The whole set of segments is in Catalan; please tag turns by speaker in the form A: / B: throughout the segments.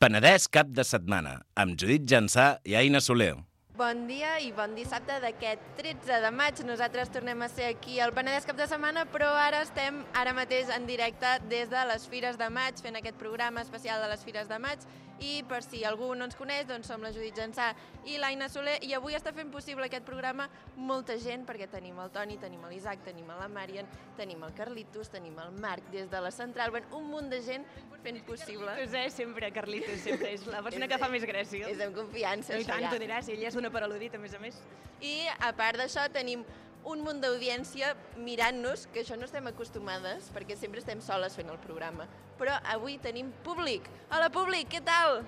A: Penedès cap de setmana, amb Judit Jansà i Aina Soler.
B: Bon dia i bon dissabte d'aquest 13 de maig. Nosaltres tornem a ser aquí al Penedès cap de setmana, però ara estem ara mateix en directe des de les Fires de Maig, fent aquest programa especial de les Fires de Maig. I per si algú no ens coneix, doncs som la Judit Gensà i l'Aina Soler, i avui està fent possible aquest programa molta gent, perquè tenim el Toni, tenim l'Isaac, tenim la Marian, tenim el Carlitos, tenim el Marc des de la central, bueno, un munt de gent fent possible.
C: Carlitos, eh? Sempre, Carlitos, sempre. És la persona que fa més gràcia.
B: És amb confiança,
C: No, I
B: això
C: tant,
B: ja.
C: t'ho diràs. Ella és una paraludita, a més a més.
B: I a part d'això tenim un munt d'audiència mirant-nos, que això no estem acostumades, perquè sempre estem soles fent el programa. Però avui tenim públic. Hola, públic, què tal?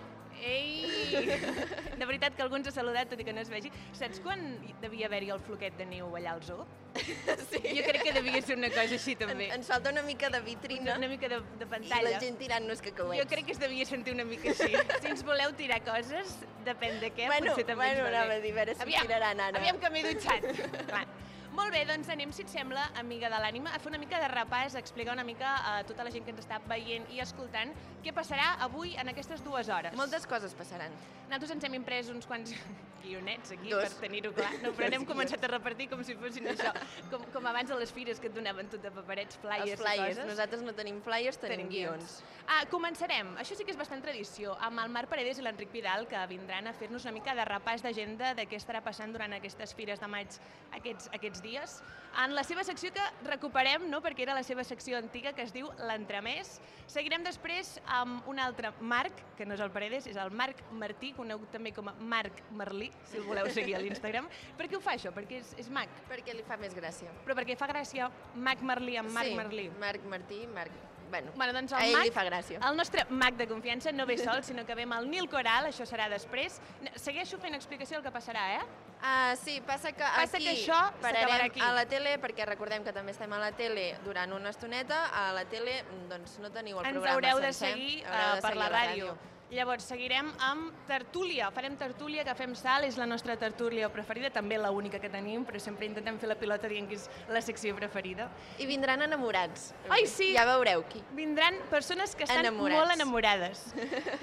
C: Ei! De veritat que algú ens ha saludat, tot i que no es vegi. Saps quan devia haver-hi el floquet de neu allà al zoo? Sí. Jo crec que devia ser una cosa així, també.
B: Ens falta una mica de vitrina
C: Una mica de, de
B: i
C: pantalla.
B: la gent tirant-nos que ho
C: Jo crec que es devia sentir una mica així. Si ens voleu tirar coses, depèn de què,
B: Bueno,
C: potser també
B: bueno,
C: ens va
B: anava
C: bé.
B: a dir, a veure si em tiraran ara.
C: Aviam que m'he dutxat. Clar. Molt bé, doncs anem, si et sembla, amiga de l'ànima, a fer una mica de repàs, a explicar una mica a tota la gent que ens està veient i escoltant què passarà avui en aquestes dues hores.
B: Moltes coses passaran.
C: Nosaltres ens hem imprès uns quants guionets aquí
B: Dos.
C: per tenir-ho clar. No, però
B: Dos
C: n'hem començat a repartir com si fossin això, com, com abans a les fires que et donaven tot de paperets, flyers,
B: Els flyers.
C: i coses.
B: Nosaltres no tenim flyers, tenim, guions.
C: Ah, començarem. Això sí que és bastant tradició, amb el Marc Paredes i l'Enric Vidal, que vindran a fer-nos una mica de repàs d'agenda de què estarà passant durant aquestes fires de maig aquests, aquests dies. En la seva secció que recuperem, no? perquè era la seva secció antiga, que es diu l'Entremés. Seguirem després amb un altre Marc, que no és el Paredes, és el Marc Martí, conegut també com a Marc Merlí, si el voleu seguir a l'Instagram. Per què ho fa això? Perquè és, és mag.
B: Perquè li fa més gràcia.
C: Però perquè fa gràcia Mac Merlí amb Marc
B: sí,
C: Merlí.
B: Marc Martí, Marc... Bueno,
C: Bueno, doncs
B: a
C: el
B: ell
C: mag,
B: li fa gràcia.
C: El nostre mag de confiança no ve sol, sinó que ve amb el Nil Coral, això serà després. No, Segueixo fent explicació del que passarà, eh?
B: Ah, sí, passa que
C: Passa
B: aquí
C: que això
B: pararem
C: s'acabarà aquí.
B: a la tele, perquè recordem que també estem a la tele durant una estoneta, a la tele mm, doncs, no teniu el
C: Ens
B: programa
C: haureu de
B: sencer,
C: seguir eh,
B: haureu de
C: per
B: seguir
C: la ràdio. Llavors, seguirem amb tertúlia. Farem tertúlia, que fem sal, és la nostra tertúlia preferida, també la única que tenim, però sempre intentem fer la pilota dient que és la secció preferida.
B: I vindran enamorats.
C: Ai, sí.
B: Ja veureu qui.
C: Vindran persones que estan
B: Enamorats.
C: molt enamorades.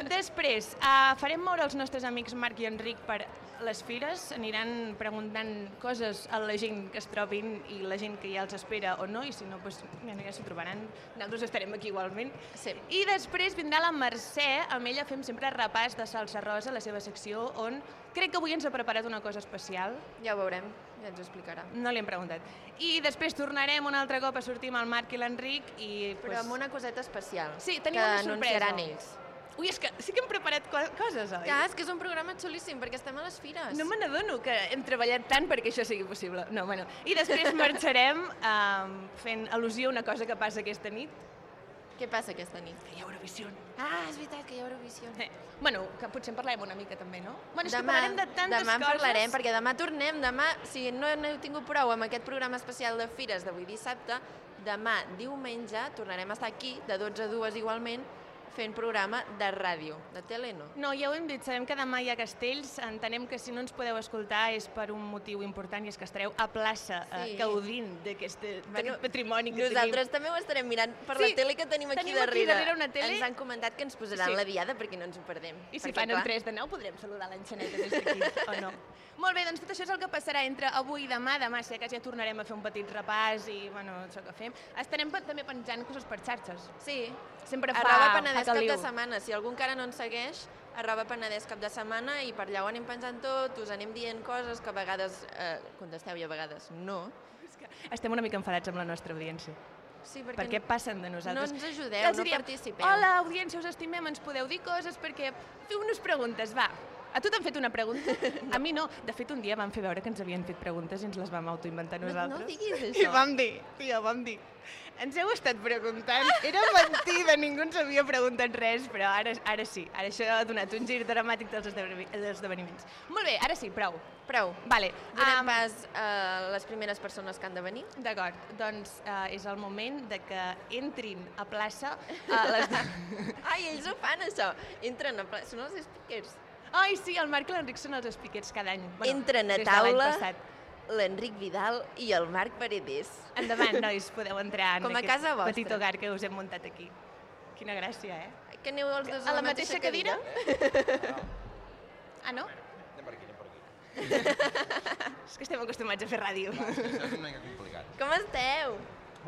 C: Després, uh, farem moure els nostres amics Marc i Enric per les fires, aniran preguntant coses a la gent que es trobin i la gent que ja els espera o no, i si no, doncs, ja, no, ja s'ho trobaran. Nosaltres estarem aquí igualment.
B: Sí.
C: I després vindrà la Mercè, amb ella fem sempre repàs de Salsa Rosa, la seva secció, on crec que avui ens ha preparat una cosa especial.
B: Ja ho veurem, ja ens ho explicarà.
C: No li hem preguntat. I després tornarem un altre cop a sortir amb el Marc i l'Enric i...
B: Però
C: doncs,
B: amb una coseta especial.
C: Sí, tenim
B: que
C: una sorpresa.
B: anunciaran ells.
C: Ui, és que sí que hem preparat co coses, oi?
B: Ja, és que és un programa xulíssim, perquè estem a les fires.
C: No me n'adono que hem treballat tant perquè això sigui possible. No, bueno. I després marxarem um, fent al·lusió a una cosa que passa aquesta nit,
B: Què passa aquesta nit?
C: que hi ha Eurovisió.
B: Ah, és veritat que hi ha Eurovisió.
C: Eh, bueno, que potser en parlem una mica també, no? Bueno, és
B: demà,
C: que parlarem de tantes
B: demà en
C: coses.
B: parlarem, perquè demà tornem. Demà, si no n'heu tingut prou amb aquest programa especial de Fires d'avui dissabte, demà, diumenge, tornarem a estar aquí, de 12 a 2 igualment, fent programa de ràdio. De tele no.
C: No, ja ho hem dit, sabem que demà hi ha castells, entenem que si no ens podeu escoltar és per un motiu important i és que estareu a plaça
B: Sí.
C: eh, gaudint d'aquest
B: Bueno,
C: bueno, patrimoni que
B: Nosaltres també ho estarem mirant per la
C: Sí,
B: tele que tenim aquí
C: tenim aquí
B: darrere.
C: darrere una tele.
B: Ens han comentat que ens posaran
C: Sí.
B: la diada perquè no ens ho perdem.
C: I si
B: Perquè,
C: fan un
B: clar,
C: 3 de 9 podrem saludar l'enxaneta des d'aquí, o no? Molt bé, doncs tot això és el que passarà entre avui i demà. Demà, si acaso, ja tornarem a fer un petit repàs i, bueno, això que fem. Estarem pe- també penjant coses per xarxes.
B: Sí,
C: Sempre fa,
B: arroba
C: fa
B: Penedès cap
C: caliu.
B: de setmana. Si algú encara no ens segueix, arroba Penedès cap de setmana i per allà ho anem penjant tot, us anem dient coses que a vegades eh, contesteu i a vegades no.
C: És que Estem una mica enfadats amb la nostra audiència.
B: Sí,
C: Per què passen de
B: no
C: nosaltres?
B: ens ajudeu,
C: Els
B: no
C: diríem,
B: participeu.
C: Hola, audiència, us estimem, ens podeu dir coses perquè... Feu-nos preguntes, va. A tu t'han fet una pregunta? A mi no. De fet, un dia vam fer veure que ens havien fet preguntes i ens les vam autoinventar
B: no,
C: nosaltres.
B: no diguis
C: I
B: això.
C: vam dir, tio, vam dir, ens heu estat preguntant, era mentida, ningú ens havia preguntat res, però ara, ara sí, ara això ha donat un gir dramàtic dels esdeveni- dels esdeveniments. Molt bé, ara sí, prou.
B: Prou.
C: Vale, um,
B: Donem
C: am,
B: pas a les primeres persones que han de venir.
C: D'acord, doncs eh, és el moment de que entrin a plaça a les...
B: Ai, ells ho fan, això. Entren a pla... Són els speakers.
C: Ai, sí, el Marc i l'Enric són els speakers cada any.
B: Entren a
C: des de l'any
B: taula.
C: passat.
B: L'Enric Vidal i el Marc Paredes.
C: Endavant, nois, podeu entrar en
B: Com a
C: aquest
B: casa vostra.
C: petit hogar que us hem muntat aquí. Quina gràcia, eh?
B: que aneu els dos
C: A la mateixa cadira? Ah, no?
D: Anem per aquí, anem per aquí.
C: És que estem acostumats a fer ràdio.
D: Això és una mica complicat.
B: Com esteu?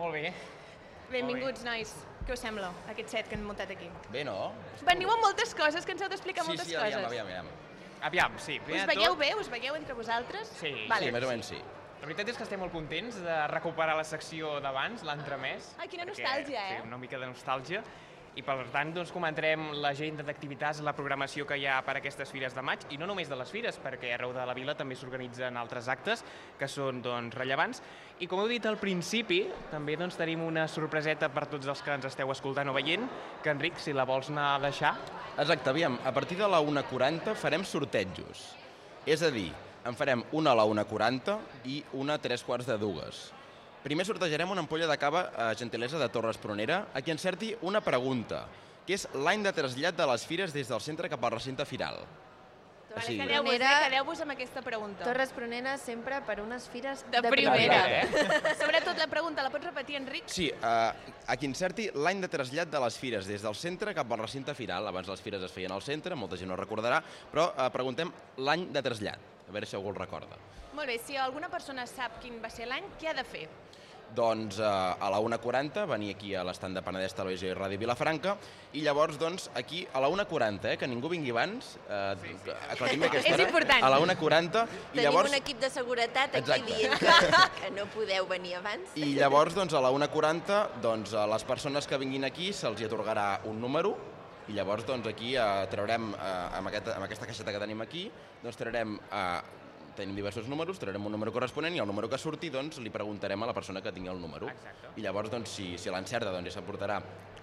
E: Molt bé.
C: Benvinguts, nois. Què us sembla, aquest set que han muntat aquí?
D: Bé, no?
C: Veniu amb moltes coses, que ens heu d'explicar
D: sí,
C: moltes
D: sí,
C: coses.
D: aviam, aviam, aviam.
E: Aviam, sí.
C: Us
E: primer de
C: veieu
E: tot,
C: bé? Us veieu entre vosaltres?
E: Sí.
C: Vale.
D: Sí, més o menys sí.
E: La veritat és que estem molt contents de recuperar la secció d'abans, l'entremès.
C: Ai, quina
E: perquè-
C: nostàlgia, eh?
E: Sí, una mica de nostàlgia. I per tant, doncs, comentarem l'agenda d'activitats, la programació que hi ha per aquestes fires de maig, i no només de les fires, perquè arreu de la vila també s'organitzen altres actes que són doncs, rellevants. I com heu dit al principi, també doncs, tenim una sorpreseta per tots els que ens esteu escoltant o veient, que Enric, si la vols anar a deixar...
D: Exacte, aviam, a partir de la 1.40 farem sortejos. És a dir, en farem una a la 1.40 i una a tres quarts de dues. Primer sortejarem una ampolla de cava a gentilesa de Torres Pronera a qui encerti una pregunta, que és l'any de trasllat de les fires des del centre cap al recinte firal.
C: Vale,
D: Sí.
C: Quedeu-vos, eh?
B: Primera-
C: Quedeu-vos amb aquesta pregunta.
B: Torres Pronena sempre per unes fires
C: de primera.
B: primera.
D: Eh?
C: Sobretot la pregunta, la pots repetir, Enric?
D: Sí, eh, a qui encerti l'any de trasllat de les fires, des del centre cap al recinte firal. Abans les fires es feien al centre, molta gent no ho recordarà, però eh, preguntem l'any de trasllat, a veure si algú el recorda.
C: Molt bé, si alguna persona sap quin va ser l'any, què ha de fer?
D: Doncs eh, a la 1.40 venir aquí a l'estand de Penedès Televisió i Ràdio Vilafranca i llavors doncs aquí a la 1.40, eh, que ningú vingui abans, eh, sí, sí. aclarim aquesta
C: És
D: hora,
C: important.
D: a la 1.40 i
B: Tenim
D: llavors...
B: un equip de seguretat aquí
D: Exacte.
B: dient que, que no podeu venir abans.
D: I llavors, doncs, a la 1.40, doncs, a les persones que vinguin aquí se'ls hi atorgarà un número i llavors doncs, aquí eh, traurem, eh, amb, aquest, amb aquesta caixeta que tenim aquí, doncs, traurem, eh, tenim diversos números, traurem un número corresponent i el número que surti doncs, li preguntarem a la persona que tingui el número.
E: Exacte.
D: I llavors, doncs, si, si l'encerta, doncs, ja s'emportarà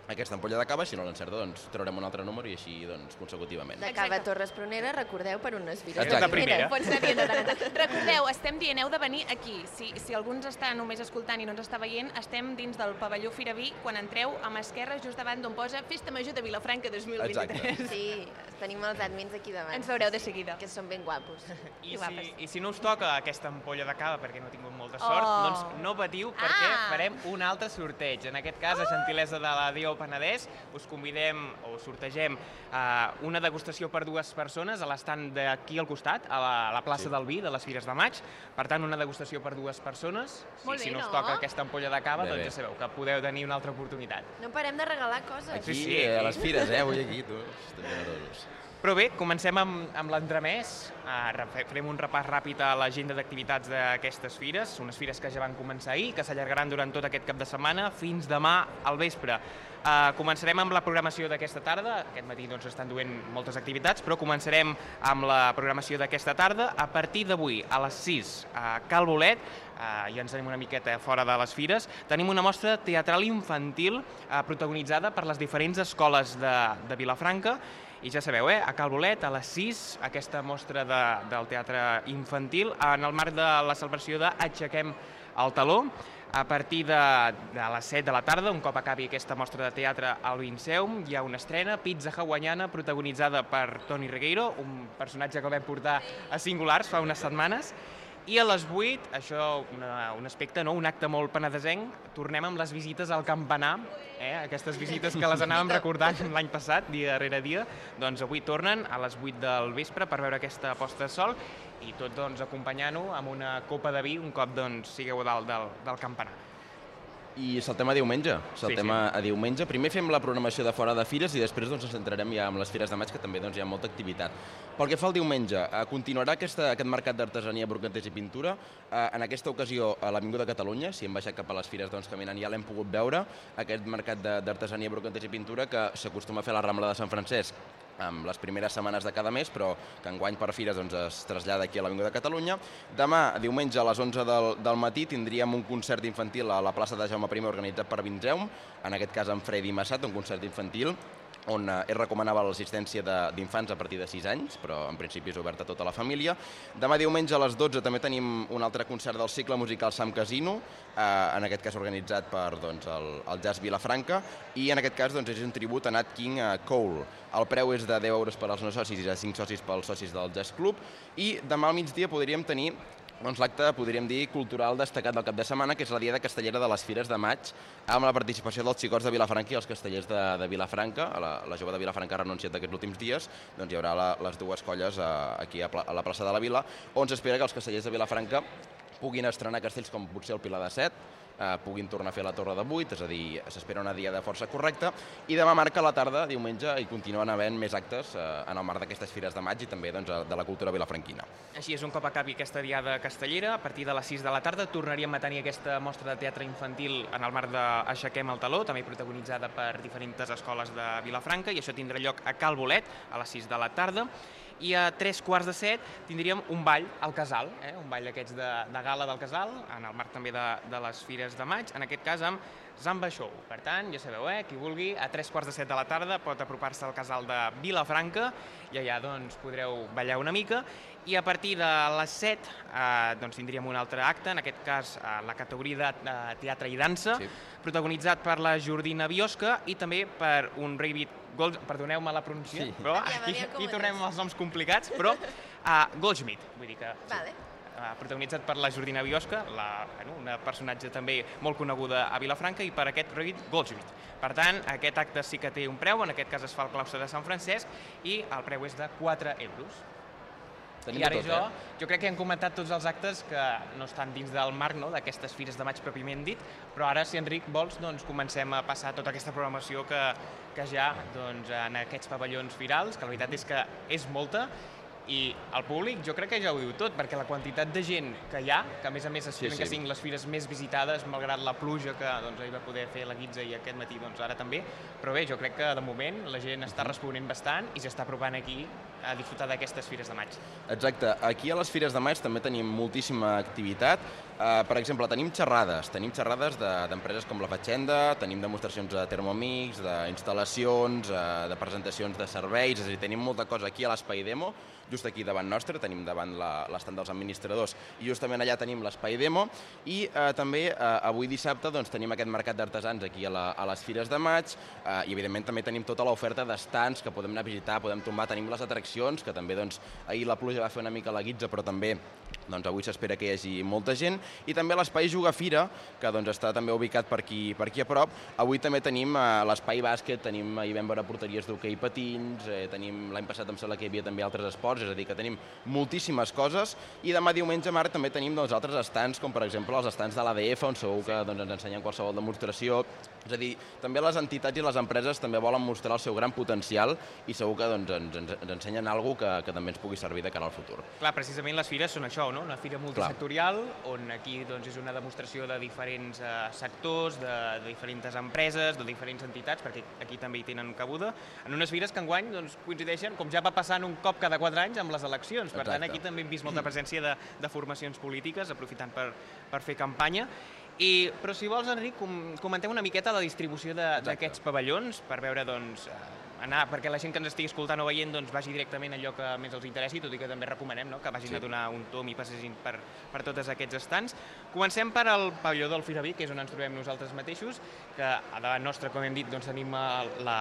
D: aquesta ampolla de cava, si no l'encerta, doncs, traurem un altre número i així doncs, consecutivament.
B: De Cava
C: Exacte.
B: Torres Pronera, recordeu, per unes fires
D: Exacte.
B: de
D: És la
B: primera.
E: primera.
C: Pots anar dient de tant en tant. Recordeu, estem dient, heu de venir aquí. Si, si algú ens està només escoltant i no ens està veient, estem dins del pavelló Firaví quan entreu a mà esquerra, just davant d'on posa Festa Major de Vilafranca 2023.
D: Exacte.
B: Sí, tenim els admins aquí davant.
C: Ens veureu de seguida.
B: Que són ben guapos.
E: I si,
C: Guapes.
E: I si no us toca aquesta ampolla de cava perquè no he tingut molta
C: Oh.
E: sort, doncs no patiu perquè
C: Ah.
E: farem un altre sorteig. En aquest cas, a gentilesa de la Dio Penedès, us convidem o sortegem eh, una degustació per dues persones a l'estant d'aquí al costat, a la, a la plaça
D: Sí.
E: sí. del Vi, de les Fires de Maig. Per tant, una degustació per dues persones.
C: Molt
E: I si
C: bé,
E: no us
C: no?
E: toca aquesta ampolla de cava,
D: Bé,
E: doncs
D: bé.
E: ja sabeu que podeu tenir una altra oportunitat.
B: No parem de regalar coses.
D: Aquí,
E: Sí, sí.
D: eh, a les fires, eh, avui aquí, tu. Estem generosos.
E: Però bé, comencem amb, amb l'entremès. Uh, re- farem un repàs ràpid a l'agenda d'activitats d'aquestes fires, unes fires que ja van començar ahir, que s'allargaran durant tot aquest cap de setmana fins demà al vespre. Uh, començarem amb la programació d'aquesta tarda. Aquest matí doncs, estan duent moltes activitats, però començarem amb la programació d'aquesta tarda. A partir d'avui, a les 6, a Cal Bolet, eh, ja ens anem una miqueta fora de les fires, tenim una mostra teatral infantil eh, protagonitzada per les diferents escoles de, de Vilafranca i ja sabeu, eh, a Cal Bolet, a les 6, aquesta mostra de, del teatre infantil en el marc de la celebració de Aixequem el taló. A partir de, de les 7 de la tarda, un cop acabi aquesta mostra de teatre al Vinceum, hi ha una estrena, Pizza Hawaiana, protagonitzada per Toni Regueiro, un personatge que el vam portar a Singulars fa unes setmanes. I a les 8, això una, un aspecte, no? un acte molt penedesenc, tornem amb les visites al campanar, eh? aquestes visites que les anàvem recordant l'any passat, dia darrere dia, doncs avui tornen a les 8 del vespre per veure aquesta posta de sol i tot doncs, acompanyant-ho amb una copa de vi un cop doncs, sigueu a dalt del, del campanar.
D: I saltem a diumenge. Saltem
E: Sí,
D: sí, sí. a diumenge. Primer fem la programació de fora de fires i després doncs, ens centrarem ja en les fires de maig, que també doncs, hi ha molta activitat. Pel que fa al diumenge, eh, continuarà aquesta, aquest mercat d'artesania, brocanters i pintura. Eh, en aquesta ocasió, a l'Avinguda Catalunya, si hem baixat cap a les fires doncs, caminant, ja l'hem pogut veure, aquest mercat de- d'artesania, brocanters i pintura que s'acostuma a fer a la Rambla de Sant Francesc amb les primeres setmanes de cada mes, però que enguany per fires doncs, es trasllada aquí a l'Avinguda de Catalunya. Demà, diumenge, a les 11 del, del matí, tindríem un concert infantil a la plaça de Jaume I organitzat per Vinzeum, en aquest cas amb Freddy Massat, un concert infantil on eh, es recomanava l'assistència de- d'infants a partir de 6 anys, però en principi és obert a tota la família. Demà diumenge a les 12 també tenim un altre concert del cicle musical Sam Casino, eh, en aquest cas organitzat per doncs, el, el Jazz Vilafranca, i en aquest cas doncs, és un tribut a Nat King a Cole. El preu és de 10 euros per als no socis i de 5 socis pels socis del Jazz Club, i demà al migdia podríem tenir doncs l'acte, podríem dir, cultural destacat del cap de setmana, que és la Diada Castellera de les Fires de Maig, amb la participació dels xicots de Vilafranca i els castellers de, de Vilafranca. La, la jove de Vilafranca ha renunciat aquests últims dies, doncs hi haurà la, les dues colles a, aquí a, pla, a la plaça de la Vila, on s'espera que els castellers de Vilafranca puguin estrenar castells com potser el Pilar de Set, eh, puguin tornar a fer la Torre de Vuit, és a dir, s'espera una diada força correcta, i demà marca la tarda, diumenge, i continuen havent més actes eh, en el marc d'aquestes fires de maig i també doncs, de la cultura vilafranquina.
E: Així és, un cop acabi aquesta diada castellera, a partir de les 6 de la tarda tornaríem a tenir aquesta mostra de teatre infantil en el marc d'Aixequem el Taló, també protagonitzada per diferents escoles de Vilafranca, i això tindrà lloc a Cal Bolet a les 6 de la tarda i a tres quarts de set tindríem un ball al Casal, eh? un ball d'aquests de, de gala del Casal, en el marc també de, de les Fires de Maig, en aquest cas amb Zamba Show. Per tant, ja sabeu, eh? qui vulgui, a tres quarts de set de la tarda pot apropar-se al Casal de Vilafranca i allà doncs, podreu ballar una mica i a partir de les 7 eh, doncs tindríem un altre acte, en aquest cas eh, la categoria de eh, teatre i dansa, sí. protagonitzat per la Jordina Biosca i també per un David Gold... Perdoneu-me la pronunciació,
D: Sí.
E: però
B: Aviam,
E: aquí,
B: aviam com
E: aquí
B: ho
E: tornem
B: dius.
E: als noms complicats, però eh, Goldschmidt, vull dir que... sí,
B: Vale.
E: eh, protagonitzat per la Jordina Biosca, la, bueno, una personatge també molt coneguda a Vilafranca, i per aquest David Goldschmidt. Per tant, aquest acte sí que té un preu, en aquest cas es fa al claustre de Sant Francesc, i el preu és de 4 euros.
D: Tenim
E: I ara
D: de tot,
E: jo,
D: eh?
E: jo crec que hem comentat tots els actes que no estan dins del marc no, d'aquestes fires de maig pròpiament dit, però ara, si Enric vols, doncs comencem a passar tota aquesta programació que, que ja doncs, en aquests pavellons firals, que la veritat és que és molta, i el públic jo crec que ja ho diu tot, perquè la quantitat de gent que hi ha, que a més a més
D: Sí,
E: s'estimen sí, sí.
D: sí.
E: que siguin les fires més visitades, malgrat la pluja que doncs, ahir va poder fer la guitza i aquest matí doncs, ara també, però bé, jo crec que de moment la gent està responent bastant i s'està apropant aquí a disfrutar d'aquestes fires de maig.
D: Exacte. Aquí a les Fires de Maig també tenim moltíssima activitat. Uh, per exemple, tenim xerrades. Tenim xerrades de- d'empreses com la Fatxenda, tenim demostracions de termomix, d'instal·lacions, uh, de presentacions de serveis, és a dir, tenim molta cosa aquí a l'Espai Demo, just aquí davant nostre, tenim davant la- l'estand dels administradors i justament allà tenim l'Espai Demo i uh, també uh, avui dissabte doncs, tenim aquest mercat d'artesans aquí a, la, a les Fires de Maig uh, i evidentment també tenim tota l'oferta d'estants que podem anar a visitar, podem tombar, tenim les atraccions que també doncs, ahir la pluja va fer una mica la guitza però també doncs avui s'espera que hi hagi molta gent i també l'espai Juga Fira, que doncs està també ubicat per aquí, per aquí a prop. Avui també tenim eh, l'espai bàsquet, tenim, ahir vam veure porteries d'hoquei patins, eh, tenim l'any passat em sembla que hi havia també altres esports, és a dir, que tenim moltíssimes coses i demà diumenge, Marc, també tenim doncs, altres estants, com per exemple els estants de l'ADF, on segur que doncs, ens ensenyen qualsevol demostració, és a dir, també les entitats i les empreses també volen mostrar el seu gran potencial i segur que doncs, ens, ens, ens ensenyen alguna cosa que, que també ens pugui servir de cara al futur.
E: Clar, precisament les fires són això, no? Una fira multisectorial, on aquí doncs, és una demostració de diferents eh, sectors, de, de diferents empreses, de diferents entitats, perquè aquí també hi tenen cabuda, en unes fires que enguany doncs, coincideixen, com ja va passant un cop cada quatre anys, amb les eleccions. Per tant,
D: Exacte.
E: aquí també hem vist molta presència de, de formacions polítiques, aprofitant per, per fer campanya. I, però si vols, Enric, com, comentem una miqueta la distribució de- d'aquests pavellons per veure, doncs, eh, anar, perquè la gent que ens estigui escoltant o veient doncs, vagi directament a allò que més els interessi, tot i que també recomanem no?, que vagin
D: Sí.
E: sí. a donar un tom i passegin per, per totes aquests estants. Comencem per al pavelló del Firaví, que és on ens trobem nosaltres mateixos, que a davant nostra, com hem dit, doncs, tenim eh, la,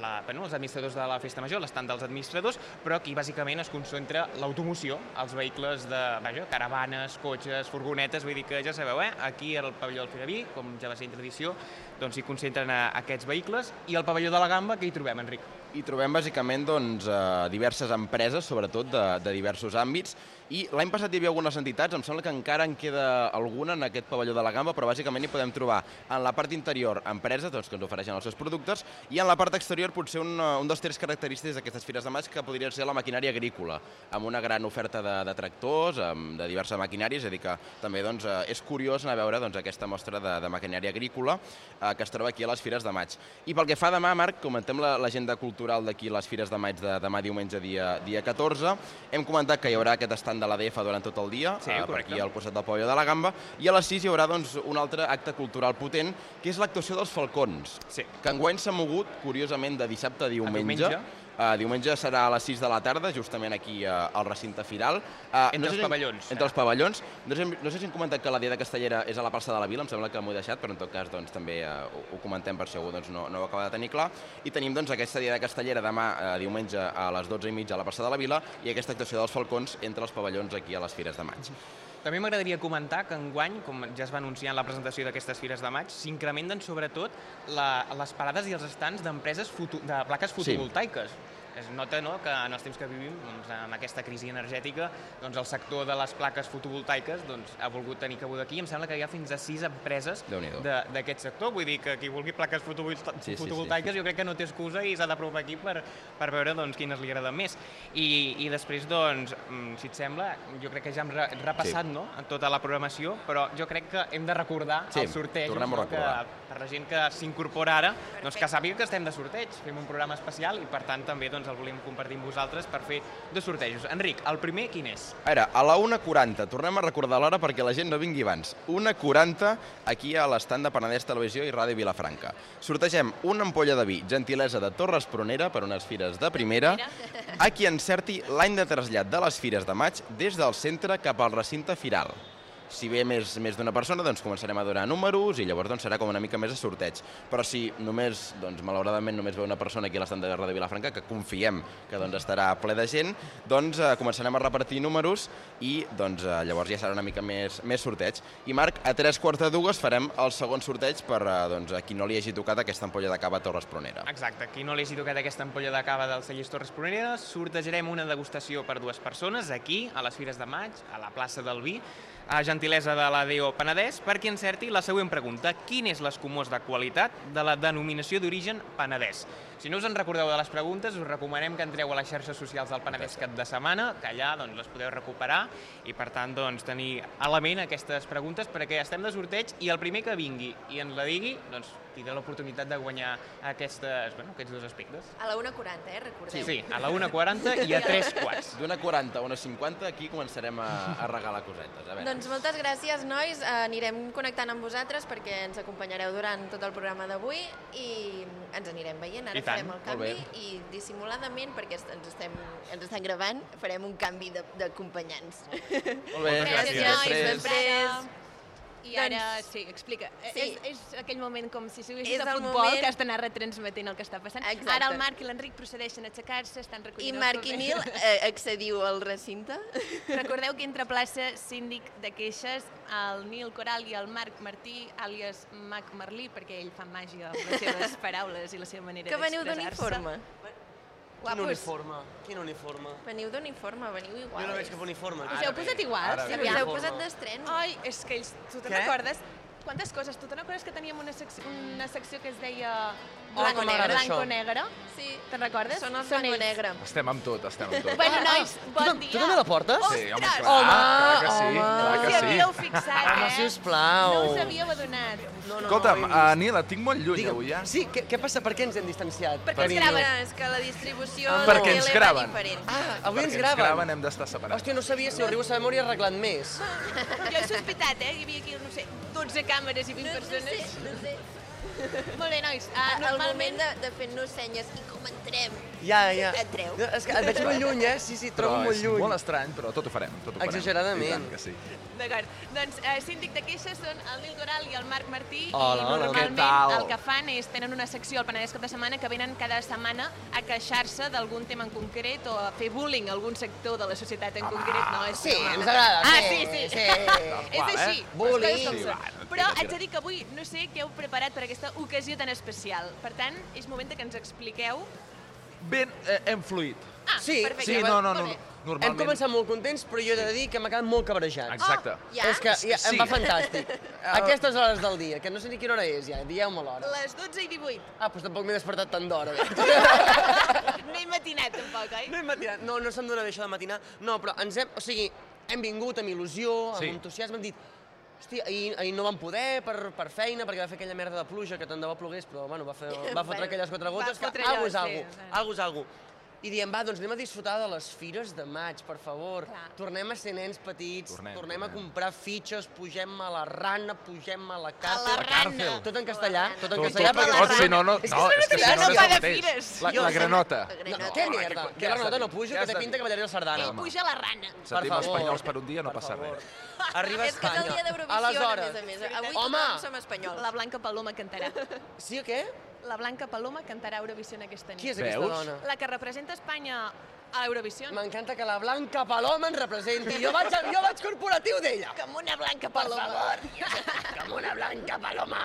E: la, bueno, els administradors de la Festa Major, l'estant dels administradors, però aquí bàsicament es concentra l'automoció, els vehicles de vaja, caravanes, cotxes, furgonetes, vull dir que ja sabeu, eh? aquí al pavelló del Firaví, com ja va ser tradició, doncs s'hi concentren eh, aquests vehicles, i al pavelló de la Gamba, que hi trobem, Enric?
D: Hi trobem bàsicament doncs, eh, diverses empreses, sobretot de, de diversos àmbits, i l'any passat hi havia algunes entitats, em sembla que encara en queda alguna en aquest pavelló de la gamba, però bàsicament hi podem trobar en la part interior empreses doncs, que ens ofereixen els seus productes i en la part exterior potser un, eh, un dels tres característiques d'aquestes fires de maig que podria ser la maquinària agrícola, amb una gran oferta de, de tractors, amb, de diversa maquinària, és a dir que també doncs, eh, és curiós anar a veure doncs, aquesta mostra de, de maquinària agrícola eh, que es troba aquí a les Fires de Maig. I pel que fa a demà, Marc, comentem la- l'agenda cultural d'aquí a les Fires de Maig de demà diumenge dia, dia 14. Hem comentat que hi haurà aquest estand de l'ADF durant tot el dia,
E: Sí,
D: eh, per
E: correcte.
D: aquí al costat del Pavelló de la Gamba, i a les 6 hi haurà doncs, un altre acte cultural potent, que és l'actuació dels Falcons,
E: Sí.
D: que enguany s'ha mogut, curiosament, de dissabte a diumenge.
E: diumenge.
D: Eh, diumenge serà a les 6 de la tarda, justament aquí eh, al recinte firal. Eh,
E: Entre els
D: si-
E: pavellons,
D: Entre els pavellons. No sé, no sé si hem comentat que la Diada Castellera és a la plaça de la Vila, em sembla que m'ho he deixat, però en tot cas doncs, també eh, ho, ho comentem per si algú doncs, no, no ho acaba de tenir clar. I tenim doncs, aquesta Diada Castellera demà, eh, diumenge, a les 12 i mitja a la plaça de la Vila i aquesta actuació dels Falcons entre els pavellons aquí a les Fires de Maig.
E: També m'agradaria comentar que enguany, com ja es va anunciar en la presentació d'aquestes fires de maig, s'incrementen sobretot la, les parades i els estants d'empreses foto, de plaques fotovoltaiques. Es nota no, que en els temps que vivim, doncs, amb aquesta crisi energètica, doncs, el sector de les plaques fotovoltaiques doncs, ha volgut tenir cabuda aquí. Em sembla que hi ha fins a sis empreses
D: Déu-n'hi-do.
E: de- d'aquest sector. Vull dir que qui vulgui plaques fotovolta
D: Sí, sí, sí.
E: fotovoltaiques jo crec que no té excusa i s'ha de provar aquí per, per veure doncs, quines li agraden més. I, I després, doncs, mm, si et sembla, jo crec que ja hem re repassat no? en tota la programació, però jo crec que hem de recordar
D: Sí,
E: el sorteig.
D: tornem-ho a
E: em sembla
D: recordar.
E: Que, per la gent que s'incorpora ara, doncs que sàpiga que estem de sorteig. Fem un programa especial i, per tant, també doncs, el volem compartir amb vosaltres per fer dos sortejos. Enric, el primer quin és?
D: A veure, a la 1.40, tornem a recordar l'hora perquè la gent no vingui abans. 1.40, aquí a l'estand de Penedès Televisió i Ràdio Vilafranca. Sortegem una ampolla de vi, gentilesa de Torres Pronera, per unes fires de primera, a qui encerti l'any de trasllat de les fires de maig des del centre cap al recinte firal. Si ve més, més d'una persona, doncs començarem a donar números i llavors doncs, serà com una mica més de sorteig. Però si només, doncs, malauradament, només ve una persona aquí a l'estat de guerra de Vilafranca, que confiem que doncs, estarà ple de gent, doncs eh, començarem a repartir números i doncs, eh, llavors ja serà una mica més, més sorteig. I Marc, a tres quarts de dues farem el segon sorteig per eh, doncs, a qui no li hagi tocat aquesta ampolla de cava a Torres Pronera.
E: Exacte, qui no li hagi tocat aquesta ampolla de cava del Cellers Torres Pronera, sortejarem una degustació per dues persones aquí, a les Fires de Maig, a la plaça del Vi, a gentilesa de la D.O. Penedès, perquè encerti la següent pregunta. Quin és l'escumós de qualitat de la denominació d'origen Penedès? Si no us en recordeu de les preguntes, us recomanem que entreu a les xarxes socials del Penedès cap de setmana, que allà doncs, les podeu recuperar i, per tant, doncs, tenir a la ment aquestes preguntes perquè estem de sorteig i el primer que vingui i ens la digui, doncs, tindrà l'oportunitat de guanyar aquestes, bueno, aquests dos aspectes.
B: A la 1.40, eh, recordeu.
E: Sí, a la 1.40 i a 3 quarts.
D: D'una 40 a una 50, aquí començarem a, a regalar cosetes. A veure.
B: Doncs moltes gràcies, nois. Eh, Anirem connectant amb vosaltres perquè ens acompanyareu durant tot el programa d'avui i ens anirem veient. Ara
E: I tant,
B: farem el
D: molt bé.
B: canvi i dissimuladament, perquè est- ens, estem, ens estan gravant, farem un canvi de- d'acompanyants.
D: Molt bé,
E: Moltes
D: gràcies.
E: gràcies.
B: Nois,
D: Després.
B: després...
C: I ara,
B: Doncs-
C: sí, explica.
B: Sí.
C: Sí. És, és aquell moment com si
B: És
C: s'haguessis de
B: el
C: futbol
B: moment-
C: que has d'anar retransmetent el que està passant.
B: Exacte.
C: Ara el Marc i l'Enric procedeixen a aixecar-se, estan
B: I
C: recollint els
B: Marc i
C: papers.
B: Nil eh, accediu al recinte.
C: Recordeu que entre plaça síndic de queixes el Nil Coral i el Marc Martí, àlies Mac Merlí, perquè ell fa màgia amb les seves paraules i la seva manera
B: Que veniu
C: d'expressar-se.
B: d'uniforme.
F: Quin
C: Guapos.
F: uniforme? Quin uniforme?
B: Veniu d'uniforme, veniu igual.
F: Jo no veig cap uniforme.
C: Us heu posat iguals?
F: Ara
B: Sí, us
F: ve.
B: heu
F: Uniforme.
B: posat d'estreno.
C: Ai, és que ells, tu te'n
F: Què?
C: recordes? Quantes coses? Tu te'n recordes que teníem una, sec una secció que es deia...
B: Blanco negre.
C: Blanco
F: Això.
C: negre.
B: Sí.
C: Te'n recordes?
B: Són els
C: Són
B: blanco
C: ells.
B: negre.
G: Estem amb tot, estem amb tot.
C: Bueno, nois,
F: tu,
C: bon
F: tam-
C: dia.
F: tu també la portes?
G: Sí, home,
F: Ah,
C: Ostres!
G: clar, clar que
B: Home,
G: sí, clar
C: No us hi
G: que
C: havíeu
G: sí.
C: fixat, eh?
F: Home, Ah, sisplau.
C: No us havíeu adonat.
F: No, no,
G: Escolta'm,
F: no,
G: uh, Nil, et tinc molt lluny
F: Digue'm,
G: avui, eh?
F: Sí, què, què passa? Per què ens hem distanciat?
C: Perquè ens
F: Nil?
C: graven.
B: Ara, és que la distribució
F: Ah,
B: de
F: perquè
G: ens
B: tele va
G: graven.
B: diferent.
F: Ah, avui ens
G: Perquè
F: graven.
G: graven hem d'estar separats.
F: Hòstia, no sabia si ho arribo a saber, m'hauria arreglat més.
C: Jo he sospitat, eh? Hi havia aquí, no sé, 12 càmeres i 20
B: No, no sé,
C: persones.
B: no sé.
C: Molt bé, nois. Uh,
B: El moment de, de fer-nos senyes i com entrem.
F: Ja, ja.
B: Entreu.
F: No, és que et veig molt lluny, eh? Sí, sí, et
G: Però
F: trobo molt
G: és
F: lluny.
G: molt estrany, però tot ho farem. Tot ho farem.
F: Exageradament.
G: I tant que sí.
C: D'acord. Doncs eh, síndic de queixes són el Nil Doral i el Marc Martí.
F: Hola,
C: I
F: hola,
C: normalment
F: què tal?
C: el que fan és tenen una secció al Penedès cap de setmana que venen cada setmana a queixar-se d'algun tema en concret o a fer bullying a algun sector de la societat en concret. No, és
F: Sí,
C: broma.
F: ens agrada,
C: Ah,
F: sí,
C: sí, sí.
F: sí.
C: és així. les
F: Bullying.
C: coses com
F: eh? Sí,
C: són.
G: va, no tira,
C: Però haig
G: tira.
C: de dir que avui no sé què heu preparat per aquesta ocasió tan especial. Per tant, és moment de que ens expliqueu.
G: Ben, eh, hem fluït.
C: Ah,
F: Sí,
C: perfecte.
G: Sí, no, no,
C: Molt
G: no.
C: bé.
G: Normalment...
F: Hem començat molt contents, però jo he de dir que m'ha quedat molt cabrejat.
G: Exacte.
B: Oh, ja?
F: És que ja,
G: Sí.
F: em va fantàstic. A Aquestes hores del dia, que no sé ni quina hora és ja, dieu-me l'hora.
C: Les 12 i 18.
F: Ah, doncs tampoc m'he despertat tant d'hora. veig.
C: No he matinat, tampoc, oi?
F: No hem matinat, no, no se'm dóna bé això de matinar. No, però ens hem, o sigui, hem vingut amb il·lusió, amb
G: Sí.
F: entusiasme, hem dit Hòstia, ahir, ahir no vam poder per, per feina, perquè va fer aquella merda de pluja que tant de bo plogués, però bueno, va, fer, va fotre
B: Bueno,
F: aquelles quatre
C: va
F: gotes, que
C: fotre allò,
F: algo és
C: sí,
F: algo,
C: bueno.
F: algo és algo. I diem, va, doncs anem a disfrutar de les fires de maig, per favor.
C: Clar.
F: Tornem a ser nens petits, tornem,
G: Tornem,
F: tornem a
G: tornem.
F: comprar fitxes, pugem a la rana, pugem a la càrcel.
B: la A la rana. càrcel.
F: Tot en castellà,
B: A la
F: tot
G: Tot,
F: en
G: tot,
F: castellà.
G: tot,
F: perquè-
G: tot, si no, no, no, és que si no,
F: rana
G: no és
F: fa
G: el
F: de
G: mateix.
C: fires.
G: La,
F: Jo-
G: la granota.
F: No,
B: Granota.
F: què merda?
G: què-
F: Jo a la
G: què has
F: nota
G: de
F: no
G: dir?
F: pujo,
G: Què
F: que
G: has
F: té
G: de
F: pinta
G: dir?
F: que ballaré la sardana.
C: Ell puja la rana.
G: Sentim espanyols per un dia, no passa res.
F: Arriba a
B: és que és
F: Espanya.
B: el dia d'Eurovisió, a més a més. Avui
F: Home!
B: tothom som espanyols.
C: La Blanca Paloma cantarà.
F: Sí o què?
C: La Blanca Paloma cantarà Eurovisió en aquesta nit.
F: Qui és aquesta
G: Veus?
F: dona?
C: La que representa Espanya a Eurovisió.
F: M'encanta que la Blanca Paloma ens representi. Jo vaig, jo vaig corporatiu d'ella.
C: Com una blanca
F: Per favor, com una Blanca Paloma.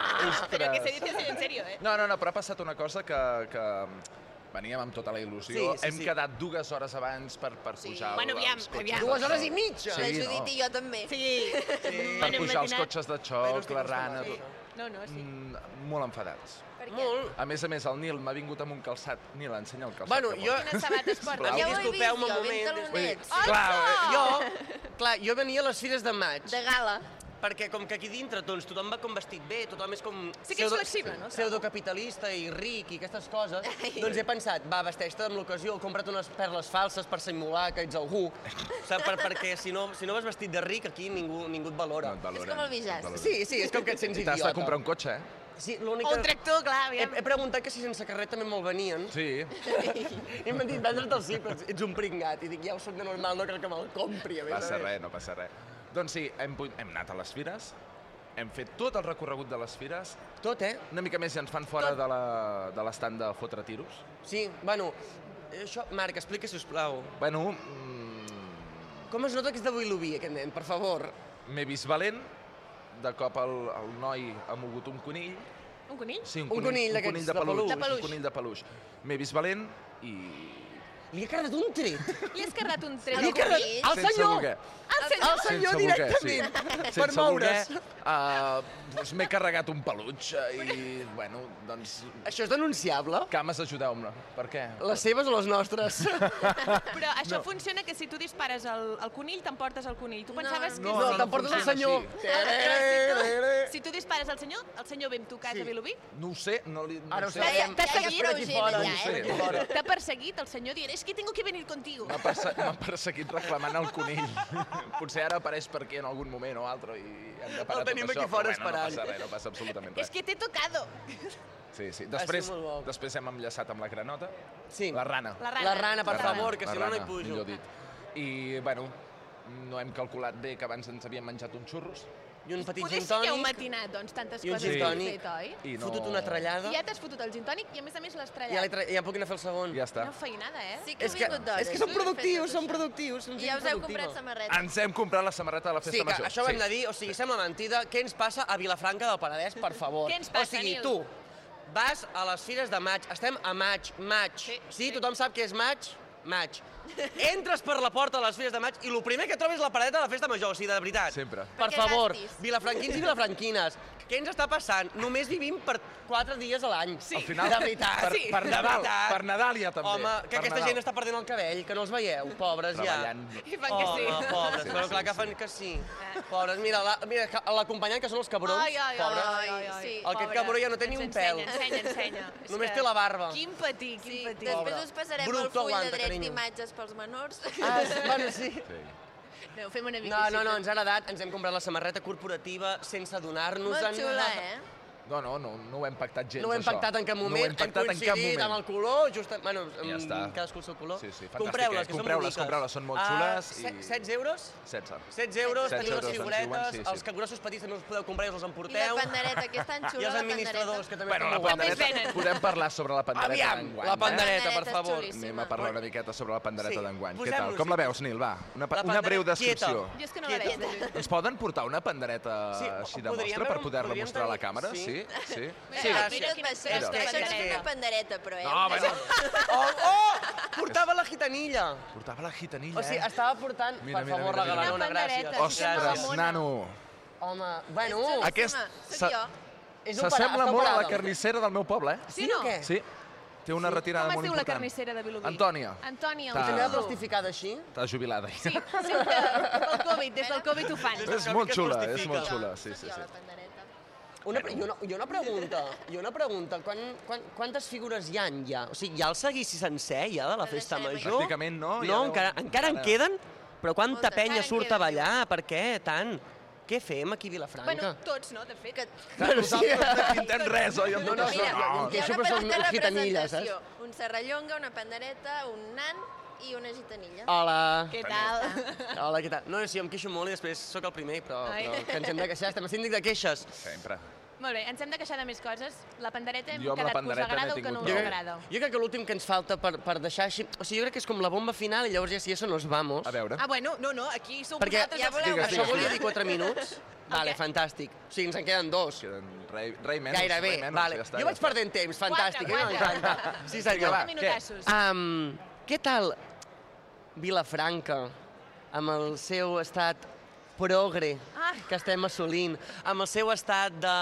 C: Però que se dice eso en serio, eh?
G: No, no, no, però ha passat una cosa que... que veníem amb tota la il·lusió.
F: Sí, sí,
G: Hem
F: sí.
G: quedat dues hores abans per, per
B: Sí.
G: pujar
C: Bueno,
G: el-
C: aviam,
G: els cotxes.
C: aviam.
G: de
F: Dues hores
G: xoc.
F: i mitja.
B: La
G: Sí,
B: Judit
G: no.
B: i jo també.
C: Sí.
G: Per pujar els cotxes de
F: Bueno,
G: xoc,
F: estic
G: la
F: acostumat,
G: rana...
F: sí.
G: tot.
C: No, no, sí.
G: Mm, molt enfadats.
B: Per què?
F: Molt.
G: A més a més, el Nil m'ha vingut amb un calçat. Nil, ensenya el calçat.
F: Bueno,
G: que
F: jo-
G: porta.
C: Quines sabates
G: Sisplau.
C: portes?
F: Ja
B: Ja
F: ho he
B: ho he vist
F: Disculpeu-me
B: jo,
F: un moment,
B: ben
F: disculpeu.
B: talonets.
C: Ai,
F: Jo, clar, jo venia a les fires de maig,
B: De gala.
F: perquè com que aquí dintre doncs, tothom va com vestit bé, tothom és com...
C: Sí que ets flexible, no?
F: Pseudocapitalista i ric i aquestes coses,
B: Ai.
F: doncs he pensat, va, vesteix-te amb l'ocasió, compra't unes perles falses per simular que ets algú, Saps? Per, perquè si no, si no vas vestit de ric, aquí ningú, ningú et
G: No
F: valora.
G: et valoren,
B: És com el Vijay.
G: no et valoren.
F: Sí, sí, és com que et sents
G: T'has
F: idiota.
G: de comprar un cotxe, eh?
F: Sí,
C: O
F: l'única...
C: un tractor, clar,
F: He,
C: aviam.
F: he preguntat que si sense carrer també me'l venien.
G: Sí.
F: I m'han dit, vendre't el circ, ets- ets un pringat. I dic, ja ho soc de normal, no cal que me'l compri. A més,
G: Passa
F: a més.
G: res, no passa res. Doncs sí, hem, pu- hem anat a les fires, hem fet tot el recorregut de les fires,
F: Tot, eh?
G: una mica més i ens fan fora de la- de l'estand de, de fotre tiros.
F: Sí, bueno, això, Marc, explica, sisplau.
G: Bueno, mm,
F: Com es nota que és de Vilobí, aquest nen, per favor?
G: m'he vist valent, de cop el, el noi ha mogut un conill.
C: Un conill?
G: Sí, un,
F: Un conill
G: un
F: d'aquests
G: conill
F: de
G: de, peluix,
F: peluix.
C: De peluix.
G: Un conill de peluix. M'he vist valent i...
F: Li ha cardat un tret.
C: Li has cardat un tret al
F: Li ha cardat...
C: conill?
F: El
G: sense
F: senyor!
G: voler.
C: El senyor!
F: El senyor
G: Sense voler, sí.
F: directament! Per
G: Sense
F: moure's.
G: voler, eh, doncs m'he carregat un peluix eh, i, bueno, doncs...
F: Això és denunciable?
G: Cames, ajudeu-me. Per què?
F: Les seves o les nostres?
C: Però això funciona que si tu dispares el, el conill, t'emportes el conill. Tu pensaves que...
F: No,
G: no, no
F: t'emportes el
G: funciona
F: senyor.
G: així.
C: Ah, Si tu dispares al senyor, el senyor ve amb tu a casa
F: Sí.
C: a Vilobí?
G: No ho sé, no li... No
F: Ara ho
G: sé.
F: sabem.
C: T'ha
B: Ja hi ha
C: seguit?
B: prou gent allà,
G: No sé.
B: eh?
C: T'ha perseguit el senyor dient, és que tengo que venir contigo.
G: M'ha perse m'ha perseguit reclamant el conill. Potser ara apareix per aquí en algun moment o altre i hem de parar
F: El tenim
G: tot això,
F: aquí fora
G: però bueno,
F: esperant.
G: No passa res, no passa absolutament
C: És
G: res.
C: que t'he tocado.
G: Sí, sí. Després,
F: molt bo.
G: després hem enllaçat amb la granota,
F: Sí.
G: la rana.
C: La rana.
F: La rana, per
G: La
F: favor, que
G: la
F: si no no hi
G: rana,
F: pujo.
G: Millor dit. I, bueno, no hem calculat bé que abans ens havíem menjat uns xurros
F: I un petit
C: Poder
F: gin
C: sí que heu
F: tònic,
C: matinat, doncs, tantes
F: I un
C: coses
F: gin
C: que heu
F: tònic.
C: fet, oi?
G: i no...
F: fotut una trellada,
C: Ja t'has fotut el gin tònic i, a més a més, l'has
F: ja, l'he
C: trellat.
F: tra- ja puc anar a fer el segon.
G: Ja està.
C: Una feinada, eh?
B: Sí que heu
F: és que,
B: vingut d'hora.
F: és que són
B: Sí,
F: productius,
B: perfecte,
F: són
B: això.
F: productius, són
B: I
F: gent
B: ja us heu
F: productiva.
B: comprat samarreta.
G: Ens hem comprat la samarreta de la festa
F: Sí, que
G: major.
F: això ho hem de dir, o sigui, sembla mentida, què ens passa a Vilafranca del Penedès, per favor?
C: Què ens passa,
F: o sigui,
C: Nil?
F: tu vas a les fires de maig, estem a maig, maig.
C: Sí,
F: sí,
C: sí.
F: tothom sap què és maig? Maig. Entres per la porta de les fires de maig i el primer que trobes és la paradeta de la festa major, o sigui, de veritat.
G: Sempre.
F: Per
B: Perquè
F: favor,
B: gastis.
F: vilafranquins i vilafranquines, què ens està passant? Només vivim per quatre dies a l'any.
G: Al final,
F: de veritat.
G: per, per
F: de
G: Nadal,
F: veritat.
G: per Nadal ja també.
F: Home, que
G: per
F: aquesta
G: Nadal.
F: gent està perdent el cabell, que no els veieu, pobres
G: treballant.
F: ja.
C: I fan que sí.
F: Home, pobres,
G: Sí,
F: però
G: sí,
F: clar que
G: sí.
F: fan que sí. Pobres, mira, la, mira que- l'acompanyant, que són els cabrons,
C: Ai, ai, ai,
F: pobres.
C: ai, ai, ai.
B: Sí.
F: Aquest
C: pobre.
F: cabró ja no té ni
C: Ens
F: un pèl.
C: Ensenya, ensenya, ensenya. És
F: Només
C: que-
F: té la barba.
C: Quin patir, quin
B: Sí,
C: patir.
B: després us passarem
F: Bruc,
B: el full
F: aguanta,
B: de dret
F: carinyo.
B: d'imatges pels menors.
F: Ah, sí, bueno, sí.
C: Aneu, fem una mica
F: No, no, no, ens ha agradat, ens hem comprat la samarreta corporativa sense adonar-nos.
B: Molt xula, eh?
G: No, no, no, no ho hem pactat gens,
F: No ho hem
G: això.
F: pactat en cap moment,
G: No ho hem pactat en cap moment.
F: amb el color, just... Bueno,
G: Ja
F: amb
G: està.
F: cadascú el seu color.
G: Sí, sí, fantàstic, eh?
F: Compreu-les, que són
G: Compreu-les,
F: boniques.
G: compreu-les, són molt xules
F: Ah,
G: i-
F: se- 16 euros?
G: 16.
F: 16 euros,
G: 16
F: teniu les
G: euros, ens diuen,
F: figuretes,
G: sí, sí.
F: els grossos petits també us podeu comprar i us els
B: I la
F: emporteu.
B: pandereta, que és tan xula,
F: I els
B: la
F: administradors,
B: pandereta.
F: que també
G: Bueno, la
F: estan molt guapos.
C: També venen.
G: pandereta. Podem parlar sobre la pandereta
F: Aviam,
G: d'enguany.
F: la
G: eh?
F: pandereta, per
B: Pandereta és
F: favor.
B: xulíssima.
G: Anem a parlar una miqueta sobre la pandereta
F: Sí,
G: d'enguany. Què
F: posem-nos-hi.
G: tal? Com la veus, Nil? Va, una, pa-
F: La
G: una breu
F: pandereta- quieta.
G: descripció.
C: Jo és que no la veig.
F: Quieta.
C: de lluny.
G: Ens poden portar una pandereta
F: Sí,
G: així de
F: podríem
G: mostra per
F: haver-
G: poder-la
F: podríem
G: mostrar a la
F: tenir-
G: càmera? Sí?
F: sí.
G: Sí?
F: Sí,
B: Mira,
F: gràcies.
B: mira,
C: Quina
B: Això
C: és
B: això no és una
C: pandereta.
B: pandereta, però, eh?
G: No, bueno,
F: Oh, oh! Portava la gitanilla.
G: portava la gitanilla,
F: O sigui,
G: eh?
F: estava portant,
G: Mira,
F: per
G: mira,
F: favor,
G: mira,
F: la
G: mira.
F: galerona,
C: Una
F: gràcies.
C: pandereta, sí, una
G: Ostres,
C: mamona.
G: nano.
F: Home, bueno,
B: Xulíssima,
G: Aquest
B: Sóc
G: se-
B: jo.
F: és operada,
G: S'assembla
F: està
G: molt a la
F: operada.
G: carnissera del meu poble, eh?
C: Sí o no?
F: què?
G: Sí. Té una retirada
C: Com es
G: molt
C: diu la
G: important.
C: carnissera de Vilobí?
G: Antònia.
C: Antònia,
G: Ta-
C: un
F: També la
C: saludo.
F: plastificada així?
G: Està jubilada.
C: Sí, sempre. Pel Covid, des del Covid ho fan.
G: És molt xula, és molt xula. Sí, sí,
B: Sóc jo,
G: sí.
B: la pandereta.
F: Una, pre- i, una, I una pregunta, i una pregunta, quan, quan, quantes figures hi han ja? O sigui, hi ha el seguici sencer ja de la
B: El
F: festa
B: deixarem
F: major?
B: aquí.
G: Pràcticament no, ja
F: No,
G: no-
F: encara, encara en
G: encara-
F: queden? Però quanta
B: Moltes, encara
F: penya
B: en
F: surt a
B: queden,
F: ballar? Per què tant? Què fem aquí a
C: Bueno,
F: Vilafranca?
C: tots, no, de fet.
B: Que...
F: Bueno, sí.
G: No pintem res, oi? amb
F: No,
G: tot
F: no,
G: això?
B: Mira,
F: no,
B: hi ha
F: això
B: una
F: però són
B: petita
F: gitanilles, saps?
B: representació. Un serrallonga, una pandereta, un nan i una gitanilla.
F: Hola.
C: Què tal?
F: Hola, què tal? No, sí, jo em queixo molt i després sóc el primer, però,
C: Ai.
F: però que ens hem de queixar, estem a síndic de queixes.
G: Sempre.
C: Molt bé, ens hem de queixar de més coses. La pandereta hem
G: Jo amb la
C: quedat que us
G: pandereta
C: agrada
G: n'he
C: o que no
G: tingut
C: us
G: prou.
C: agrada.
F: Jo crec que l'últim que ens falta per, per deixar així... O sigui, jo crec que és com la bomba final i llavors ja si això nos vamos...
G: A veure.
H: Ah, bueno, no, no, aquí sou
F: Perquè
H: vosaltres
B: ja
H: els
B: voleu-
H: que-
G: Digues,
F: Això
G: digues,
F: volia
G: digues.
F: dir 4 minuts? Vale,
C: Ok.
F: fantàstic. O sigui, ens en queden dos.
G: Queden rei, rei menys,
F: Gairebé,
G: rei menys,
F: vale.
G: ja està,
F: jo
G: ja
F: vaig
G: està.
F: perdent temps, fantàstic.
C: Quatre,
F: eh? M'encanta. Sí, senyor.
C: Cinquanta
G: va.
C: minutassos.
F: Um, què tal Vilafranca amb el seu estat progre
C: Ah.
F: que estem assolint, amb el seu estat de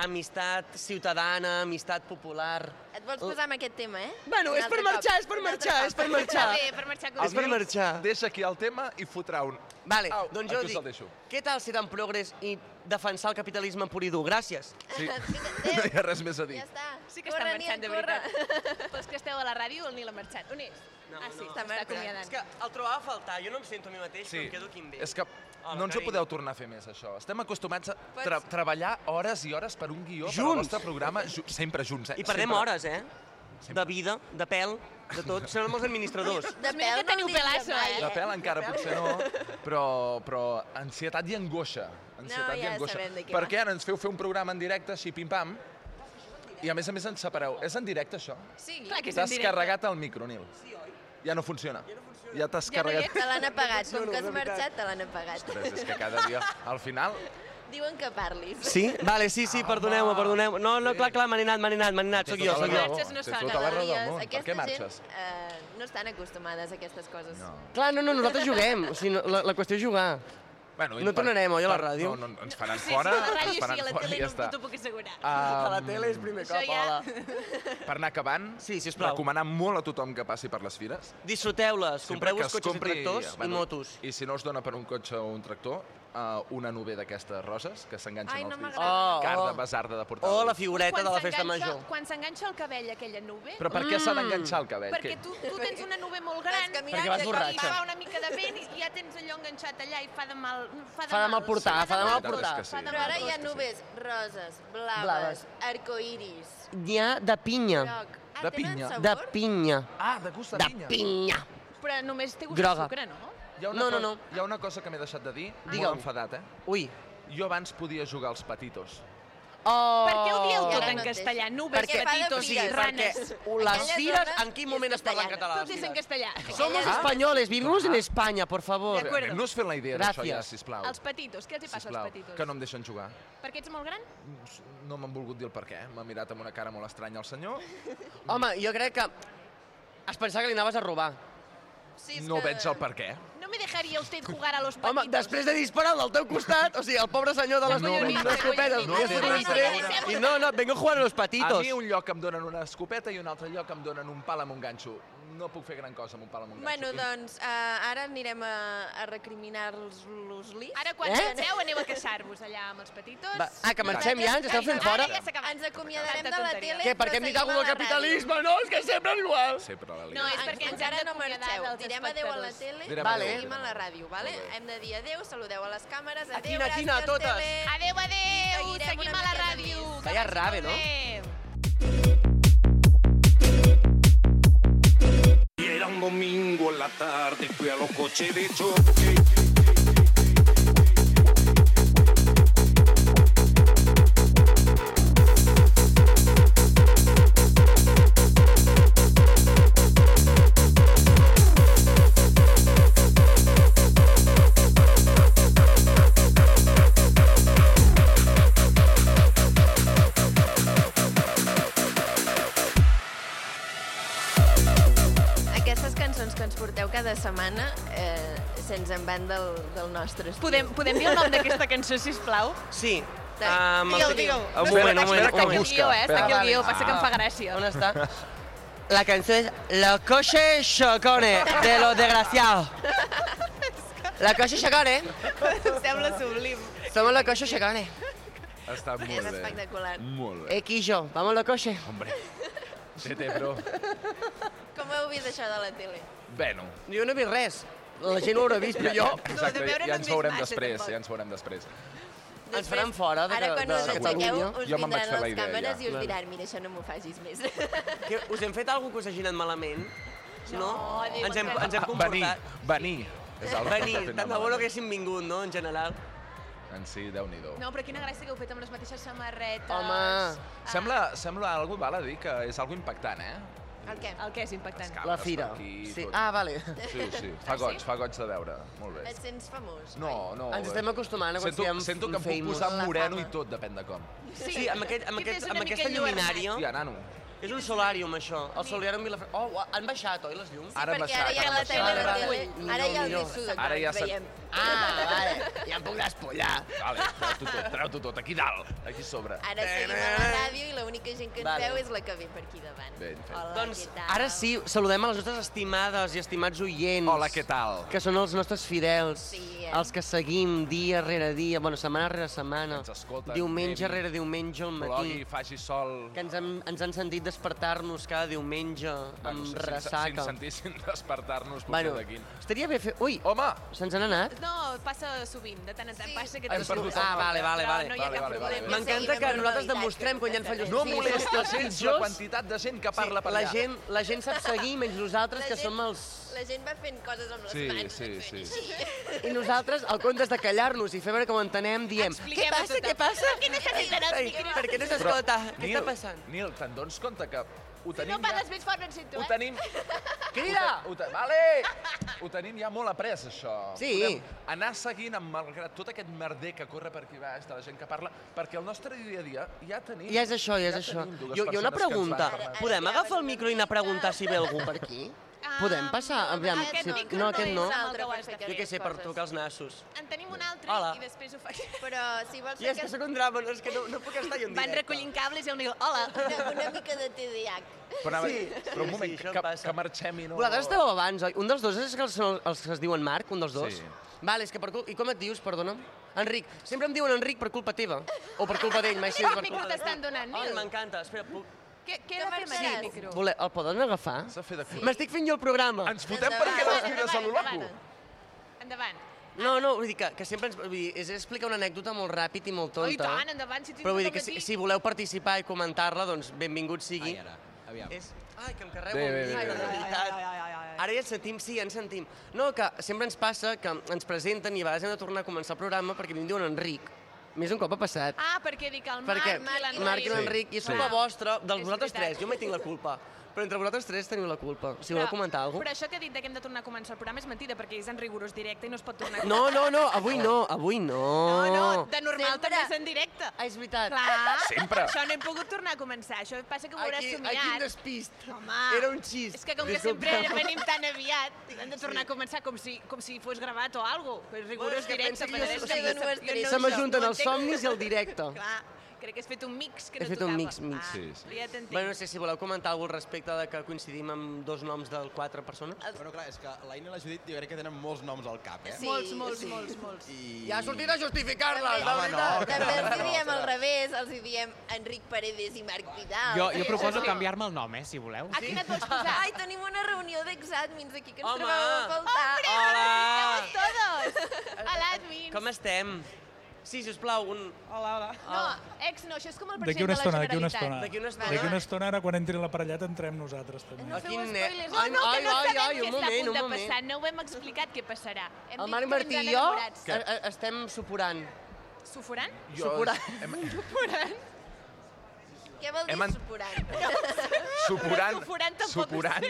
F: amistat ciutadana, amistat popular.
B: Et vols
G: Oh.
B: posar amb aquest tema, eh?
F: Bueno,
B: Un
F: és per
B: altre
F: marxar,
B: cop.
F: és per
B: Un altre
F: marxar,
B: cop.
F: és per marxar.
C: Bé, per marxar
F: És per
G: Algú
F: marxar.
G: Deixa aquí el tema i fotrà un...
F: Vale,
G: Au,
F: doncs jo
G: aquí us el
F: dic,
G: deixo.
F: què tal ser tan progres i defensar el capitalisme pur i dur? Gràcies.
G: Sí.
B: Adéu,
G: No hi ha res més a dir.
B: Ja està.
C: Sí que estan
B: Corre,
C: marxant, de
B: Nil, corre.
C: veritat. Pels que esteu a la ràdio, el Nil ha marxat. On és? ah, sí,
F: no.
C: està,
B: marxant.
C: acomiadant.
F: És que el trobava a faltar, jo no em sento a mi mateix, però em quedo aquí amb ell.
G: és que
F: Hola,
G: no ens ho
F: carinyo.
G: podeu tornar a fer més, això. Estem acostumats a
B: Pots-
G: tra treballar hores i hores per un guió, per
F: Junts.
G: el vostre programa, ju sempre junts, eh?
F: I perdem
G: sempre.
F: hores, eh? De vida, de pèl, de tot. Serem els administradors.
B: De
C: Doncs mira que
B: pèl no
C: teniu
B: en diria
C: pelasso,
B: mai,
C: eh?
G: De pèl encara potser no, però, però ansietat i angoixa. Ansietat i
B: ja
G: angoixa.
B: sabem de què va.
G: Perquè ara ens feu fer un programa en directe, així pim-pam, i a més a més ens separeu. És en directe, això?
B: Sí,
C: Clar que és en
G: T'has
C: directe.
G: carregat el micro, Nil. Sí, oi? Ja no funciona. Ja, t'has
C: Ja no hi
G: carregat.
B: te l'han apagat. Com que has marxat, te l'han apagat.
G: Ostres, és que cada dia, al final...
B: Diuen que parlis.
F: Sí? Vale, sí, sí, perdoneu-me, perdoneu-me. No, no, clar, clar, me n'he anat, me n'he anat, me n'he anat. Soc jo, soc
G: tota la
F: jo.
G: raó,
C: Marxes no es
G: tens
C: fan
G: tota la raó
B: Dies,
G: del món. Per
B: aquesta
G: què marxes?
B: Gent, eh, no estan acostumades a aquestes coses.
G: No.
F: Clar, no, no, nosaltres juguem. O sigui, no, la, la qüestió és jugar.
G: Bueno, i
F: No tornarem, oi, a la
G: per-
F: ràdio?
G: No, no, ens faran
C: Sí, sí,
G: fora,
C: a la ràdio
G: ens faran
C: sí, a la
G: fora
C: tele
G: i ja
C: no,
G: està.
C: no t'ho puc assegurar.
F: A
G: Um,
F: la tele és primer
C: Això
F: cop,
C: ja-
F: hola.
G: per anar acabant,
F: Sí, sisplau.
G: recomanar molt a tothom que passi per les fires.
F: Disfruteu-les,
G: Sempre que
F: compreu-vos
G: es
F: cotxes i
G: compri,
F: tractors i
G: bueno,
F: motos.
G: I si no us dona per un cotxe o un tractor, uh, una nové d'aquestes roses que s'enganxen
B: Ai,
G: als
B: no
G: dits.
B: m'agrada.
F: Oh,
G: Carda,
F: oh.
G: basarda de portal.
F: O la figureta de la festa
C: s'enganxa-
F: major. Mm.
C: Quan s'enganxa el cabell aquella nube,
G: Però per què s'ha d'enganxar el cabell?
C: perquè
G: Què?
C: tu, tu tens una nube molt gran,
B: Vas caminant
F: Perquè vas
C: i
F: borratxa.
C: fa una mica de vent i ja tens allò enganxat allà i fa de mal... Fa de,
F: Fa de mal portar, fa de mal
G: La veritat és
F: portar.
G: que sí.
B: Però ara hi ha nubes roses, blaves,
F: Blaves.
B: blaves. arcoiris,
F: N'hi ha de pinya.
B: groc. Ah,
G: De
B: tenen
G: pinya.
B: sabor?
F: De pinya.
G: Ah, de gust de
F: De
G: pinya.
F: pinya.
C: Però només té gust de
F: Groga.
C: sucre, no?
G: Hi ha una
F: No, no,
G: cosa-
F: no.
G: Hi ha una cosa que m'he deixat de dir,
F: Digue-ho.
G: molt enfadat, eh?
F: Ui.
G: Jo abans podia jugar als petitos.
F: Oh.
C: Per què ho dieu
B: I
C: tot
B: ara
C: en
B: no té.
C: castellà? Nubes,
F: Perquè,
B: Perquè fa de
C: petitos,
F: sí,
C: i
B: figues,
F: perquè
C: ranes.
F: les
B: Aquella
F: fires
B: zona
F: en quin moment es parla en català?
C: Tot és en castellà.
F: Somos
B: Ah.
F: españoles, vivimos en España, por favor.
C: De acuerdo.
G: No us feu la idea d'això ja,
F: Gràcies.
G: sisplau.
C: Els petitos, què els hi passa
G: Sisplau,
C: als petitos?
G: que no em deixen jugar.
C: Perquè ets molt gran?
G: No m'han volgut dir el per què. M'ha mirat amb una cara molt estranya el senyor.
F: Home, jo crec que es pensava que li anaves a robar.
B: Sí, és
G: No
B: que-
G: veig el per què.
C: No me dejaría usted jugar a los petitos.
F: Home, després de disparar al del teu costat, o sigui, el pobre senyor de les
G: No,
F: no,
G: no,
F: no, escopetes,
G: no
F: no,
G: té
F: no,
G: res a
F: no,
C: veure.
F: i no, no, vengo a jugar a los
G: A
F: patitos.
G: mi un lloc em donen una escopeta i un altre lloc em donen un pal amb un ganxo. No puc fer gran cosa amb un pal amb un ganxo.
B: Bueno, doncs, eh, ara anirem a, a recriminar-los-los-li.
C: Ara quan
F: Eh?
C: marxeu aneu a caçar-vos allà amb els petitos.
F: Va, ah, que marxem ja, ens esteu fent fora?
C: Ara ja s'ha acabat.
B: Ens acomiadarem
C: Tanta
B: de la
C: tonteria.
B: tele,
F: Què, perquè hem dit alguna cosa del capitalisme? No, és que sempre és igual.
G: Sempre la
C: No,
G: línia.
C: és perquè ens
B: encara
C: hem
B: no
C: d'acomiadar
B: marxeu.
C: dels
B: Direm adeu a la
C: espectadors.
B: tele
G: Direm
F: Vale.
B: i
G: adéu.
B: seguim a la ràdio, vale?
G: Molt bé.
B: Hem de dir adeu, saludeu a les càmeres, adeu,
F: Quina,
B: gràcies,
F: quina, a totes.
B: tele.
C: Adéu, adéu,
B: Seguirem
C: seguim
B: una
C: a la ràdio.
B: miqueta més.
C: Que
F: Vaya
C: vagi
F: rave,
C: molt
F: no?
C: bé.
I: Y era un domingo en la tarde, fui a los coches de choque.
B: Aquestes cançons que ens porteu cada setmana eh, se'ns en van del, del nostre estiu.
C: Podem, podem dir el nom d'aquesta cançó, sisplau?
F: Sí.
B: Digue'l,
F: Um,
C: Digue'l,
F: el-
C: digue'l.
F: Un moment, un moment,
C: Està
F: un
C: aquí el
F: moment.
C: guió, eh? Està aquí el guió,
F: Ah,
C: passa que em fa
F: On
C: gràcia.
F: està? La cançó és La coche chocone, de los desgraciados. La eh? coche chocone.
C: Em sembla sublim.
F: Somos la coche chocone.
G: Està molt
B: És
G: bé.
B: espectacular.
G: Molt bé.
F: X yo, vamos la coche.
G: Hombre. Tete, bro.
B: Com heu vist això de la tele?
G: Bueno.
F: Jo no he vist res. La gent ho haurà vist, però jo...
G: Exacte,
C: veure no
G: ja
C: hem
G: ens
C: vist
G: veurem
C: massa,
G: després,
C: tampoc.
G: ja ens veurem després.
F: Ens faran fora de-
B: Ara quan
F: de-
B: us
F: de-
B: aixequeu,
F: Jo
B: us
G: me'n vaig
B: vindran
G: fer la
B: les
G: idea,
B: càmeres
G: ja.
B: i us diran, mira, això no m'ho facis més.
F: Que us hem fet alguna cosa que us hagi anat malament? No?
C: Déu,
F: ens, hem,
C: encara.
F: ens hem
G: Ah, Venir,
F: comportat.
G: venir. És el
F: Venir, tant de bo no haguéssim vingut, no, en general?
G: en si, Déu-n'hi-do.
C: No, però quina gràcia que heu fet amb les mateixes samarretes.
F: Home.
C: Ah,
G: Sembla, sembla algo, val a dir, que és algo impactant, eh?
B: El què?
C: El que és impactant.
G: Escap-
F: La
G: per
F: fira.
G: aquí,
F: Sí.
G: tot.
F: Ah, vale.
G: Sí, sí. Fa
C: Ah, sí?
G: goig, fa goig de veure. Molt bé.
B: Et sents famós.
G: No, no. eh.
F: Ens estem acostumant a quan
G: sento,
F: siguem
G: sento que em puc
F: famous.
G: posar
B: La
G: moreno
B: fama.
G: i tot, depèn de com.
F: Sí, sí amb, aquest, amb,
C: Aquest
F: aquest,
C: és una
F: amb
C: mica
F: aquesta
C: enlluernat.
F: lluminària...
G: Hòstia, nano.
F: És un solàrium, això. El solàrium Vilafranca... Oh, ua, han baixat, oi, les llums?
G: Ara
B: perquè ara
G: baixat,
B: ja
G: ara
B: la
G: baixat.
B: tele,
F: Ara,
B: la tele,
F: ara,
B: ara ja el
F: millor,
B: dissuda,
G: Ara ja
B: ens
G: s'ha-
B: veiem.
F: Ah, vale. Ja em puc despullar.
G: Vale, treu-t'ho tot, treu-t'ho tot. Aquí dalt, aquí sobre.
B: Ara seguim a la ràdio i l'única gent que ens
F: Vale.
B: veu és la que ve per aquí davant.
G: Ben fet.
B: Hola,
F: Doncs
B: què tal?
F: ara sí, saludem a les nostres estimades i estimats oients.
G: Hola, què tal?
F: Que són els nostres fidels,
B: Sí, eh?
F: els que seguim dia rere dia, bueno, setmana rere setmana,
G: Ens escolten,
F: diumenge
G: nevi,
F: rere diumenge al matí,
G: doncs Plogui, faci sol...
F: que ens han, ens han sentit despertar-nos cada diumenge amb
G: sense-
F: ressaca.
G: Sense sentir, sin despertar-nos, potser
F: bueno,
G: d'aquí.
F: estaria bé fer... Ui,
G: Home!
F: se'ns n'han anat?
C: No, passa sovint, de tant en tant
B: Sí.
C: passa que...
F: Hem
C: te'n
F: perdut
C: surts.
F: el Ah, vale, vale,
C: Però
F: vale.
C: No hi ha
G: Vale,
C: cap
G: vale, vale,
C: problema.
G: vale.
F: M'encanta que nosaltres
B: normalitat,
F: demostrem
B: que
F: quan hi ha
B: no
F: fallos.
B: passa
G: No
B: Sí,
G: molesta gens la
F: pitjors.
G: quantitat de gent que parla per
F: la
G: allà.
F: gent, la gent sap seguir, menys nosaltres,
B: La
F: que
B: gent-
F: som els...
B: La gent va fent coses amb les
G: Sí,
B: mans.
G: sí,
B: fent
G: sí.
B: així.
F: I nosaltres, al comptes de callar-nos i fer veure que ho entenem, diem... Què
C: Expliquem-ho
F: passa,
C: tot.
F: què passa?
C: Què necessites?
F: Ai,
C: Expliquem-ho.
F: Per què no
G: Però,
F: s'escolta? Què
G: Nil,
F: està passant?
G: Nil, te'n dones compte que ho
C: Si
G: tenim
C: no parles
G: ja...
C: més fort, no et sento,
G: Ho
C: eh?
G: tenim...
F: Crida!
G: Ho te... Vale! Ho tenim ja molt après, això.
F: Sí.
G: Podem anar seguint, amb, malgrat tot aquest merder que corre per aquí baix, de la gent que parla, perquè el nostre dia a dia ja tenim...
F: Ja és això, ja és això.
G: tenim dues
F: Jo, jo una
G: persones que ens van
F: pregunta.
G: parlar.
F: Podem agafar el micro i anar a preguntar si ve algú per aquí? Podem passar? Aviam,
B: Um, Aquest
F: si...
B: micro
F: no, aquest no.
B: és altre per fer
F: Jo què sé, per
B: coses.
F: tocar els nassos.
C: Ah, En tenim un altre
F: Hola.
C: i després ho faig.
B: Però si vols
F: I
B: fer
F: és que
B: aquest-
F: sóc un drama, no, és que no, no puc estar jo en directe.
C: Van recollint cables i un diu, hola.
B: una, una mica de TDAH.
G: Però, anava...
F: Sí, sí,
G: però un moment,
F: sí, això em
G: que,
F: passa.
G: que marxem i no...
F: Vosaltres estàveu abans, oi? Un dels dos és que els, són els que es diuen Marc, un dels dos?
G: Sí.
F: Vale, és que per cul... I com et dius, perdona'm? Enric. Sempre em diuen Enric per culpa teva. O per culpa d'ell, mai sé
C: Mira
F: per
C: quin micro
F: culpa
C: t'estan donant,
F: Ai,
C: Nil.
F: m'encanta. Espera, puc...
C: Què, què he de fer amb
B: marxaràs?
C: aquest micro?
F: Voler... El poden agafar?
G: S'ha fet de cul.
F: M'estic fent jo el programa.
G: Ens fotem perquè les tires a lo loco.
C: Endavant.
F: No, no, vull dir que, que sempre ens... Vull dir, és explicar una anècdota molt ràpid i molt
C: Oh,
F: tonta.
C: I tant, endavant. Si
F: Però vull dir que si, si voleu participar i comentar-la, doncs benvingut sigui.
D: Ai, ara, aviam.
F: És... Ai, que em carrego
G: Bé,
F: el
G: bé, bé,
F: micro,
G: bé,
F: de
G: bé.
F: veritat. Ara ja ens sentim, sí, ja ens sentim. No, que sempre ens passa que ens presenten i a vegades hem de tornar a començar el programa perquè em diuen Enric. Més un cop ha passat.
C: Ah, perquè dic el Marc,
F: perquè
C: i l'Enric.
F: Marc i l'Enric, i és culpa vostra, dels
C: És
F: vosaltres
C: veritat.
F: tres, jo mai tinc la culpa. Però entre vosaltres tres teniu la culpa. Si voleu
C: Però-
F: comentar alguna
C: Però això que ha dit de que hem de tornar a començar el programa és mentida, perquè és en rigorós directe i no es pot tornar a
F: No, no, no, avui no, avui no.
C: No, no, de normal
B: Sempre.
C: també és en directe.
F: Ah, és veritat.
C: Clar,
G: Sempre.
C: això no hem pogut tornar a començar, això passa que ho hauràs
F: Aquí,
C: somiat.
F: aquí em despist.
C: Home,
F: Era un xist.
C: És que com
F: Disculpeu.
C: que sempre venim tan aviat, hem de tornar a començar com si, com si fos gravat o alguna cosa. És rigorós
F: és que
C: directe.
F: pensa que
C: però
F: jo
C: és
F: sóc-
C: que
F: o sigui,
C: jo no- jo no
F: Se
C: ho
F: m'ajunten
C: sé,
F: els
C: ho entenc.
F: somnis i el directe.
C: Clar, crec que has fet un mix que
F: He
C: no
F: fet un
C: tocava.
F: mix, mix.
C: Ah,
G: Sí, sí.
C: Ja t'entenc.
F: Bueno, no sé si voleu comentar alguna cosa respecte de que coincidim amb dos noms del quatre persones.
D: Bueno, clar, és que l'Aina i la Judit jo crec que tenen molts noms al cap, eh?
B: Sí,
C: Molts, molts, molts, molts.
D: I...
F: a justificar-les,
D: Home, no, que
B: També els hi
D: no,
B: diem
D: no.
B: al revés, els hi diem Enric Paredes i Marc Vidal.
E: Jo, jo
C: sí,
E: proposo
C: sí.
E: canviar-me el nom, eh, si voleu.
C: A quina et vols posar?
B: Ai, tenim una reunió d'exàmins aquí que ens
F: Home!
B: trobem a faltar.
C: Hombre,
F: Hola!
C: ara sí, todos! A l'admin.
F: Com estem? Sí, sisplau, un... Hola, hola.
C: No, ex no, això és com el
H: D'aquí
C: president
H: una
C: de
H: estona,
C: la
H: d'aquí una
C: Generalitat.
H: estona.
F: D'aquí una
H: D'aquí una
F: estona...
H: estona, ara quan entri l'aparellat, entrem nosalles també.
F: No
C: No
F: feu
C: feu
F: ne-
C: spoilers.
F: Ai,
C: No, no, que no
F: ai,
C: sabem
F: ai,
C: què
F: un
C: està a
F: moment, un
C: punt de
F: moment.
C: passar. No ho hem explicat què passarà. Hem
F: El
C: dit
F: Marc
C: que
F: Martí
C: ens han
F: i jo
C: enamorats. Eh,
F: a- a- estem suporant.
C: Suforant?
G: Jo,
F: Supura-
G: hem,
B: Què vol dir
G: Hem en-
B: suporant?
G: suporant,
C: Però suporant tampoc
G: suporant,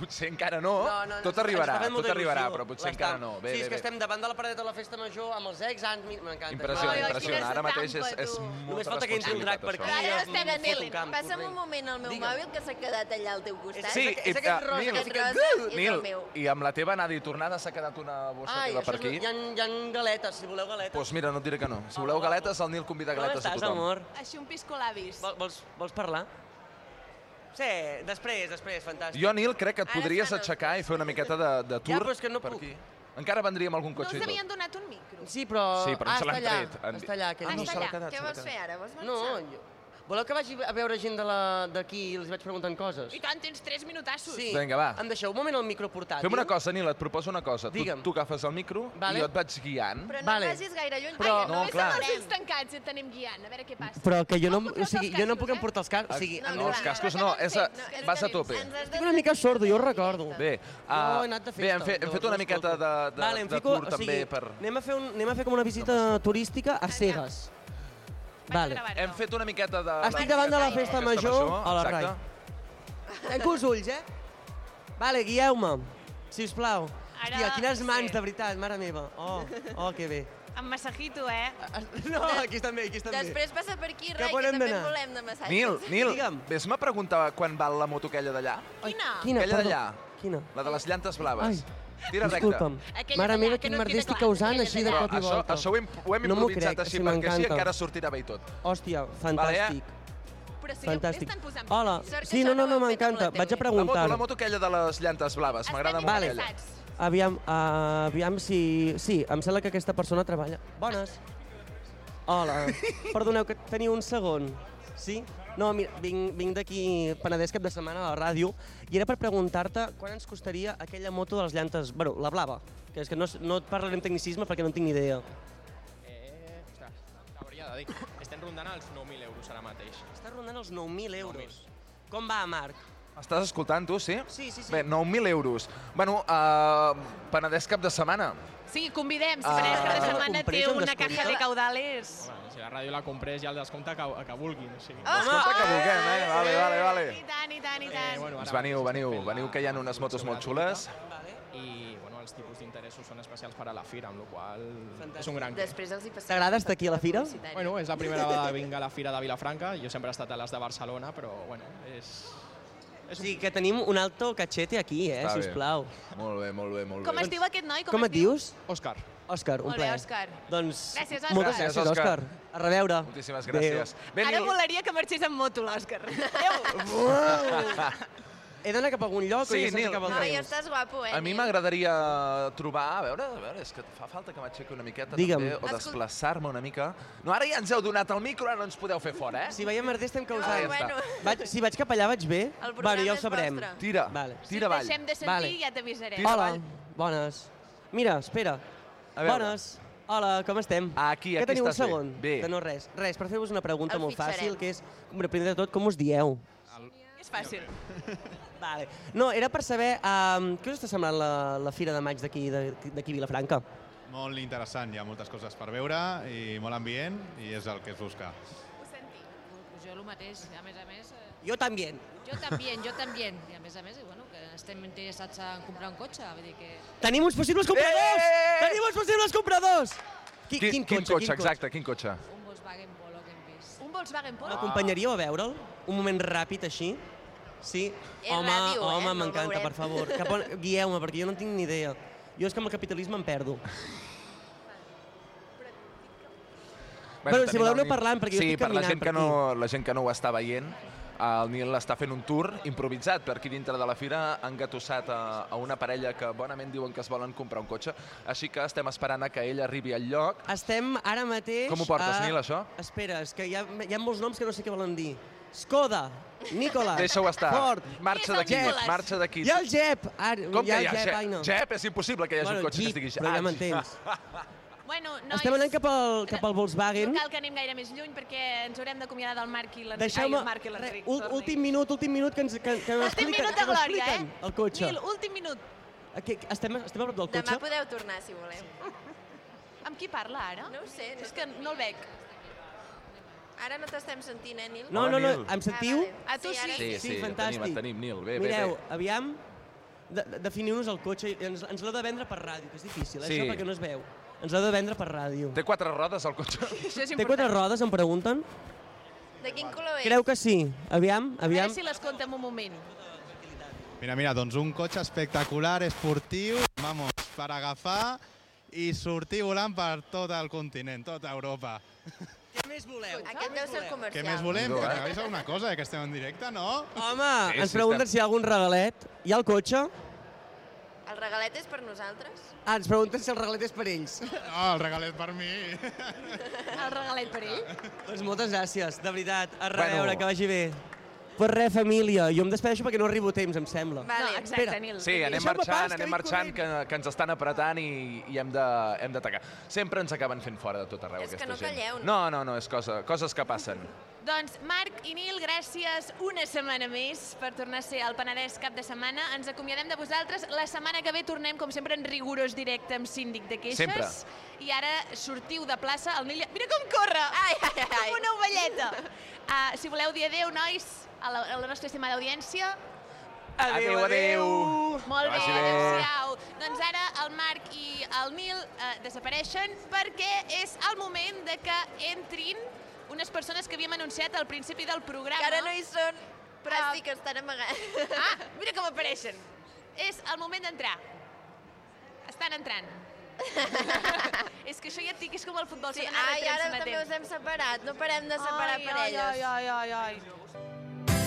G: potser encara no,
F: No, no, no,
G: tot
F: ens
G: arribarà,
F: fa molta
G: tot arribarà,
F: il·lusió
G: però potser
F: l'estar.
D: Ah,
G: encara no. Bé,
F: sí, és
G: bé,
F: que
G: bé.
F: estem davant de la paret de la festa major amb els ex, anys, m'encanta.
G: Impressionant,
C: Ai, ai,
G: impressionant.
C: quina
G: Ara mateix és,
C: estampa,
G: és
C: tu.
G: molta
F: Només falta que entri un drac per aquí.
C: Però ara
G: responsabilitat,
F: em
C: estem en
F: foto
C: Ellen.
F: camp, eh?
B: Passa'm
F: corrent.
B: un moment al meu
F: Digue'm.
B: mòbil que s'ha quedat allà al teu costat.
F: És
G: Sí,
F: aquest- és
G: i-
F: aquest
G: ah,
F: rosa
G: Nil,
F: que
B: aquest
F: fica-
B: rosa és
G: això.
B: el
G: Nil,
B: meu.
G: i amb la teva anada i tornada s'ha quedat una bossa
F: Ai,
G: teva
F: això
G: per
F: és...
G: aquí.
F: Hi ha, hi ha galetes, si voleu galetes.
G: Doncs pues mira, no et diré que no. Si voleu galetes, el Nil convida
F: Com
G: galetes a
F: estàs,
G: tothom.
F: amor?
C: Així un piscolabis.
F: Vol- Vols, vols parlar? Sí, després, després, fantàstic.
G: Jo, Nil, crec que et
B: Ara
G: podries
B: estan els
G: aixecar i fer una miqueta de, de tour
F: però és que no
G: per
F: puc.
G: aquí. Encara vendria amb algun
C: No
G: cotxe
C: us
G: i
C: havien
G: tot.
C: donat un micro.
F: Sí, però...
G: Sí, però
F: ah,
G: se l'han
F: està allà,
G: tret. Han dit-
F: Està allà, aquell
C: Ah,
F: no,
C: està
G: se l'ha
C: allà.
G: quedat,
B: Què
G: se l'ha
B: vols
G: quedat.
B: fer ara? Vols marxar?
F: No, jo... Voleu que vagi a veure gent de la- d'aquí i els vaig preguntant coses?
C: I tant, tens tres minutassos.
F: Sí.
G: Vinga, va.
F: Em deixeu un moment el micro portàtil?
G: Fem una cosa, Nil, et proposo una cosa. Tu,
F: Digue'm.
G: tu agafes el micro
F: Vale.
G: i jo et vaig guiant.
B: Però no
F: Vale.
B: vagis gaire lluny.
F: Però-
B: Ai,
G: No,
B: no,
G: clar.
B: clar.
C: Els ulls tancats i et tenim guiant, a veure què passa.
F: Però que jo no,
C: Em
F: o sigui, jo no em puc
C: eh?
F: emportar els cascs. O sigui,
B: No,
F: em
G: No,
F: diuen-
G: els
B: clar.
G: cascos no, és a,
B: No,
C: és
G: vas a
C: que-
G: tope.
B: Ens has de
F: Estic Ah, una mica sordo, jo ho recordo.
G: Bé,
F: No,
G: ah,
F: he anat de
G: bé
F: festa.
G: hem, fet, hem
F: llavors
G: fet una
F: no
G: miqueta
F: escolto.
G: de, de,
F: vale, em
G: de
F: fico,
G: tour
F: o sigui,
G: també per...
F: Anem a, fer un, anem a fer com una visita turística a cegues. Vale.
G: Hem fet una miqueta de...
F: Estic davant de la festa major a la
G: exacte.
F: RAI. Tanco els ulls, eh? Vale, guieu-me, sisplau.
C: Ara,
F: Hòstia, quines mans,
C: sí.
F: de veritat, mare meva. Oh, oh, que bé.
C: Amb massajito, eh?
F: Ah, No, aquí estan bé, aquí estan bé.
B: Després passa per aquí,
F: Cap
B: rai,
F: on
B: que
F: hem
B: també
F: d'anar?
B: en volem de massatges.
G: Nil, Nil,
F: Digue'm. Ah.
G: vés-me a preguntar quan val la moto aquella d'allà?
C: Quina?
F: Quina,
G: Aquella
F: perdó,
G: d'allà.
F: Quina?
G: La de les llantes blaves. Tira recte.
F: Disculpa'm.
C: Aquella
F: Mare
C: d'allà,
F: meva,
C: que
F: quin
C: no et
F: merder
C: queda
F: estic
C: clar,
F: causant
C: aquella
F: així de
C: d'allà.
F: cop i
G: Això,
F: volta.
G: això ho hem, ho hem
F: No m'ho
G: improvisat
F: crec,
G: així,
F: sí,
G: perquè així
F: m'encanta.
G: encara sortirà bé i tot.
F: Hòstia, fantàstic.
C: Però si
F: Fantàstic.
C: estan posant...
F: Hola,
B: Sort que
F: sí,
B: això
F: no,
B: no
F: no,
B: ho
F: no,
B: han fet amb la
F: m'encanta.
B: tele.
F: Vaig a
G: La moto, la
F: preguntar-ho.
G: moto aquella de les llantes blaves, m'agrada molt
F: Vale.
G: aquella.
F: Aviam, uh, aviam si... Sí, em sembla que aquesta persona treballa. Bones. Hola. Perdoneu, que teniu un segon. Sí? No, mira, vinc, vinc d'aquí Penedès cap de setmana a la ràdio i era per preguntar-te quan ens costaria aquella moto de les llantes... Bueno, la blava, que és que no, s- no et parlaré amb tecnicisme perquè no en tinc ni idea.
J: Eh, ostres, t'hauria de dir. Estem rondant els 9.000 euros ara mateix.
F: Està rondant els 9.000 euros. Com va, Marc?
G: Estàs escoltant, tu, sí?
F: Sí, sí, sí.
G: Bé, 9.000 euros. Bueno, uh, Penedès cap de setmana.
C: Sí, convidem, si per aquesta
F: Ah.
C: setmana té
F: Comprés un
C: una
F: descompte.
C: caja de caudales.
J: Home, si la ràdio la comprés ja el descompte que, que vulguin, o sigui...
G: Oh, Escolta que vulguem, eh? Vale, vale, vale.
C: I tant, i tant, i
J: Eh,
C: tant.
J: bueno,
G: Doncs
J: ara
G: veniu,
J: mateix estem
G: veniu,
J: fent la-
G: veniu, que hi ha unes motos molt xules.
J: I bueno, els tipus d'interessos són especials per a la fira, amb la qual cosa és
F: Fantàstic.
J: un gran què.
B: Després els hi passem.
F: T'agrada estar aquí a la fira?
J: Bueno, és la primera vegada que vinc a la fira de Vilafranca, jo sempre he estat a les de Barcelona, però bueno, és...
F: O sigui, que tenim un alto cachete aquí, eh,
G: Està bé.
F: sisplau.
G: Molt bé, molt bé, molt bé.
C: Com
F: Doncs
C: es diu aquest noi?
F: Com, et dius?
J: Doncs Òscar,
F: Òscar, un
C: Molt bé,
F: plaer.
C: Òscar.
F: Doncs
C: Gràcies, Òscar.
F: moltes
G: Gràcies,
F: gràcies, Òscar.
G: Òscar.
F: A reveure.
G: Moltíssimes gràcies. Bé,
C: Ara
G: Nil,
C: volaria que marxés amb moto, l'Òscar. Adéu.
F: He d'anar cap a algun lloc
G: Sí,
F: o ja saps
G: Nil.
F: cap al
B: No,
F: teu?
B: ja estàs guapo, eh?
G: a mi
B: Nil?
G: m'agradaria trobar, a veure, a veure, és que fa falta que m'aixequi una miqueta
F: Digue'm.
G: també, o
B: Escolta.
G: desplaçar-me una mica. No, ara ja ens heu donat el micro, ara no ens podeu fer fora, eh?
F: Si veiem merder estem causant.
B: No, Ah, bueno.
F: vaig, si vaig cap allà vaig bé,
B: El programa
F: bueno, ja ho
B: és
F: sabrem.
B: vostre.
G: Tira,
F: Vale.
G: tira avall.
C: Deixem de sentir,
F: Vale.
C: ja t'avisarem.
G: Tira
F: Hola,
G: avall.
F: bones. Mira, espera.
G: A veure.
F: Bones. Hola, com estem?
G: Aquí,
F: que
G: aquí
F: teniu un
G: estàs bé.
F: segon?
G: Bé.
F: De no res. Res, per fer-vos una pregunta
B: El
F: molt
B: fitxarem.
F: fàcil, que és, hombre, primer de tot, com us dieu?
C: És fàcil.
F: Vale. No, era per saber um, què us està semblant la, la fira de maig d'aquí d'aquí- d'aquí Vilafranca.
K: Molt interessant, hi ha moltes coses per veure i molt ambient i és el que es busca.
L: Pues jo el mateix, a més a més, eh,
F: Jo també.
L: jo també, jo també, i a més a més, i bueno, que estem interessats en comprar un cotxe, vull dir que...
F: Tenim uns possibles compradors!
G: Eh!
F: Tenim uns possibles compradors! Qui,
G: Quin, quin, cotxe, exacte, quin cotxe?
L: Un Volkswagen Polo que hem vist.
C: Un Volkswagen Polo?
F: M'acompanyaríeu a veure'l? Un moment ràpid, així? Sí?
B: És
F: home,
B: ràdio, eh?
F: home,
B: No el
F: m'encanta,
B: veurem.
F: per favor. Cap on... Guieu-me, perquè jo no en tinc ni idea. Jo és que amb el capitalisme em perdo. Bueno, si
G: tenim
F: voleu
G: el
F: anar
G: Nil.
F: parlant, perquè jo
G: sí,
F: estic
G: per la
F: caminant
G: gent
F: per
G: que no, la gent que no ho està veient, el Nil està fent un tour improvisat per aquí dintre de la fira, han gatussat a, a una parella que bonament diuen que es volen comprar un cotxe, així que estem esperant a que ell arribi al lloc.
F: Estem ara mateix...
G: Com ho portes,
F: a-
G: Nil, això?
F: Espera, és que hi ha, hi ha molts noms que no sé què volen dir. Skoda, Nicolas,
G: Deixa-ho estar.
F: Ford,
G: Marxa d'aquí,
F: Jep.
G: marxa d'aquí.
F: Hi ha el Jep! Ara,
G: Com
F: hi
G: que
F: ha
G: hi
F: el
G: ha?
F: Jep,
G: Jep,
F: ai no.
G: Jep, és impossible que hi hagi
F: bueno,
G: un cotxe
F: Jeep,
G: que estiguis...
F: però
G: Ah,
F: ja m'entens.
C: Bueno, nois,
F: Estem anant cap al, cap al Volkswagen.
C: no cal que anem gaire més lluny perquè ens haurem d'acomiadar del Marc i l'Enric. Ai,
F: Deixeu-me...
C: el Marc i l'Enric.
F: Re, ul-
C: torni.
F: últim minut, últim minut, que ens que, que
C: Últim
F: m'expliquen-
C: minut
F: que
C: de glòria, eh?
F: m'expliquen el cotxe.
C: Nil, últim minut.
F: Aquí, estem, estem a prop del
B: Demà
F: cotxe?
B: podeu tornar, si voleu.
C: Amb qui parla, ara?
B: No ho sé, no
C: És que no el veig.
B: Ara no t'estem sentint, eh, Nil?
F: No,
G: Hola,
F: no, no,
G: Nil.
F: em sentiu?
B: Ah, vale.
C: A tu
B: ara
G: Sí,
F: Sí,
G: sí, el tenim,
F: fantàstic.
G: el tenim, Nil. Bé,
F: Mireu,
G: bé, bé.
F: aviam, de, de- definiu-nos el cotxe. i Ens, ens l'heu de vendre per ràdio, que és difícil, eh,
G: Sí.
F: això perquè no es veu. Ens l'heu de vendre per ràdio.
G: Té quatre rodes, el cotxe?
C: Això és
F: Té quatre
C: important.
F: rodes, em pregunten?
B: De quin color és?
F: Creu que sí. Aviam,
C: A veure
F: aviam.
C: si les compta en un moment.
K: Mira, mira, doncs un cotxe espectacular, esportiu, vamos, per agafar i sortir volant per tot el continent, tota Europa.
F: Què més voleu?
B: Aquest deu ser el comercial.
K: Què més volem?
G: Vinga,
K: Que
G: va.
B: eh?
K: regalis alguna cosa, ja que estem en directe, no?
F: Home,
G: Sí,
F: Ah, ens
G: sí,
F: pregunten
G: estem-
F: si hi ha algun regalet. Hi ha el cotxe?
B: El regalet és per nosaltres?
F: Ah, ens pregunten si el regalet és per ells.
K: No, el regalet per mi.
C: El regalet
B: treball per ell.
F: Doncs moltes gràcies, de veritat. A reveure,
G: Bueno.
F: que vagi bé. Pues res, família, jo em despedeixo perquè no arribo a temps, em sembla.
B: Vale.
F: Espera.
G: Sí,
F: Deixeu-me
G: anem
F: pas,
G: marxant,
F: que
G: anem
F: vinc
G: marxant, que, que ens estan apretant i, i hem de- hem d'atacar. Sempre ens acaben fent fora de tot arreu,
C: És que
G: aquesta
C: no
G: gent.
C: calleu, no?
G: No, no, no, és cosa, coses que passen.
C: Doncs Marc i Nil, gràcies una setmana més per tornar a ser al Penedès cap de setmana. Ens acomiadem de vosaltres. La setmana que ve tornem, com sempre, en rigorós directe amb síndic de queixes.
G: Sempre.
C: I ara sortiu de plaça. El Nil... ja- Mira com corre! Ai, ai, ai. Com una ovelleta. Uh, si voleu dir adeu, nois, a la, a la nostra estimada audiència.
G: Adéu, adéu.
C: Molt
G: Que
C: bé,
G: vagi bé.
C: adéu-siau. Doncs ara el Marc i el Nil eh, desapareixen perquè és el moment de que entrin unes persones que havíem anunciat al principi del programa.
B: Que ara no hi són, però sí que estan amagats.
C: Ah, mira com apareixen. És el moment d'entrar. Estan entrant. és que això ja et dic, és com el futbol.
B: Sí,
C: s'ha d'anar
B: ai,
C: retrent,
B: ara
C: s'ha d'anar
B: també
C: atent.
B: us hem separat, no parem de separar
C: Ai, ai,
B: parelles.
C: ai, ai, ai.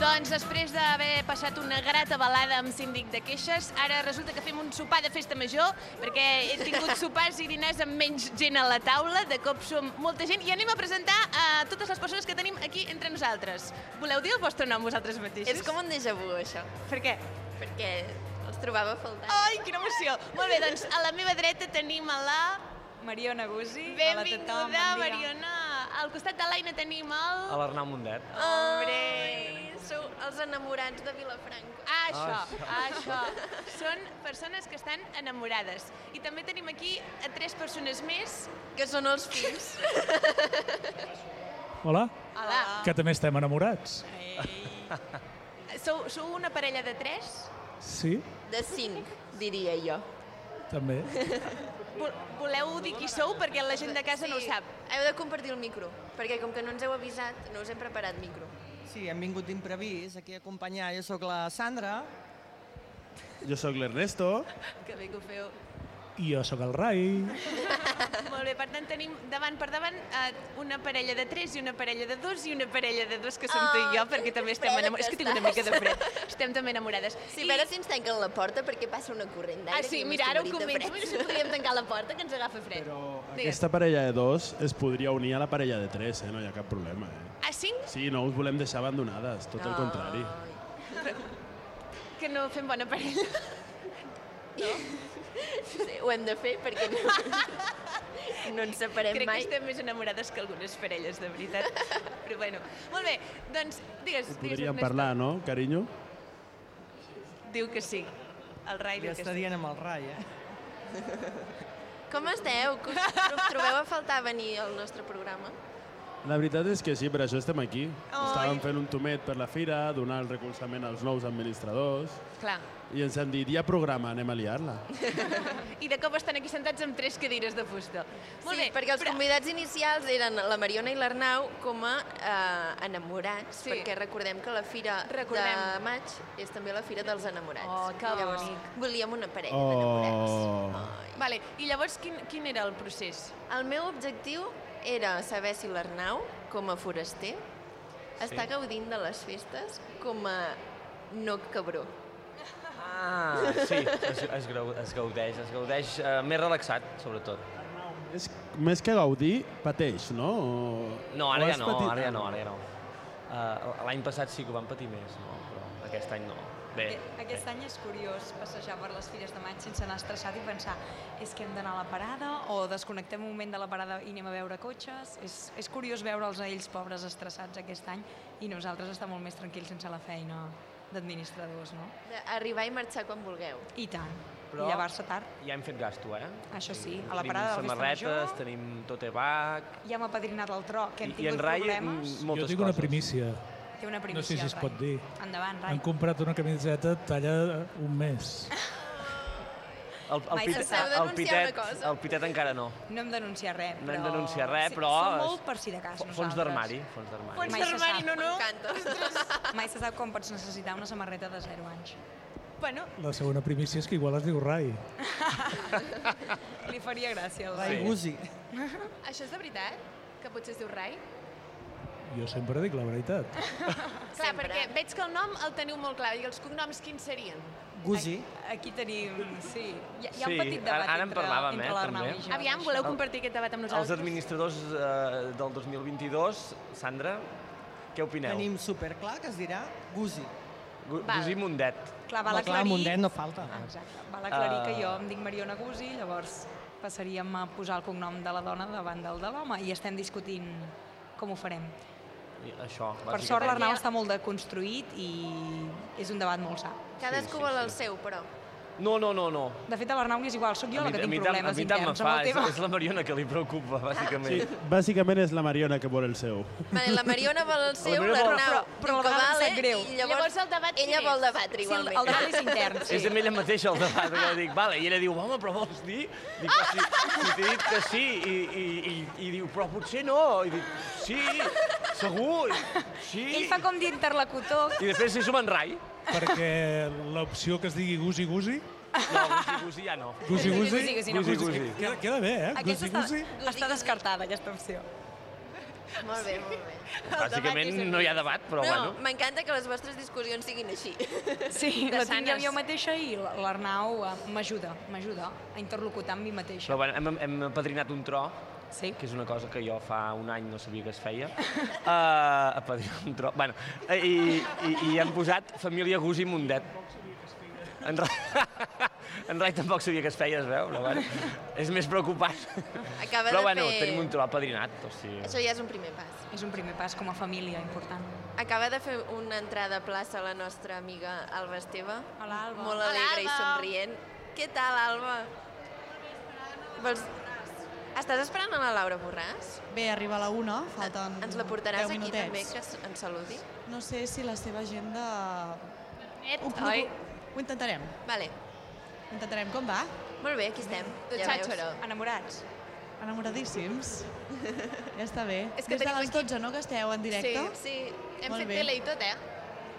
C: Doncs després d'haver passat una grata balada amb síndic de queixes, ara resulta que fem un sopar de festa major, perquè he tingut sopars i dinars amb menys gent a la taula, de cop som molta gent, i anem a presentar a totes les persones que tenim aquí entre nosaltres. Voleu dir el vostre nom vosaltres mateixos?
B: És com un déjà vu, això.
C: Per què?
B: Perquè els trobava a faltar.
C: Ai, quina emoció! Molt bé, doncs a la meva dreta tenim a la... Mariona Gusi.
M: Hola a tothom,
C: Benvinguda,
M: bon dia.
C: Mariona. Al costat de l'Aina tenim el...
N: A l'Arnau Mundet.
C: Ah.
B: Hombre, sou els enamorats de Vilafranco.
C: Ah, això,
N: Ah,
C: això. Són persones que estan enamorades. I també tenim aquí a tres persones més.
B: Que són els fills.
H: Hola?
C: Hola.
H: Que també estem enamorats.
C: Sou, sou una parella de tres?
H: Sí,
B: De cinc, diria jo.
H: també.
C: Vol- Voleu dir qui sou? Perquè la gent de casa no ho sap.
B: Heu de compartir el micro, perquè com que no ens heu avisat, no us hem preparat micro.
M: Sí, hem vingut d'imprevist aquí a acompanyar. Jo sóc la Sandra.
O: Jo sóc l'Ernesto.
C: Que bé que ho feu.
H: I jo sóc el Rai.
C: Molt bé, per tant tenim davant per davant eh, una parella de tres i una parella de dos i una parella de dos que som tu i jo, perquè també estem
B: freda
C: enamorades. És
B: que
C: que tinc una mica
B: estàs.
C: de fred. Estem també enamorades.
B: Sí, a veure si ens tanquen la porta perquè passa una corrent d'aire.
C: Ah, sí,
B: que jo
C: mira, ara ho
B: m'estic morint de
C: comento.
B: fred.
C: Mira si podríem tancar la porta, que ens agafa fred. Però
O: Aquesta parella de dos es podria unir a la parella de tres, eh? no hi ha cap problema. Eh?
C: A cinc?
O: Sí, no us volem deixar abandonades, tot el
C: Ai.
O: contrari.
C: Que no fem bona parella. No?
B: Sí, ho hem de fer perquè no, no ens separem
C: Crec
B: mai.
C: que estem més enamorades que algunes parelles, de veritat. Però bueno, molt bé, doncs digues,
O: Ho
C: digues
O: podríem
C: Ernesto.
O: parlar, no, carinyo?
C: Diu que sí. El Rai
M: Li
C: diu que
M: està
C: sí.
M: dient amb el Rai, eh?
B: Com esteu? Que us tro- trobeu a faltar venir al nostre programa?
O: La veritat és que sí, per això estem aquí. Estàvem fent un tomet per la fira, donar el recolzament als nous administradors,
C: Clar.
O: i ens han dit, hi ha programa, anem a liar-la.
C: I de cop estan aquí sentats amb tres cadires de fusta. Molt
B: sí,
C: bé,
B: perquè els convidats inicials eren la Mariona i l'Arnau com a eh, enamorats,
C: Sí.
B: perquè recordem que la fira de
C: Recordem.
B: maig és també la fira dels enamorats.
C: Oh, que
B: Llavors,
C: bonic.
B: volíem una parella.
O: Oh.
C: Vale, i llavors quin, quin era el procés?
B: El meu objectiu era saber si l'Arnau, com a foraster, està gaudint de les festes com a no cabró.
N: Ah, sí, es, es, grau- es gaudeix, es gaudeix eh, més relaxat, sobretot.
O: És, més que gaudir, pateix, no? O...
N: No, ara
O: o
N: ja
O: has
N: no,
O: patit-
N: ara ja no, ara ja no. Uh, L'any passat sí que ho van patir més, no? però aquest any no. Bé,
P: Aquest any és curiós passejar per les fires de maig sense anar estressat i pensar és que hem d'anar a la parada o desconnectem un moment de la parada i anem a veure cotxes. És, és curiós veure'ls a ells pobres estressats aquest any i nosaltres estar molt més tranquils sense la feina d'administradors, no?
B: Arribar i marxar quan vulgueu.
P: I tant. però... i llevar-se tard.
N: Ja hem fet gasto, eh?
P: Això sí,
N: Tenim
P: a la parada de la Vista
N: samarretes,
P: Major
N: tenim tote bag...
P: ja m'ha padrinat el tro, que hem
N: I- i
P: tingut
N: en Rai,
P: problemes.
N: mm,
H: jo
N: moltes
H: tinc una
N: coses.
H: primícia.
P: Té una primícia,
H: No sé si es
P: Rai.
H: pot dir.
P: Endavant, Rai.
H: Han comprat una camiseta talla eh, un mes.
N: El, el,
P: Mai
N: pitet,
P: se'ns deu
N: el,
P: denunciar
N: pitet,
P: una cosa.
N: el pitet encara no.
P: No hem denunciat res,
N: No
P: però...
N: hem denunciat res,
P: Sí,
N: però
P: Som
N: és-
P: molt per si de cas,
N: Fons d'armari, fons
P: Fons
N: d'armari.
P: d'armari, no, no. M'encanta. Mai se sap com pots necessitar una samarreta de 0 anys. Bueno,
H: La segona primícia és que igual es diu Rai.
P: li faria gràcia.
H: Rai Sí. Guzzi.
C: Això és de veritat? Que potser es diu Rai?
H: Jo sempre dic la veritat.
C: Clar, perquè veig que el nom el teniu molt clar. I els cognoms quins serien?
H: Gusi.
P: Aquí tenim, sí, hi ha, hi ha
N: Sí,
P: un petit debat
N: ara en
P: entre,
N: parlàvem, eh,
P: entre l'Arnau
N: també.
P: i jo.
C: Aviam, voleu compartir aquest debat amb
N: Els
C: nosaltres?
N: administradors eh, del 2022, Sandra, què opineu?
M: Tenim superclar que es dirà Gusi.
N: Gu-
P: Val.
N: Gusi Mundet.
P: Clar, val aclarir... Ah,
M: Mundet no falta.
P: Exacte, val aclarir que
N: Eh,
P: jo em dic Mariona Gusi, llavors passaríem a posar el cognom de la dona davant del de l'home i estem discutint com ho farem.
N: I Això,
P: Per sort l'Arnau està molt deconstruït i és un debat molt sa.
B: Cadascú vol el seu, però.
N: No, no, no, no.
P: De fet, a l'Arnau li és igual, sóc jo la que tinc
N: tant-
P: problemes
N: a mi tant me
P: interns
N: fa,
P: amb el tema.
N: És, és la Mariona que li preocupa, bàsicament.
O: Sí, bàsicament és la Mariona que vol el seu.
B: Vale, la Mariona vol el seu,
N: Mariona vol-
B: l'Arnau
P: però a
B: diu que
P: vegades em
B: vale,
P: sap greu.
B: i llavors, el debat ella vol debatre igualment.
N: És amb ella mateixa el debat, que jo dic, vale, i ella diu, home, però vols dir? Dic, però si, si t'he dit que sí, i, i, i, i diu, però potser no, i dic, sí, segur, i- sí.
P: Ell fa com d'interlocutor.
N: I després s'hi sumen Rai.
H: Perquè l'opció que es digui Gusi Gusi,
N: No, Gusi Gusi ja no.
H: Gusi Gusi,
P: Gusi Gusi, no.
H: Queda, queda bé, eh?
P: Aquesta
H: Gusi
P: està,
H: Gusi.
P: està descartada, aquesta opció.
B: Molt bé, molt bé.
N: Bàsicament no hi ha debat, però
B: no,
N: bueno.
B: m'encanta que les vostres discussions siguin així.
P: Sí,
B: De
P: la tinc
B: sanes.
P: jo mateixa i l- l'Arnau eh, m'ajuda, m'ajuda a interlocutar amb mi mateixa.
N: Però bueno, hem, hem apadrinat un tro,
P: sí.
N: que és una cosa que jo fa un any no sabia que es feia. Uh, apadrinat un tro... Bueno, eh, i, i, i hem posat família Gusi Mundet. En Rai, en Rai tampoc sabia que es feia, es veu, però bueno, és més preocupant.
B: Acaba
N: però
B: de
N: bueno,
B: fer-
N: tenim un tro apadrinat, o sigui...
B: Això ja és un primer pas.
P: És un primer pas com a família important.
B: Acaba de fer una entrada a plaça la nostra amiga Alba Esteve.
P: Hola, Alba.
B: Molt
P: Hola,
B: alegre i
P: Alba.
B: somrient. Què tal, Alba? Vols... Estàs esperant a la Laura Borràs?
M: Bé, arriba a la una, falten
B: Ens la portaràs
M: 10
B: aquí
M: minutets.
B: també, que s- ens saludi?
M: No sé si la seva agenda...
B: Net,
M: ho,
B: oi?
M: ho intentarem.
B: Vale.
M: Ho intentarem. Com va?
B: Molt bé, aquí estem.
P: Tots
B: Ja veus.
P: xatxos, enamorats.
M: Enamoradíssims. ja està bé.
P: És que
M: Des de
P: tenim
M: les 12, no, que esteu en directe?
B: Sí, sí.
M: Molt bé.
B: tot, eh?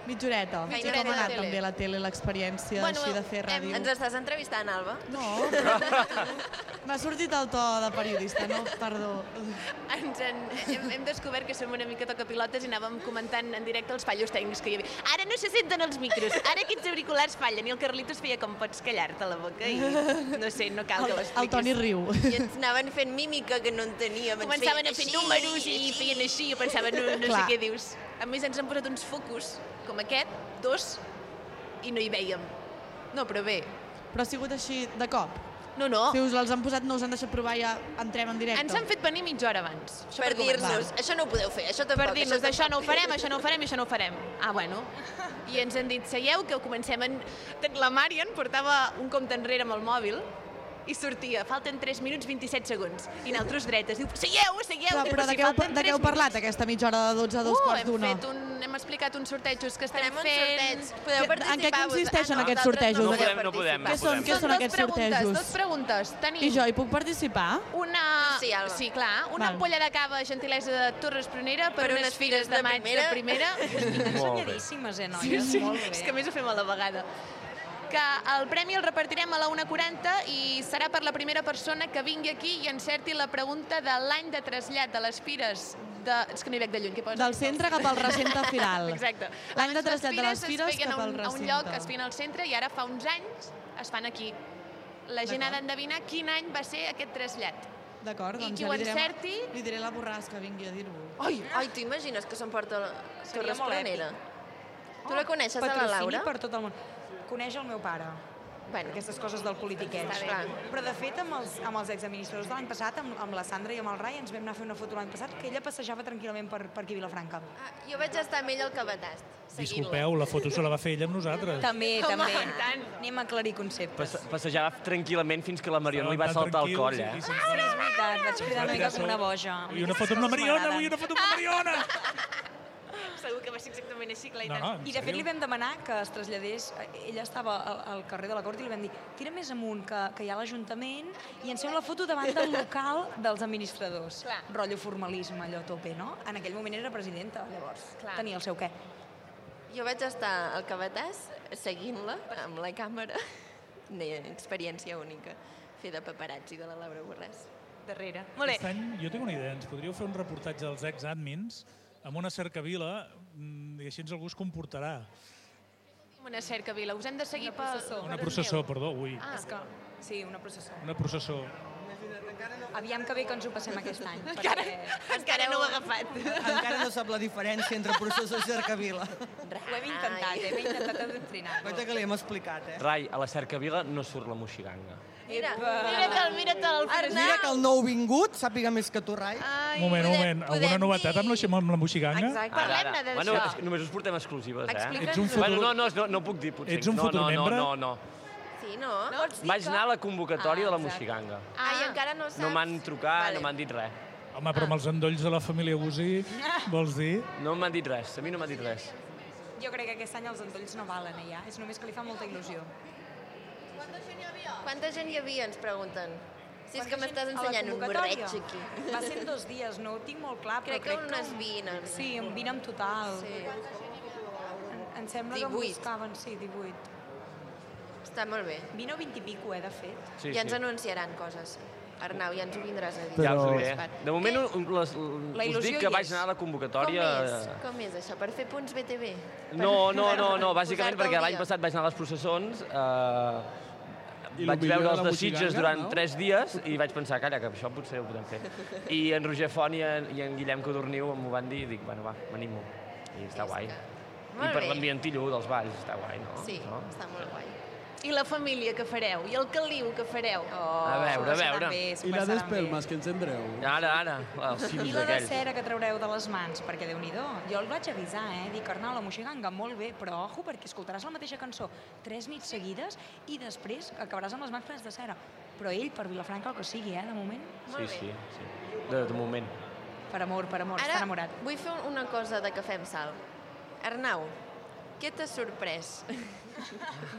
M: Mitjoreta. I
B: Mitja
M: com ha
B: horeta de
M: anat
B: tele.
M: també la tele, l'experiència bueno, així de fer ràdio?
B: Ens estàs entrevistant, Alba?
M: No, però... M'ha sortit el to de periodista, no? Perdó.
C: Ens en, hem, hem descobert que som una mica tocapilotes i anàvem comentant en directe els fallos tècnics que hi havia. Ara no se senten els micros, ara aquests auriculars fallen i el Carlitos feia com pots callar-te la boca i no sé, no cal que ho expliquis.
B: I ens anaven fent mímica que no enteníem. ens
C: Començaven
B: feien
C: a fer
B: així,
C: números i, feien així, jo pensava, no, no sé
B: Clar.
C: què dius. A més, ens han posat uns focus, com aquest, dos, i no hi veiem. No, però bé.
M: Però ha sigut així de cop?
C: No, no.
M: Si us els han posat, no us han deixat provar, ja entrem en directe.
C: Ens han fet venir mitja hora abans. Això
B: Per
C: començar.
B: dir-nos, això no ho podeu fer, això
C: Per
B: tampoc.
C: dir-nos, això no ho
B: tampoc".
C: farem, això no ho farem, i això no ho farem. Ah, bueno. I ens han dit, seieu, que ho comencem en... La Marian portava un compte enrere amb el mòbil i sortia, falten 3 minuts 27 segons. I nosaltres dretes, diu, seieu, seieu.
M: Però, però de, què heu, pa- de què heu parlat aquesta mitja hora de 12 a dos
C: Uh,
M: quarts
C: hem,
M: d'una?
C: fet un, hem explicat uns sortejos que estem
B: uns
C: fent.
B: sorteig. Podeu participar
M: En què consisteixen
B: vosaltres.
M: aquests
B: Ah, no,
M: sortejos?
B: vosaltres
M: Aquest-
B: no podem, no podem, no
M: Què són,
B: podem.
M: què
B: Són
M: són
B: dos
M: aquests
B: preguntes,
M: sortejos?
C: Dos preguntes. Tenim
M: I jo hi puc participar?
C: una...
B: Sí, Alba.
C: sí clar. Una
M: Val.
C: ampolla de cava, gentilesa de Torres Prunera, per,
B: Per
C: unes fires de, maig de primera.
N: Molt bé.
P: Somiadíssimes, eh,
C: Sí,
P: noies?
C: sí.
P: Molt bé.
C: És que a més ho fem a la vegada. Que el premi el repartirem a la 1.40 i serà per la primera persona que vingui aquí i encerti la pregunta de l'any de trasllat de les fires de... És que no hi veig de lluny, què posa?
M: Del centre cap al recinte firal.
C: Exacte.
M: L'any de
C: Abans
M: trasllat de les fires
C: es feien
M: cap
C: a
M: al
C: un, a un
M: recinte.
C: lloc, es feien al centre i ara fa uns anys es fan aquí. La gent ha d'endevinar quin any va ser aquest trasllat.
M: D'acord,
C: I
M: doncs
C: qui
M: ja
C: ho
M: li direm,
C: encerti...
M: Li diré a la borràs que vingui a dir-ho.
B: Ai, ai t'imagines que s'emporta la Torres
P: molt èpic.
B: Planera? Tu la coneixes, a la
P: Patrocini
B: Laura?
P: per tot el món. Coneix el meu pare.
B: Bueno.
P: Aquestes coses del politiqueig.
B: Està bé.
P: Però, de fet, amb els, amb els exadministradors de l'any passat, amb, amb la Sandra i amb el Rai, ens vam anar a fer una foto l'any passat, que ella passejava tranquil·lament per, per aquí a Vilafranca. Ah,
B: Jo vaig estar amb ell al cabatast.
H: Disculpeu, la foto se la va fer ella amb nosaltres.
P: També,
B: Home,
P: també.
B: i tant.
P: Anem a aclarir conceptes.
N: Passe passejava tranquil·lament fins que la Mariona li va
H: Estàvem
N: saltar
H: tan
N: el coll,
H: tranquils
N: eh?
H: i
P: Ah, sí, és veritat, vaig cridar una mica com una boja.
H: I una foto amb la Mariona, vull una foto amb la Mariona!
P: Segur que va ser exactament així, clar,
H: i No, tant. no, en
P: I de fet
H: sèrio.
P: li vam demanar que es traslladés, ella estava al, al carrer de la Cort i li vam dir, tira més amunt que, que hi ha l'Ajuntament i ens fem la foto davant del local dels administradors. Clar. Rotllo formalisme, allò a tope, no? En aquell moment era presidenta, llavors.
B: Clar.
P: Tenia el seu què.
B: Jo vaig estar al cabatàs seguint-la amb la càmera. Una experiència única, fer de paparazzi de la Laura Borràs.
P: Darrere.
B: Molt
H: Aquest
B: bé.
H: any, jo tinc una idea, ens podríeu fer un reportatge dels ex-admins amb una cercavila mm, i així ens algú es comportarà.
C: Una cerca, Vila. Us hem de seguir per...
H: Una processó, perdó, ui.
C: Ah,
P: És que, sí, una processó.
H: Una processó.
P: Aviam que bé que ens ho passem aquest any. Encara,
B: encara no ho he agafat.
Q: Encara no sap la diferència entre processó i cercavila.
P: Ho hem intentat, eh? hem intentat adoctrinar.
Q: Compte que li hem explicat, eh?
N: Rai, a la cercavila no surt la moixiganga.
B: Mira,
Q: mira-te'l,
B: mira-te'l.
Q: Mira que el nou vingut sàpiga més que tu, Rai.
H: Un moment, un moment. Alguna novetat amb la, amb la moixiganga?
N: Bueno, és que només us portem exclusives, eh?
H: Explica'ns-ho. Ets un futur-
N: Bueno, no, no, no, no puc dir, potser.
H: Ets un
N: no, no,
H: futurmembre?
N: No, no, no.
B: Sí, no? no
N: Vaig anar a la convocatòria de la moixiganga.
B: Ah, i encara no saps?
N: No m'han trucat, no m'han dit res.
H: Home, però amb els endolls de la família Gusi, vols dir?
N: No m'han dit res, a mi no m'han dit res.
P: Jo crec que aquest any els endolls no valen allà, és només que li fa molta il·lusió.
B: Quanta gent hi havia, ens pregunten. Si és que
P: A
B: m'estàs
P: la
B: ensenyant un
P: convocatòria.
B: borreig aquí.
P: Va ser en dos dies, no ho tinc molt clar, però
B: Crec
P: crec,
B: que unes
P: 20. Sí, un 20 en total. En, em sembla que em
B: 18.
P: buscaven, sí, 18.
B: Està molt bé.
P: 20 o 20 i pico, eh, de fet.
N: Sí,
B: I ens
N: sí.
B: anunciaran coses. Arnau, ja ens ho vindràs a dir.
N: Ja us ho diré. De moment, les,
B: La
N: us
B: il·lusió
N: dic
B: hi
N: que vaig
B: és.
N: anar a la
B: Com
N: convocatòria...
B: és? Com és això? Per fer punts BTV?
N: No, no, no, no,
B: Posar-te
N: bàsicament perquè
B: al
N: l'any
B: dia.
N: passat vaig anar a les processons, eh,
R: I lo
N: vaig
R: millor
N: veure
R: de
N: els
R: la
N: de Sitges
R: Moixiganga,
N: durant
R: no?
N: 3 dies i vaig pensar, calla, que això potser ho podem fer. I en Roger Font i en, i en Guillem Codorniu m'ho van dir i dic, bueno, va, m'animo. I està guai. I
C: Molt
N: per
C: bé.
N: l'ambientillo dels balls, està guai, no?
C: Sí,
N: no?
B: està molt guai.
C: I la família que fareu? I el caliu que fareu? Oh,
N: A veure, a veure.
O: I la d'espelmes, que ens en breu.
N: Ara, ara, el
P: I
N: ciris
P: la de
N: aquell.
P: cera que traureu de les mans, perquè déu nhi Jo el vaig avisar, eh? Dic, Arnau, la moixiganga, molt bé, però ojo, perquè escoltaràs la mateixa cançó tres nits seguides i després acabaràs amb les mans plenes de cera. Però ell, per Vilafranca, el que sigui, eh, de moment,
N: Sí, sí, sí. De, de moment.
P: per amor, per amor,
B: Ara
P: està enamorat.
B: vull fer una cosa de Cafè amb Sal. Arnau, què t'ha sorprès?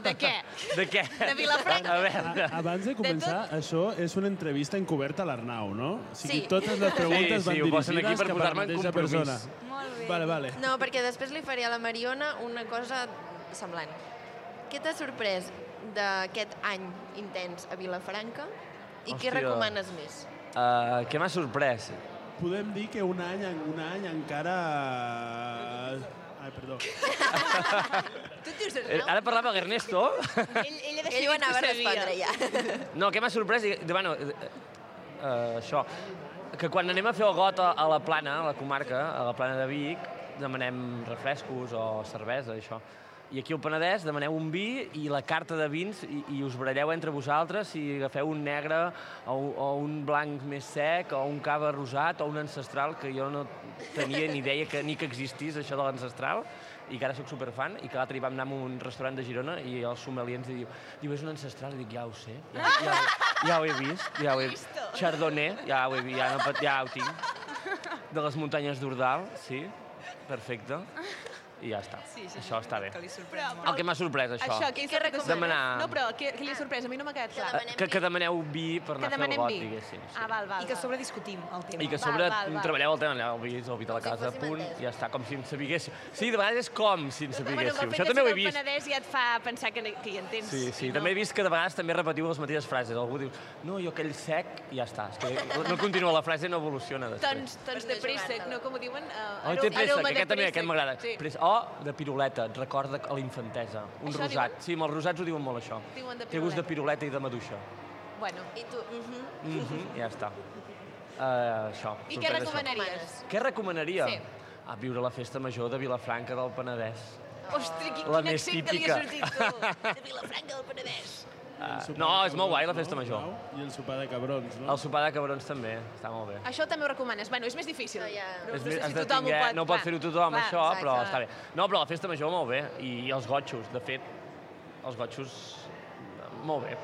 C: De què?
N: De què?
C: De Vilafranca.
O: A veure. Abans de començar, això és una entrevista encoberta a l'Arnau, no? O sigui,
B: Sí.
O: totes les preguntes
N: Sí, sí,
O: van
N: ho posen aquí
O: dirigides
N: per
O: cap a la
N: posar-me en
O: mateixa
N: compromís.
O: persona.
B: Molt bé.
O: Vale, vale.
B: No, perquè després li faré a la Mariona una cosa semblant. Què t'ha sorprès d'aquest any intens a Vilafranca i què
O: Hòstia.
B: recomanes més?
N: Uh, què m'ha sorprès?
O: Podem dir que un any, en- un any encara... Ai, perdó.
B: Tu et dius
N: Eh, Ara parlava amb Ernesto.
C: Ell, ell ha decidit
B: Ell ho anava a
C: que sabia.
B: respondre ja.
N: No, què m'ha sorprès? i- De, bueno, eh, eh, això, que quan anem a fer el got a, a la plana, a la comarca, a la plana de Vic, demanem refrescos o cervesa, això. I aquí al Penedès demaneu un vi i la carta de vins i, i us baralleu entre vosaltres si agafeu un negre o, o un blanc més sec o un cava rosat o un ancestral que jo no tenia ni idea que, ni que existís això de l'ancestral i que ara sóc superfan i que l'altre dia vam anar a un restaurant de Girona i el sommelier ens diu, diu, és un ancestral? I dic, ja ho sé, ja, ja, ja ho he vist, ja ho he vist. Chardonnay, ja ho he vist, ja, no, pot- ja ho tinc. De les muntanyes d'Urdal, sí, perfecte. I ja està,
C: Sí, sí,
N: això està bé.
C: Però,
N: El que m'ha sorprès, això.
C: Això, què, què recomanes?
N: Demanar-
C: No, però què, què li ha sorprès? A mi no m'ha quedat clar.
N: Eh, Que, que demaneu vi per
C: Que
N: anar a fer el
C: demanem
N: got,
C: vi.
N: diguéssim. sí.
C: Ah, val, val.
P: I que a sobre discutim el tema.
N: I que a sobre treballeu el tema, el vi, és el vi de la casa, punt, ja està, com si en sabiguéssiu. Sí, de vegades és com si en
C: Bueno,
N: sabiguéssiu.
C: pel
N: Això
C: fet de
N: també
C: ser
N: ho he
C: del
N: vist.
C: Penedès ja et fa pensar que, que hi entens.
N: Sí, sí. També he vist que de vegades també repetiu les mateixes frases. Algú diu, no, jo aquell sec, i ja està. És que no continua, la frase no evoluciona després.
C: Tons, tons Doncs, de préssec, no? Com ho diuen? Uh,
N: Oh, té pressa, que aquest també, aquest m'agrada.
C: Sí.
N: Pressa- O de piruleta, et recorda a la infantesa. Un
C: Això
N: rosat.
C: diuen?
N: Sí, amb els rosats ho diuen molt, això.
C: Diuen de
N: Té gust de piruleta i de maduixa.
C: Bueno.
B: I tu? Uh -huh.
N: Mhm, ja està. Uh, això.
C: I què
N: sorprèn, això.
C: recomanaries?
N: Què recomanaria?
C: Sí.
N: A viure la festa major de Vilafranca del Penedès.
P: Ostres, quin,
N: La
P: quin
N: més
P: accent que li
N: típica.
P: ha sortit, tu! De Vilafranca del Penedès.
N: Ah,
O: sopar
N: no,
O: de
N: és molt guai la
O: cabrons,
N: festa
O: no?
N: major.
O: I el sopar de cabrons, no?
N: El sopar de cabrons també, està molt bé.
C: Això també ho recomanes. Bueno, és més difícil. No, ja. no,
N: És
C: sé
N: més,
C: si
N: has de
C: tothom ho
N: tindre-
C: pot...
N: no pot
C: clar,
N: fer-ho tothom,
C: clar,
N: això, però
C: exacte.
N: està bé. No, però la festa major molt bé, i, i els gotxos, de fet, els gotxos, molt bé.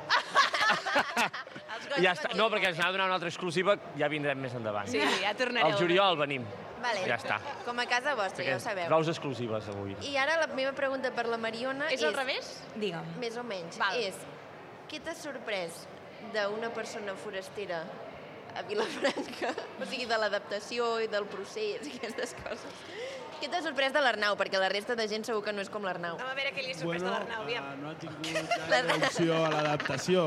N: ja està, no, perquè ens anava a donar una altra exclusiva, ja vindrem més endavant.
B: Sí, ja tornareu.
N: El juliol venim.
B: Vale.
N: Ja està.
B: Com a casa vostra, ja ho sabeu.
N: Rous exclusives avui.
B: I ara la meva pregunta per la Mariona
P: És
B: és...
P: al revés? Digue'm.
B: Més o menys. És, què t'ha sorprès d'una persona forastera a Vilafranca? O sigui, de l'adaptació i del procés i aquestes coses. Què t'ha sorprès de l'Arnau? Perquè la resta de gent segur que no és com l'Arnau.
C: A veure què li ha sorprès a
O: Bueno,
C: l'Arnau, aviam.
P: Ah,
O: eh, no ha tingut gaire opció a l'adaptació.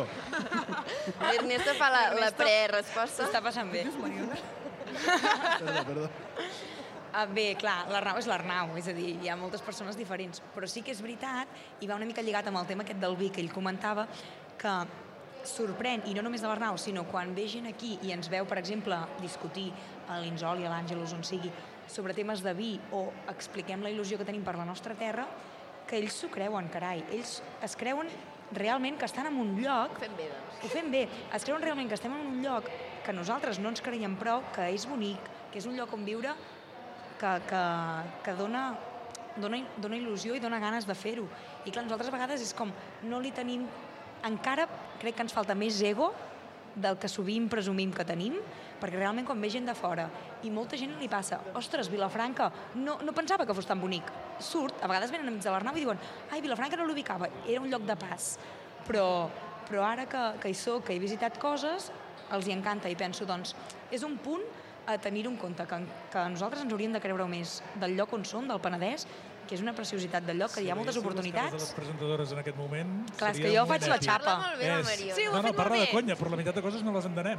B: L'Ernesto fa la, la pre-resposta.
P: S'està passant bé.
O: Perdó, perdó.
P: Ah, bé, clar, l'Arnau és l'Arnau, és a dir, hi ha moltes persones diferents, però sí que és veritat, i va una mica lligat amb el tema aquest del vi que ell comentava, que sorprèn, i no només de l'Arnau, sinó quan ve gent aquí i ens veu, per exemple, discutir a l'Inzoli, a l'Àngelus, on sigui, sobre temes de vi o expliquem la il·lusió que tenim per la nostra terra, que ells s'ho creuen, carai. Ells es creuen realment que estan en un lloc...
B: Fem bé, doncs.
P: Ho fem bé. Es creuen realment que estem en un lloc que nosaltres no ens creiem prou, que és bonic, que és un lloc on viure que, que, que dona, dona, dona il·lusió i dona ganes de fer-ho. I clar, nosaltres a vegades és com, no li tenim... Encara crec que ens falta més ego del que sovint presumim que tenim, perquè realment quan ve gent de fora i molta gent li passa, ostres, Vilafranca, no, no pensava que fos tan bonic. Surt, a vegades venen amics de l'Arnau i diuen, ai, Vilafranca no l'ubicava, era un lloc de pas. Però, però ara que, que hi soc, que he visitat coses, els hi encanta i penso, doncs, és un punt a tenir en compte, que, que nosaltres ens hauríem de creure més del lloc on som, del Penedès, que és una preciositat del lloc, que hi ha moltes
H: veiéssiu les cares de
P: oportunitats.
H: les presentadores en aquest moment...
P: Clar, és que
H: seria
P: jo faig la
H: molt
P: xapa.
H: èpic.
P: Parla molt bé, la
H: És-
P: Mariona. Sí, ho ha
H: no,
P: fet
H: no,
P: molt
H: parla de
P: bé.
H: conya, però la meitat de coses no les entenem.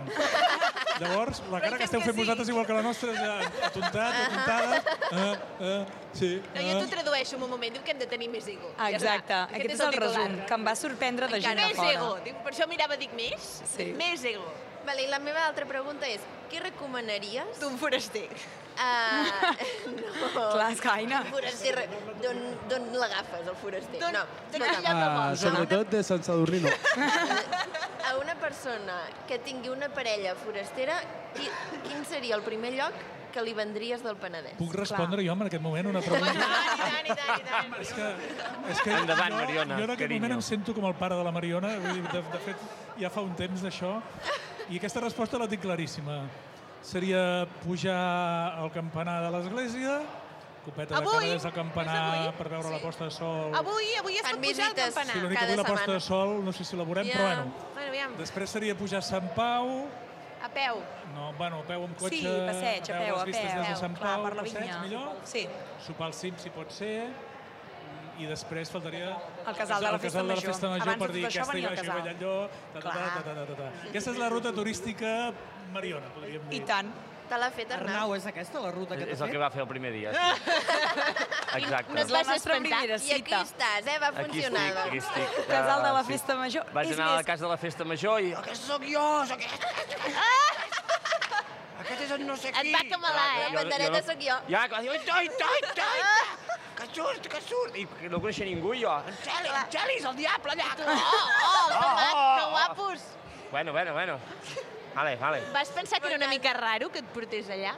H: Llavors, la cara que esteu fent vosaltres, igual que la nostra, és eh, atontat, atontada... Eh, eh, sí,
C: No, jo
H: eh.
C: t'ho tradueixo en un moment, diu que hem de tenir més ego.
P: Ah,
C: Ja
P: Exacte,
C: està,
P: aquest és el
C: titular.
P: resum, que em va sorprendre de gent
C: Encara
P: de
C: més
P: fora.
C: ego, dic, per això mirava, dic, més?
P: Sí.
C: Més ego.
B: Vale, i la meva altra pregunta és, què recomanaries?
C: D'un foraster.
B: Uh, no.
P: Clar, és que, ai, no.
B: Foraster, re- d'on d'on l'agafes, el foraster?
C: D'on-
B: no,
C: d'on
B: escolta'm.
O: Ah, sobretot de Sant Sadurní, no.
B: A una persona que tingui una parella forastera, qui, quin seria el primer lloc que li vendries del Penedès?
H: Puc respondre jo en aquest moment una pregunta?
B: És
H: que... És que
N: Endavant,
H: jo,
N: Mariona,
H: Jo en aquest
N: carinyo.
H: moment em sento com el pare de la Mariona, vull dir, de, de fet, ja fa un temps d'això, i aquesta resposta la tinc claríssima. Seria pujar al campanar de l'església, copeta
C: Avui?
H: de canes al campanar per veure la posta de sol.
C: Avui, avui es pot pujar al campanar.
H: Sí, l'únic que avui la posta de sol, no sé si la veurem, però bueno.
C: Bueno, aviam,
H: Després seria pujar a Sant Pau,
C: a peu.
H: no, bueno, a peu amb cotxe,
P: Sí, passeig, a peu, a
H: les vistes
P: peu,
H: des de
P: a
H: Sant
P: peu, clar,
H: Pau,
P: per la
H: passeig,
P: vinya.
H: millor.
P: Sí.
H: Sopar al cim, si pot ser, mm, i després faltaria...
P: El casal de la
H: el
P: Festa
H: casal de la
P: Major.
H: Festa Major
P: Abans
H: per
P: de
H: dir
P: tot això
H: aquesta i
P: venia el
H: això,
P: casal.
H: allò, ta, ta, ta, ta, ta, ta, ta. Aquesta és la ruta turística Mariona, podríem dir.
P: tant.
B: Te l'ha fet Arnau.
Q: Arnau, és aquesta la ruta que
N: És
Q: t'ha
N: el que
Q: fet?
N: va fer el primer dia. sí. Exacte.
B: No et vas
P: nostra
B: espantar.
P: primera
B: I aquí estàs, eh? Va
N: Aquí
B: funcionar.
N: estic, aquí estic.
P: Casal de la
N: Ah,
P: Festa Major.
N: Vaig
P: És
N: anar a la
P: més-
N: casa de la Festa Major i...
B: Ah,
N: Aquest sóc jo, sóc aquest.
P: Ah!
N: Aquest és el no sé qui. Et va
B: camalar, eh? La pandereta
N: no-
B: sóc jo. Ah.
N: Ja, que va dir, oi, oi, oi, oi, que surt, que surt. I no coneixia ningú, jo. En Celi, en Celi, és el diable allà.
C: Oh, oh, que, oh, que guapos!
N: Bueno, bueno, bueno. Vale, vale.
C: Vas pensar que era una mica raro que et portés allà?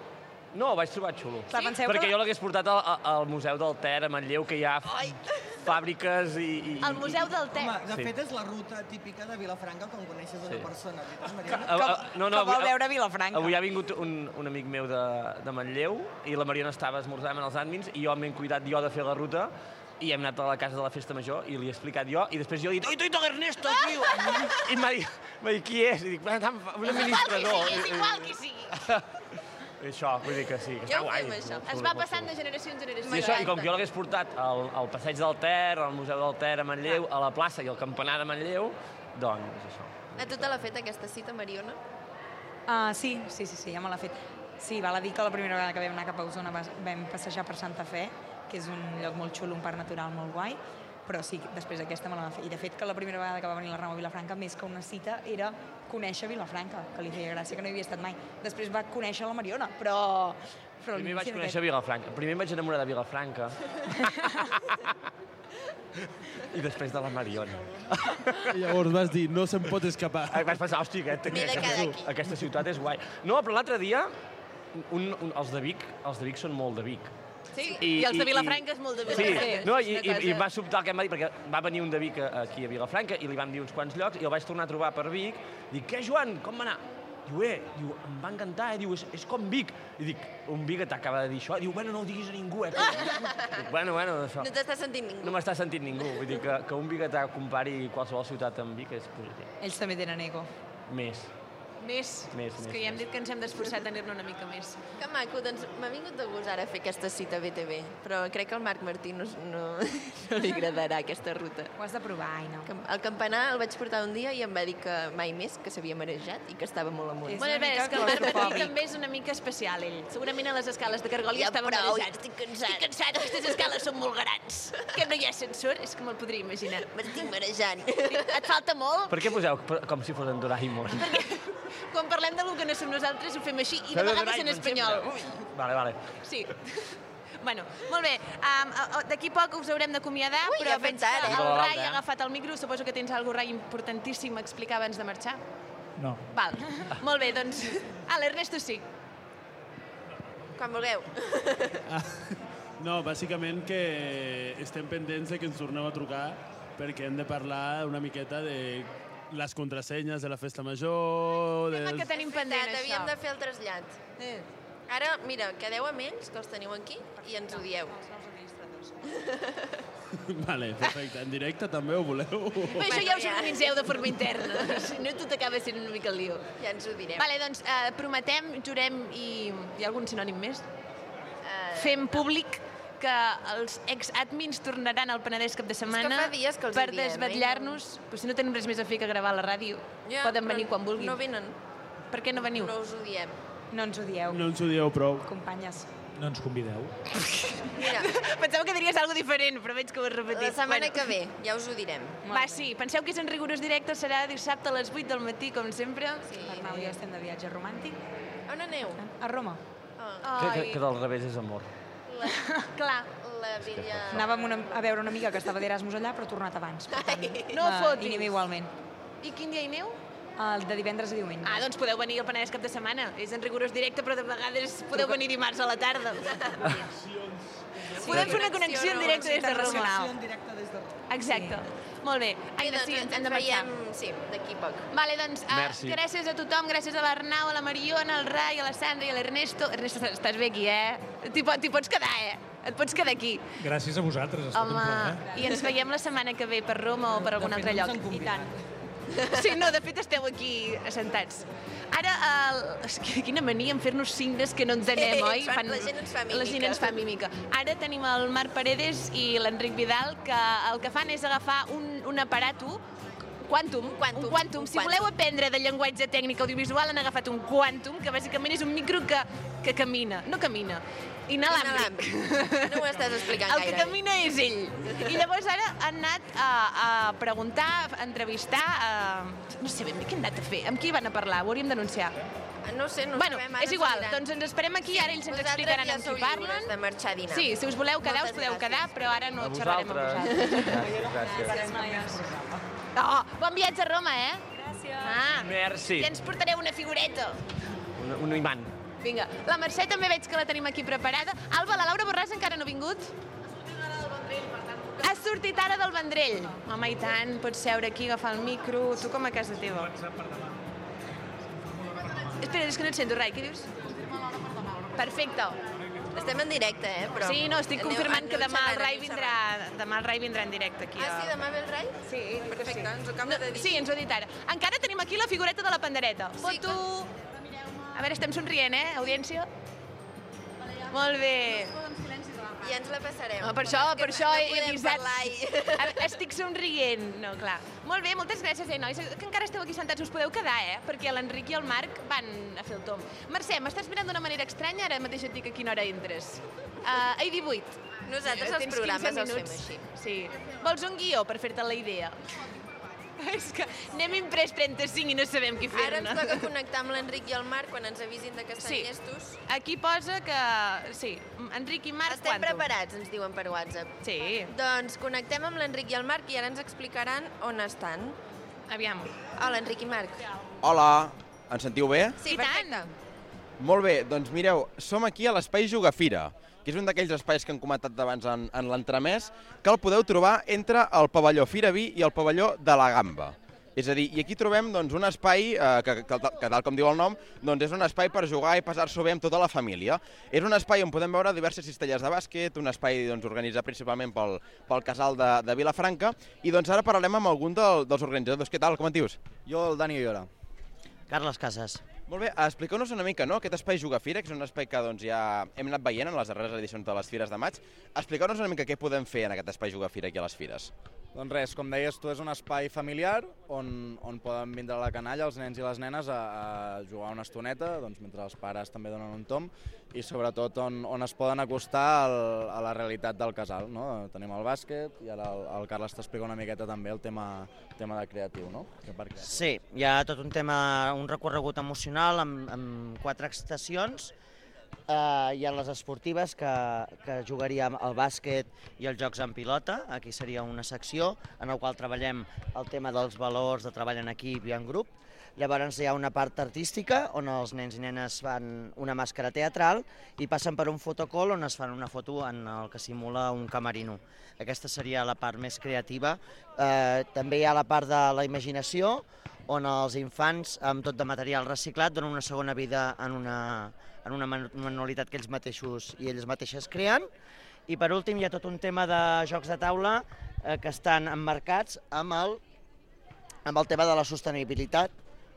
N: No, ho vaig trobar xulo.
C: Clar, penseu
N: Perquè
C: que-
N: jo l'hagués portat al, a- al Museu del Ter, a Manlleu, que hi ha f- fàbriques i... i
C: Al Museu del Ter.
Q: Home, de
N: Sí.
Q: fet, és la ruta típica de Vilafranca quan coneixes una
N: Sí.
Q: persona, veritat,
N: Que,
Q: Mariona?
N: a, a, no, no,
P: que vol
N: avui-
P: veure Vilafranca.
N: Avui ha vingut un, un amic meu de, de Manlleu i la Mariona estava esmorzant amb els àdmins i jo m'he cuidat jo de fer la ruta i hem anat a la casa de la festa major i li he explicat jo i després jo he dit, oi, oi, oi, Ernesto, tio! I m'ha dit, m'ha dit, qui és? I dic, "Bueno, tant fa- un
C: És igual qui
N: administrador.
C: sigui, és igual qui sigui.
N: I això, vull dir que sí, que està eh, guai.
C: Es va passant de generació en generació.
N: Sí, això, i com que jo l'hagués portat al, al Passeig del Ter, al Museu del Ter a Manlleu, a la plaça i al campanar de Manlleu, doncs això.
B: A
P: tota
B: tu te l'ha fet aquesta cita, Mariona?
P: Ah, sí, sí, sí, sí, ja me l'ha fet. Sí, val a dir que la primera vegada que vam anar cap a Osona vas- vam passejar per Santa Fe, que és un lloc molt xulo, un parc natural molt guai, però sí, després aquesta me la va fer. I de fet que la primera vegada que va venir la Rama a Vilafranca, més que una cita, era conèixer Vilafranca, que li feia gràcia que no hi havia estat mai. Després va conèixer la Mariona, però... però
N: Primer vaig
P: l'inici d'aquest-
N: conèixer Vilafranca. Primer em vaig enamorar de Vilafranca. I després de la Mariona.
O: I llavors vas dir, no se'n pot escapar.
N: Vaig pensar, hòstia, aquest,
O: M'he de
N: aquest,
O: quedar
N: aquest, aquesta ciutat és guai. No, però l'altre dia, un, un, els de Vic, els de Vic són molt de Vic.
C: Sí, i, i els de Vilafranca és molt de
N: Sí,
C: Vilafranca.
N: no, i, i, i va sobtar el que em va dir, perquè va venir un de Vic a- aquí a Vilafranca i li vam dir uns quants llocs i el vaig tornar a trobar per Vic. Dic, què, Joan, com va anar? Diu, eh, diu, em va encantar, eh? diu, és, és com Vic. I dic, un Vic t'acaba de dir això? Diu, bueno, no ho diguis a ningú, eh? Dic, bueno, bueno, això.
B: No t'està sentint ningú.
N: No m'està sentint ningú, vull dir que, que un biguetà compari qualsevol ciutat amb Vic és positiu.
P: Ells també tenen ego.
N: Més.
C: Més.
N: Més,
C: És
N: més,
C: que ja hem dit que ens hem d'esforçar a tenir-ne una mica més.
B: Que maco, doncs m'ha vingut de gust ara fer aquesta cita a BTV, però crec que al Marc Martí no, no, no li agradarà aquesta ruta.
P: Ho has de provar, Aina.
B: El campanar el vaig portar un dia i em va dir que mai més, que s'havia marejat i que estava molt amunt.
C: Bueno, a veure, és que el Marc Martí també és una mica especial, ell. Segurament a les escales de Cargol ja,
B: Ja
C: estava
B: prou,
C: marejat. Estic cansat. Estic cansat, aquestes escales són molt grans. Que no hi ha sensor, és que me'l podria imaginar.
B: M'estic marejant.
C: Et falta molt?
N: Per què poseu per- com si fos en Doraemon?
C: Quan parlem d'algú que no som nosaltres ho fem així i
N: Feu
C: de
N: de
C: vegades en
N: Doraemon,
C: espanyol.
N: sempre. Vale, vale.
C: Sí. Bueno, molt bé. Um, a- a- D'aquí poc us haurem d'acomiadar,
B: Ui,
C: però
B: ja
C: veig
B: pensat,
C: que
B: eh?
C: el
N: Molt
C: Rai
N: alt,
C: ha
N: eh?
C: agafat el micro. Suposo que tens alguna cosa Rai importantíssim a explicar abans de marxar.
H: No.
C: Val. Molt bé, doncs... Ah, l'Ernesto sí.
B: Quan vulgueu.
O: No, bàsicament que estem pendents de que ens torneu a trucar perquè hem de parlar una miqueta de les contrasenyes de la festa major... Dels...
B: És
C: tenim
B: veritat,
C: pendent, això.
B: Havíem de fer el trasllat. Eh. Ara, mira, quedeu amb ells, que els teniu aquí, i ens ho dieu.
O: Vale, perfecte. En directe també ho voleu?
C: Bé, això ja us organitzeu de forma interna. Si no, tot acaba sent una mica el lío.
B: Ja ens ho direm.
C: Vale, doncs eh, prometem, jurem i... Hi ha algun sinònim més?
B: Eh,
C: Fem públic que els ex-admins tornaran al Penedès cap de setmana
B: fa dies que els
C: per
B: hi diem, eh, i no-
C: desvetllar-nos. Però si no tenim res més a fer que gravar a la ràdio,
B: Ja,
C: poden
B: però
C: venir quan vulguin.
B: no venen.
C: Per què no veniu?
B: No us ho diem.
P: No ens ho dieu.
O: No ens ho dieu prou.
P: Companyes.
H: No ens convideu.
B: Mira,
C: Pensava que diries alguna diferent, però veig que ho has repetit.
B: la setmana que ve, ja us ho direm.
C: Va, sí, penseu que és en rigorós directe, serà dissabte a les 8 del matí, com sempre. Sí.
P: L'Arnau i jo estem de viatge romàntic.
B: On aneu?
P: A Roma.
B: Ah.
N: Que, que, que del revés és amor.
C: Ah, Clar.
B: La vella...
C: Ah.
P: Anàvem una, a veure una amiga que estava d'Erasmus allà, però ha tornat abans. Per tant,
C: No
P: va,
C: fotis.
P: I anem igualment.
C: I quin dia hi aneu?
P: El de divendres a diumenge.
C: Ah, doncs podeu venir al Penedès cap de setmana. És en rigorós directe, però de vegades podeu venir dimarts a la tarda. Podem fer una connexió en directe des de Roma.
Q: en directe des de Roma.
C: Exacte. Molt bé. Aina,
B: doncs
C: sí,
B: ens
C: hem de marxar.
B: veiem, sí, d'aquí a poc.
C: Vale, doncs ah,
B: Merci.
C: gràcies a tothom, gràcies a l'Arnau, a la Mariona, al Rai, a la Sandra i a l'Ernesto. Ernesto, estàs bé aquí, eh? T'hi po- t'hi pots quedar, eh? Et pots quedar aquí.
H: Gràcies a vosaltres, ha estat
C: Home,
H: un plaer.
C: i ens veiem la setmana que ve per Roma o per algun altre lloc. I tant. Sí, no, de fet esteu aquí assentats. Ara, el... és que quina mania en fer-nos signes que no ens anem, oi?
B: Fan- la gent ens fa
C: La gent
B: mímica.
C: ens fa mímica. Ara tenim el Marc Paredes i l'Enric Vidal, que el que fan és agafar un, un aparato Quantum, quantum, un quantum. Si voleu aprendre de llenguatge tècnic audiovisual, han agafat un quantum, que bàsicament és un micro que, que camina, no camina, inalàmbric.
B: No ho estàs explicant
C: El que
B: gaire.
C: camina és ell. I llavors ara han anat a, a preguntar, a entrevistar, a... no sé ben bé què han anat a fer, amb qui van a parlar, ho hauríem d'anunciar.
B: No sé, no
C: bueno,
B: sabem, ara
C: és igual,
B: ens ho diran.
C: doncs ens esperem aquí, ara ells ens
B: Vosaltres
C: explicaran
B: ja
C: amb qui
B: sou
C: parlen.
B: lliures de marxar a dinar.
C: Sí, si us voleu quedar, us
B: Moltes
C: podeu quedar, però ara no
N: A
C: xerrarem amb
N: vosaltres.
C: vosaltres.
N: Gràcies.
C: Oh, bon viatge a Roma, eh? Gràcies. Ah,
N: Merci.
C: ja ens portareu una figureta.
N: Un, un imant.
C: Vinga, la Mercè també veig que la tenim aquí preparada. Alba, la Laura Borràs encara no ha vingut? Ha sortit ara del Vendrell. Home, i tant, pots seure aquí, agafar el micro, tu com a casa teva. Espera, és que no et sento res, què dius? Perfecte.
B: Estem en directe, eh? Però
C: Sí, no, estic
B: aneu-
C: confirmant que
B: aneu
C: demà el
B: xerrant,
C: Rai
B: aneu
C: vindrà, demà el Rai vindrà en directe aquí.
B: xerrant.
C: a-
B: Ah, sí, demà ve el Rai?
C: Sí,
B: perfecte, ens ho
C: No,
B: acabes de dir.
C: sí, ens ho ha dit ara. Encara tenim aquí la figureta de la pandereta. Foto... A veure, estem somrient, eh, audiència? Molt bé.
B: I ens la passarem.
C: No, per això,
B: Que
C: per això
B: no
C: he
B: podem
C: avisat.
B: parlar i-
C: A- Estic somrient. No, clar. Molt bé, moltes gràcies, eh, nois. Que encara esteu aquí sentats, us podeu quedar, eh? Perquè l'Enric i el Marc van a fer el tom. Mercè, m'estàs mirant d'una manera estranya, ara mateix et dic a quina hora entres. Uh, ai, 18. Eh,
B: Nosaltres els
C: Tens 15
B: programes els fem
C: minuts.
B: així.
C: Sí. Vols un guió per fer-te la idea? És que n'hem imprès 35 i no sabem qui fer-ne.
B: Ara ens toca connectar amb l'Enric i el Marc quan ens avisin de que estan
C: Sí.
B: llestos.
C: Aquí posa que... Sí, Enric i Marc,
B: Estem
C: quanto?
B: preparats, ens diuen per WhatsApp.
C: Sí.
B: Doncs connectem amb l'Enric i el Marc i ara ens explicaran on estan.
C: Aviam.
B: Hola, Enric i Marc.
D: Hola, ens sentiu bé?
B: Sí, perfecte.
D: Molt bé, doncs mireu, som aquí a l'Espai Jugafira, que és un d'aquells espais que han comentat abans en, en l'entremès, que el podeu trobar entre el pavelló Firaví i el pavelló de la Gamba. És a dir, i aquí trobem doncs, un espai, eh, que, que, que tal com diu el nom, doncs és un espai per jugar i passar-s'ho bé amb tota la família. És un espai on podem veure diverses cistelles de bàsquet, un espai doncs, organitzat principalment pel, pel casal de, de Vilafranca, i doncs ara parlarem amb algun del, dels organitzadors. Què tal, com et dius? Jo, el Dani Llora.
R: Carles Casas.
D: Molt bé, explica'ns una mica, no?, aquest espai Jugafira, que és un espai que doncs, ja hem anat veient en les darreres edicions de les Fires de Maig. Explica'ns una mica què podem fer en aquest espai Jugafira aquí a les Fires.
R: Doncs res, com deies tu, és un espai familiar on, on poden vindre la canalla, els nens i les nenes, a, a jugar una estoneta, doncs, mentre els pares també donen un tom, i sobretot on, on es poden acostar al, a la realitat del casal. No? Tenim el bàsquet i ara el, el Carles t'explica una miqueta també el tema, tema de creatiu, no? Que per creatiu.
S: Sí, hi ha tot un tema, un recorregut emocional amb, amb quatre estacions. Uh, hi ha les esportives, que, que jugaríem al bàsquet i els jocs en pilota. Aquí seria una secció en la qual treballem el tema dels valors de treball en equip i en grup. Llavors hi ha una part artística on els nens i nenes fan una màscara teatral i passen per un fotocall on es fan una foto en el que simula un camerino. Aquesta seria la part més creativa. Eh, també hi ha la part de la imaginació on els infants amb tot de material reciclat donen una segona vida en una, en una man- manualitat que ells mateixos i elles mateixes creen. I per últim hi ha tot un tema de jocs de taula eh, que estan emmarcats amb el amb el tema de la sostenibilitat,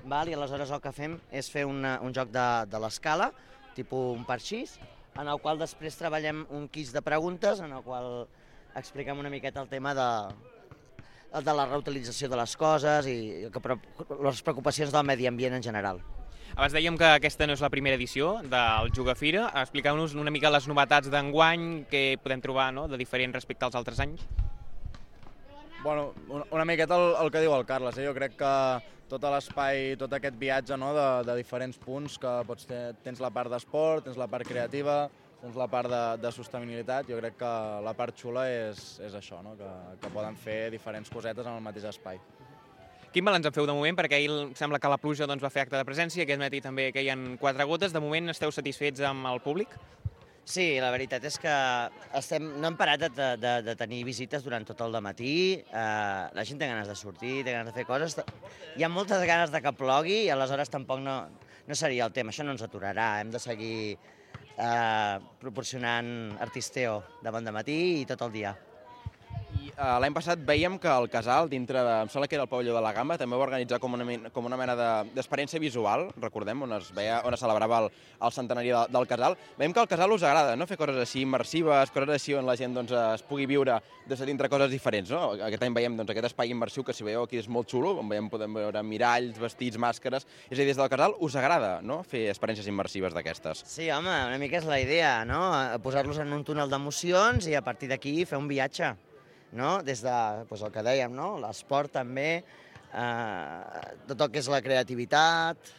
S: val? i aleshores el que fem és fer una, un joc de, de l'escala, tipus un parxís, en el qual després treballem un quiz de preguntes, en el qual expliquem una miqueta el tema de, el de la reutilització de les coses i que preo- les preocupacions del medi ambient en general.
E: Abans dèiem que aquesta no és la primera edició del Jugafira. Expliqueu-nos una mica les novetats d'enguany, que podem trobar no?, de diferent respecte als altres anys.
R: Bueno, una, una miqueta el, el que diu el Carles, eh? jo crec que tot l'espai, tot aquest viatge no? de, de diferents punts, que pots te, tens la part d'esport, tens la part creativa, tens la part de, de sostenibilitat, jo crec que la part xula és, és això, no? que, que poden fer diferents cosetes en el mateix espai.
E: Quin balanç en feu de moment? Perquè ahir em sembla que la pluja doncs, va fer acte de presència, aquest matí també queien quatre gotes. De moment esteu satisfets amb el públic?
S: Sí, la veritat és que estem, no hem parat de, de, de, de tenir visites durant tot el matí. Eh, la gent té ganes de sortir, té ganes de fer coses. Hi ha moltes ganes de que plogui i aleshores tampoc no, no seria el tema. Això no ens aturarà. Hem de seguir eh, proporcionant artisteo de bon matí i tot el dia.
D: I eh, l'any passat veiem que el casal, dintre de... em sembla que era el pavelló de la Gamba, també va organitzar com una, men- com una mena de- d'experiència de, visual, recordem, on es, veia, on es celebrava el, el centenari de, del casal. Veiem que al casal us agrada, no?, fer coses així immersives, coses així on la gent doncs, eh, es pugui viure des de dintre coses diferents, no? Aquest any veiem doncs, aquest espai immersiu que, si veieu aquí, és molt xulo, on veiem, podem veure miralls, vestits, màscares... És a dir, des del casal us agrada, no?, fer experiències immersives d'aquestes.
S: Sí, home, una mica és la idea, no? A- Posar-los en un túnel d'emocions i a partir d'aquí fer un viatge, no? Des de, doncs el que dèiem, no? L'esport també, eh, tot el que és la creativitat,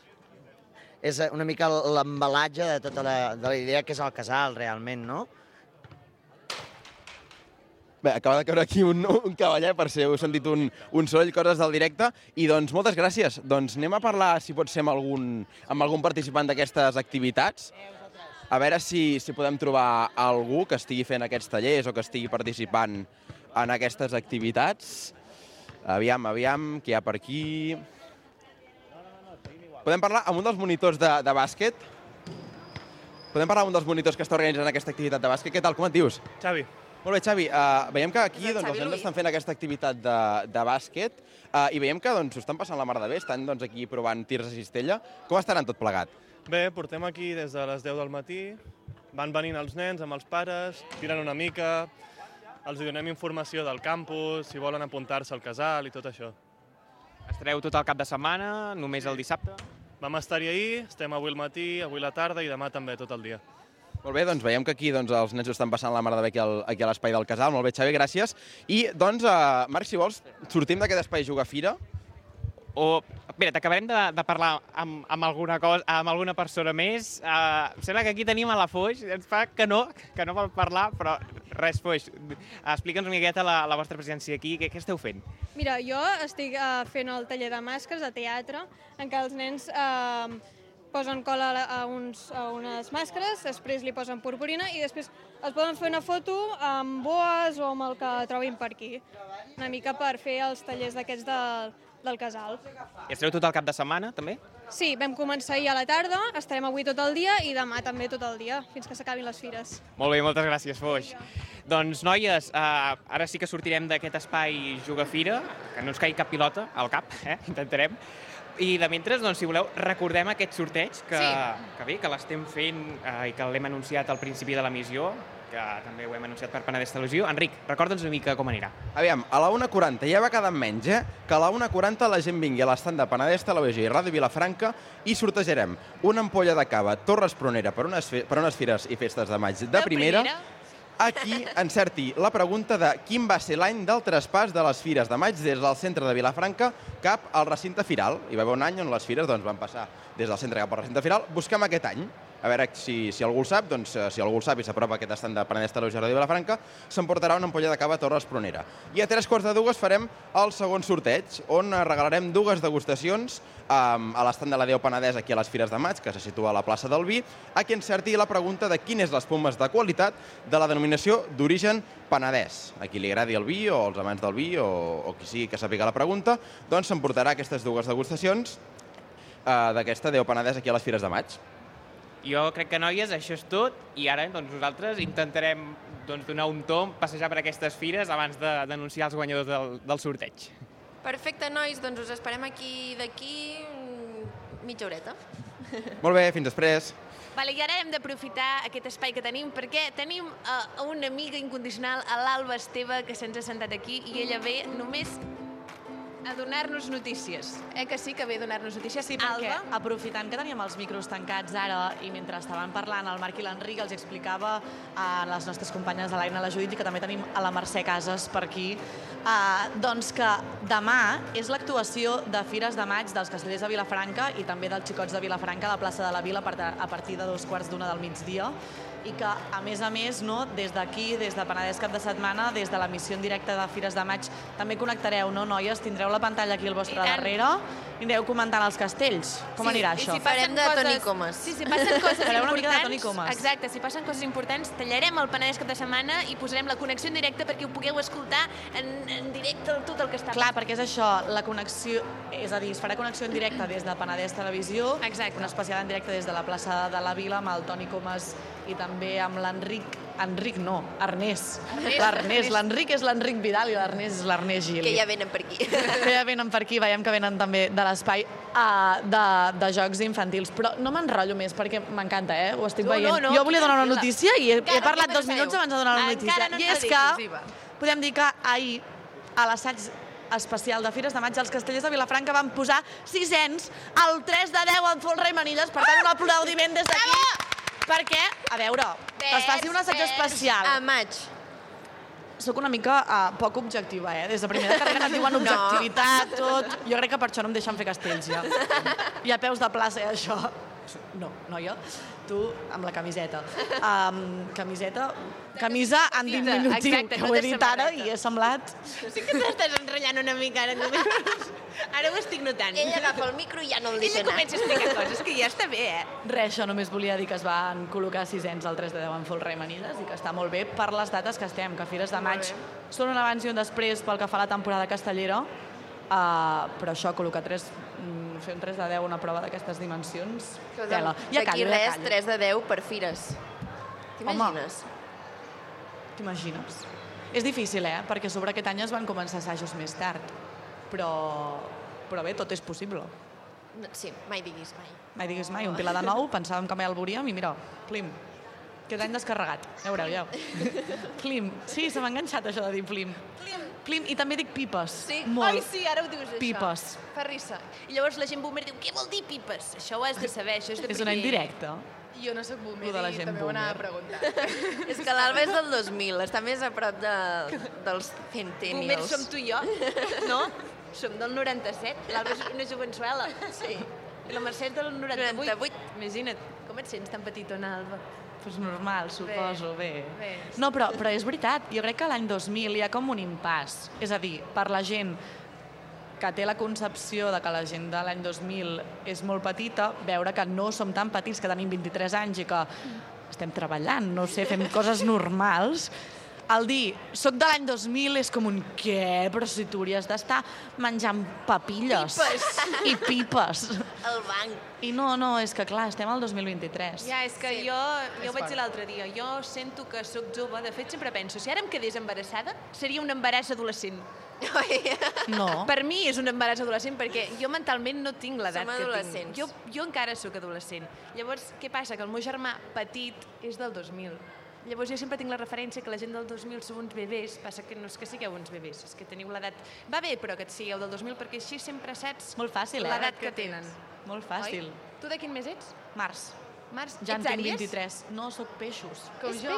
S: és eh, una mica l'embalatge de tota la, de la idea que és el casal, realment, no?
D: Bé, acaba de caure aquí un, un cavaller per ser, heu sentit un, un soroll, coses del directe, i doncs moltes gràcies. Doncs anem a parlar, si pot ser, amb algun, amb algun participant d'aquestes activitats, a veure si, si podem trobar algú que estigui fent aquests tallers o que estigui participant en aquestes activitats. Aviam, aviam, que hi ha per aquí... Podem parlar amb un dels monitors de, de bàsquet? Podem parlar amb un dels monitors que està organitzant aquesta activitat de bàsquet? Què tal, com et dius?
T: Xavi.
D: Molt bé, Xavi, uh, veiem que aquí
T: És el
D: doncs, els
T: Xavi
D: nens
T: Ruiz.
D: estan fent aquesta activitat de, de bàsquet uh, i veiem que doncs, s'ho estan passant la mar de bé, estan doncs, aquí provant tirs a cistella. Com estaran tot plegat?
T: Bé, portem aquí des de les 10 del matí, van venint els nens amb els pares, tiren una mica, els donem informació del campus, si volen apuntar-se al casal i tot això.
E: Estareu tot el cap de setmana, només el dissabte?
T: Vam estar-hi ahir, estem avui al matí, avui a la tarda i demà també tot el dia.
D: Molt bé, doncs veiem que aquí doncs, els nens ho estan passant la mar de bé aquí, al, aquí a l'espai del casal. Molt bé, Xavi, gràcies. I, doncs, eh, Marc, si vols, sortim d'aquest espai Jugar Fira.
E: O, mira, t'acabarem de, de parlar amb, amb, alguna cosa, amb alguna persona més. Uh, em sembla que aquí tenim a la Foix, ens fa que no, que no vol parlar, però res, Foix, explica'ns una miqueta la, la vostra presència aquí, què, què esteu fent?
U: Mira, jo estic eh, fent el taller de màscares de teatre, en què els nens eh, posen cola a la- a, uns, a unes màscares, després li posen purpurina i després es poden fer una foto amb boes o amb el que trobin per aquí. Una mica per fer els tallers d'aquests del, del casal.
E: I estareu tot el cap de setmana, també?
U: Sí, vam començar ahir a la tarda, estarem avui tot el dia i demà també tot el dia, fins que s'acabin les fires.
E: Molt bé, moltes gràcies, Foix. Doncs, noies, eh, ara sí que sortirem d'aquest espai Jugafira, que no ens caigui cap pilota al cap, eh? intentarem. I de mentre, doncs, si voleu, recordem aquest sorteig que,
V: Sí.
E: que bé, que l'estem fent eh, i que l'hem anunciat al principi de l'emissió, que també ho hem anunciat per Penedès Televisió. Enric, recorda'ns una mica com anirà.
D: Aviam, a la 1.40 ja va quedar menys, eh? Que a la 1.40 la gent vingui a l'estand de Penedès, Televisió i Ràdio Vilafranca i sortejarem una ampolla de cava Torres Pronera per unes, fe- per unes fires i festes de maig de, de primera. Aquí encerti la pregunta de quin va ser l'any del traspàs de les fires de maig des del centre de Vilafranca cap al recinte firal. Hi va haver un any on les fires doncs, van passar des del centre cap al recinte firal. Busquem aquest any. A veure si, si algú el sap, doncs eh, si algú el sap i s'apropa a aquest estand de Penedès Televisió de Vilafranca, s'emportarà una ampolla de cava a Torres Pronera. I a tres quarts de dues farem el segon sorteig, on eh, regalarem dues degustacions um, a l'estand de la Déu Penedès aquí a les Fires de Maig, que se situa a la plaça del Vi, a qui encerti la pregunta de quina és l'espumes de qualitat de la denominació d'origen Penedès. A qui li agradi el vi o els amants del vi o, o qui sigui que sàpiga la pregunta, doncs s'emportarà aquestes dues degustacions eh, d'aquesta Déu Penedès aquí a les Fires de Maig.
E: Jo crec que, noies, això és tot i ara doncs, nosaltres intentarem doncs, donar un tomb, passejar per aquestes fires abans de- d'anunciar els guanyadors del, del sorteig.
B: Perfecte, nois, doncs us esperem aquí d'aquí mm, mitja horeta.
D: Molt bé, fins després.
W: Vale, I ara hem d'aprofitar aquest espai que tenim perquè tenim uh, una amiga incondicional, a l'Alba Esteve, que se'ns ha sentat aquí i ella ve només a donar-nos notícies. Eh que sí que ve a donar-nos notícies?
V: Sí, perquè Alba? aprofitant que teníem els micros tancats ara i mentre estaven parlant el Marc i l'Enric els explicava a les nostres companyes de l'Aina, la Judit i que també tenim a la Mercè Casas per aquí, eh, doncs que demà és l'actuació de Fires de Maig dels Castellers de Vilafranca i també dels Xicots de Vilafranca a la plaça de la Vila a part- a partir de dos quarts d'una del migdia i que, a més a més, no, des d'aquí, des de Penedès cap de setmana, des de l'emissió en directe de Fires de Maig, també connectareu, no, noies? Tindreu la pantalla aquí al vostre darrere i anireu comentant els castells. Com
W: Sí,
V: anirà
W: i
V: això?
W: si passen Farem de coses- Toni Comas. Sí, si passen coses
V: Fareu una mica de
W: importants,
V: Toni Comas.
W: exacte, si passen coses importants, tallarem el Penedès cap de setmana i posarem la connexió en directe perquè ho pugueu escoltar en, en directe tot el que està
V: Clar, perquè és això, la connexió, és a dir, es farà connexió en directe des de Penedès Televisió, Exacte. un especial en directe des de la plaça de la Vila amb el Toni Comas i també amb l'Enric, Enric no, Ernest. Ernest, L'Ernest, Ernest. l'Enric és l'Enric Vidal i l'Ernest és l'Ernest Gili.
B: Que ja venen per aquí.
V: Que ja venen per aquí, veiem que venen també de l'espai uh, de, de jocs infantils. Però no m'enrotllo més perquè m'encanta, eh? Ho estic
W: No,
V: veient.
W: no, no,
V: jo volia donar una
W: tranquil·la.
V: notícia i he,
W: Encara
V: he parlat
W: no
V: dos minuts
W: penseu.
V: abans de donar la
W: Encara
V: notícia.
W: no
V: I
W: ens
V: és
W: la
V: que
W: diguis,
V: podem dir que ahir a l'assaig especial de Fires de Maig, els castellers de Vilafranca van posar sisens al 3 de 10 en folre i manilles, per tant un aplaudiment des d'aquí, perquè, a veure, que es faci un assaig especial.
B: A maig.
V: Soc una mica uh, poc objectiva, eh? Des de primera carrera em diuen
B: No.
V: objectivitat, tot... Jo crec que per això no em deixen fer castells, ja. I a peus de plaça, eh, això. No, noia, tu amb la camiseta. Um, camiseta, camisa en diminutiu,
W: exacte, no
V: que ho he
W: té
V: dit ara
W: samarreta.
V: i he semblat...
W: Sí que t'estàs enrotllant una mica ara només. Ara ho estic notant.
B: Ell agafa el micro i ja no el deixa
W: Ella
B: anar.
W: comença a explicar coses, que ja està bé, eh?
V: Res, això només volia dir que es van col·locar sisens al 3 de 10 en folre i manilles i que està molt bé per les dates que estem, que Fires de Maig són un abans i un després pel que fa a la temporada castellera, uh, però això, col·locar 3, mm, fer un 3 de 10 una prova d'aquestes dimensions, tela. Ja
B: D'aquí
V: callo, ja
B: res,
V: callo.
B: 3 de 10 per fires. T'imagines?
V: T'imagines? És difícil, eh? Perquè a sobre aquest any es van començar assajos més tard, però, però bé, tot és possible.
B: No, sí, mai diguis mai.
V: Mai diguis mai, un pilar de nou, pensàvem que mai el veuríem i mira, plim,
W: eh?
V: aquest any descarregat, ja veureu, ja. Plim, sí, se m'ha enganxat això de dir plim. Plim. Clim, i també dic pipes.
C: Sí?
V: Molt.
C: Ai, sí, ara ho dius, això.
V: Pipes.
C: Fa risa. I llavors la gent boomer diu, què vol dir pipes? Això ho has de saber, això és de
V: És una
C: primer.
V: indirecta.
C: Jo no sóc boomer
V: Lo de la
C: i
V: gent
C: també ho anava a
V: boomer.
C: preguntar.
B: És que l'Alba és del 2000, està més a prop de, dels centennials.
C: Boomer som tu i jo, no? Som del 97, l'Alba és una jovençuela. Sí. I la Mercè és del 98.
V: 98.
C: Imagina't. Com et sents tan petitona, Alba?
V: Pues normal, suposo, bé.
C: bé.
V: No, però, però és veritat, jo crec que l'any 2000 hi ha com un impàs. És a dir, per la gent que té la concepció de que la gent de l'any 2000 és molt petita, veure que no som tan petits, que tenim 23 anys i que estem treballant, no sé, fem coses normals, el dir, soc de l'any 2000 és com un què, però si tu hauries d'estar menjant papilles
C: Pipes.
V: i pipes.
C: El banc.
V: I no, no, és que clar, estem al 2023.
C: Ja, és que sí. jo, jo
V: És
C: ho vaig
V: fort.
C: dir l'altre dia, jo sento que sóc jove, de fet sempre penso, si ara em quedés embarassada, seria un embaràs adolescent.
V: No.
C: Per mi és un embaràs adolescent perquè jo mentalment no tinc l'edat
B: Som
C: que tinc.
B: adolescents.
C: Jo, jo encara sóc adolescent. Llavors, què passa? Que el meu germà petit és del 2000. Llavors jo sempre tinc la referència que la gent del 2000 són uns bebès, passa que no és que sigueu uns bebès, és que teniu l'edat... Va bé, però que et sigueu del 2000, perquè així sempre saps
V: Molt fàcil, eh?
C: l'edat que tenen.
V: Molt fàcil.
C: Oi? Tu de quin mes ets?
V: Març.
C: Març,
V: Ja en tinc
C: ets àries?
V: 23. No, sóc peixos.
C: Com jo.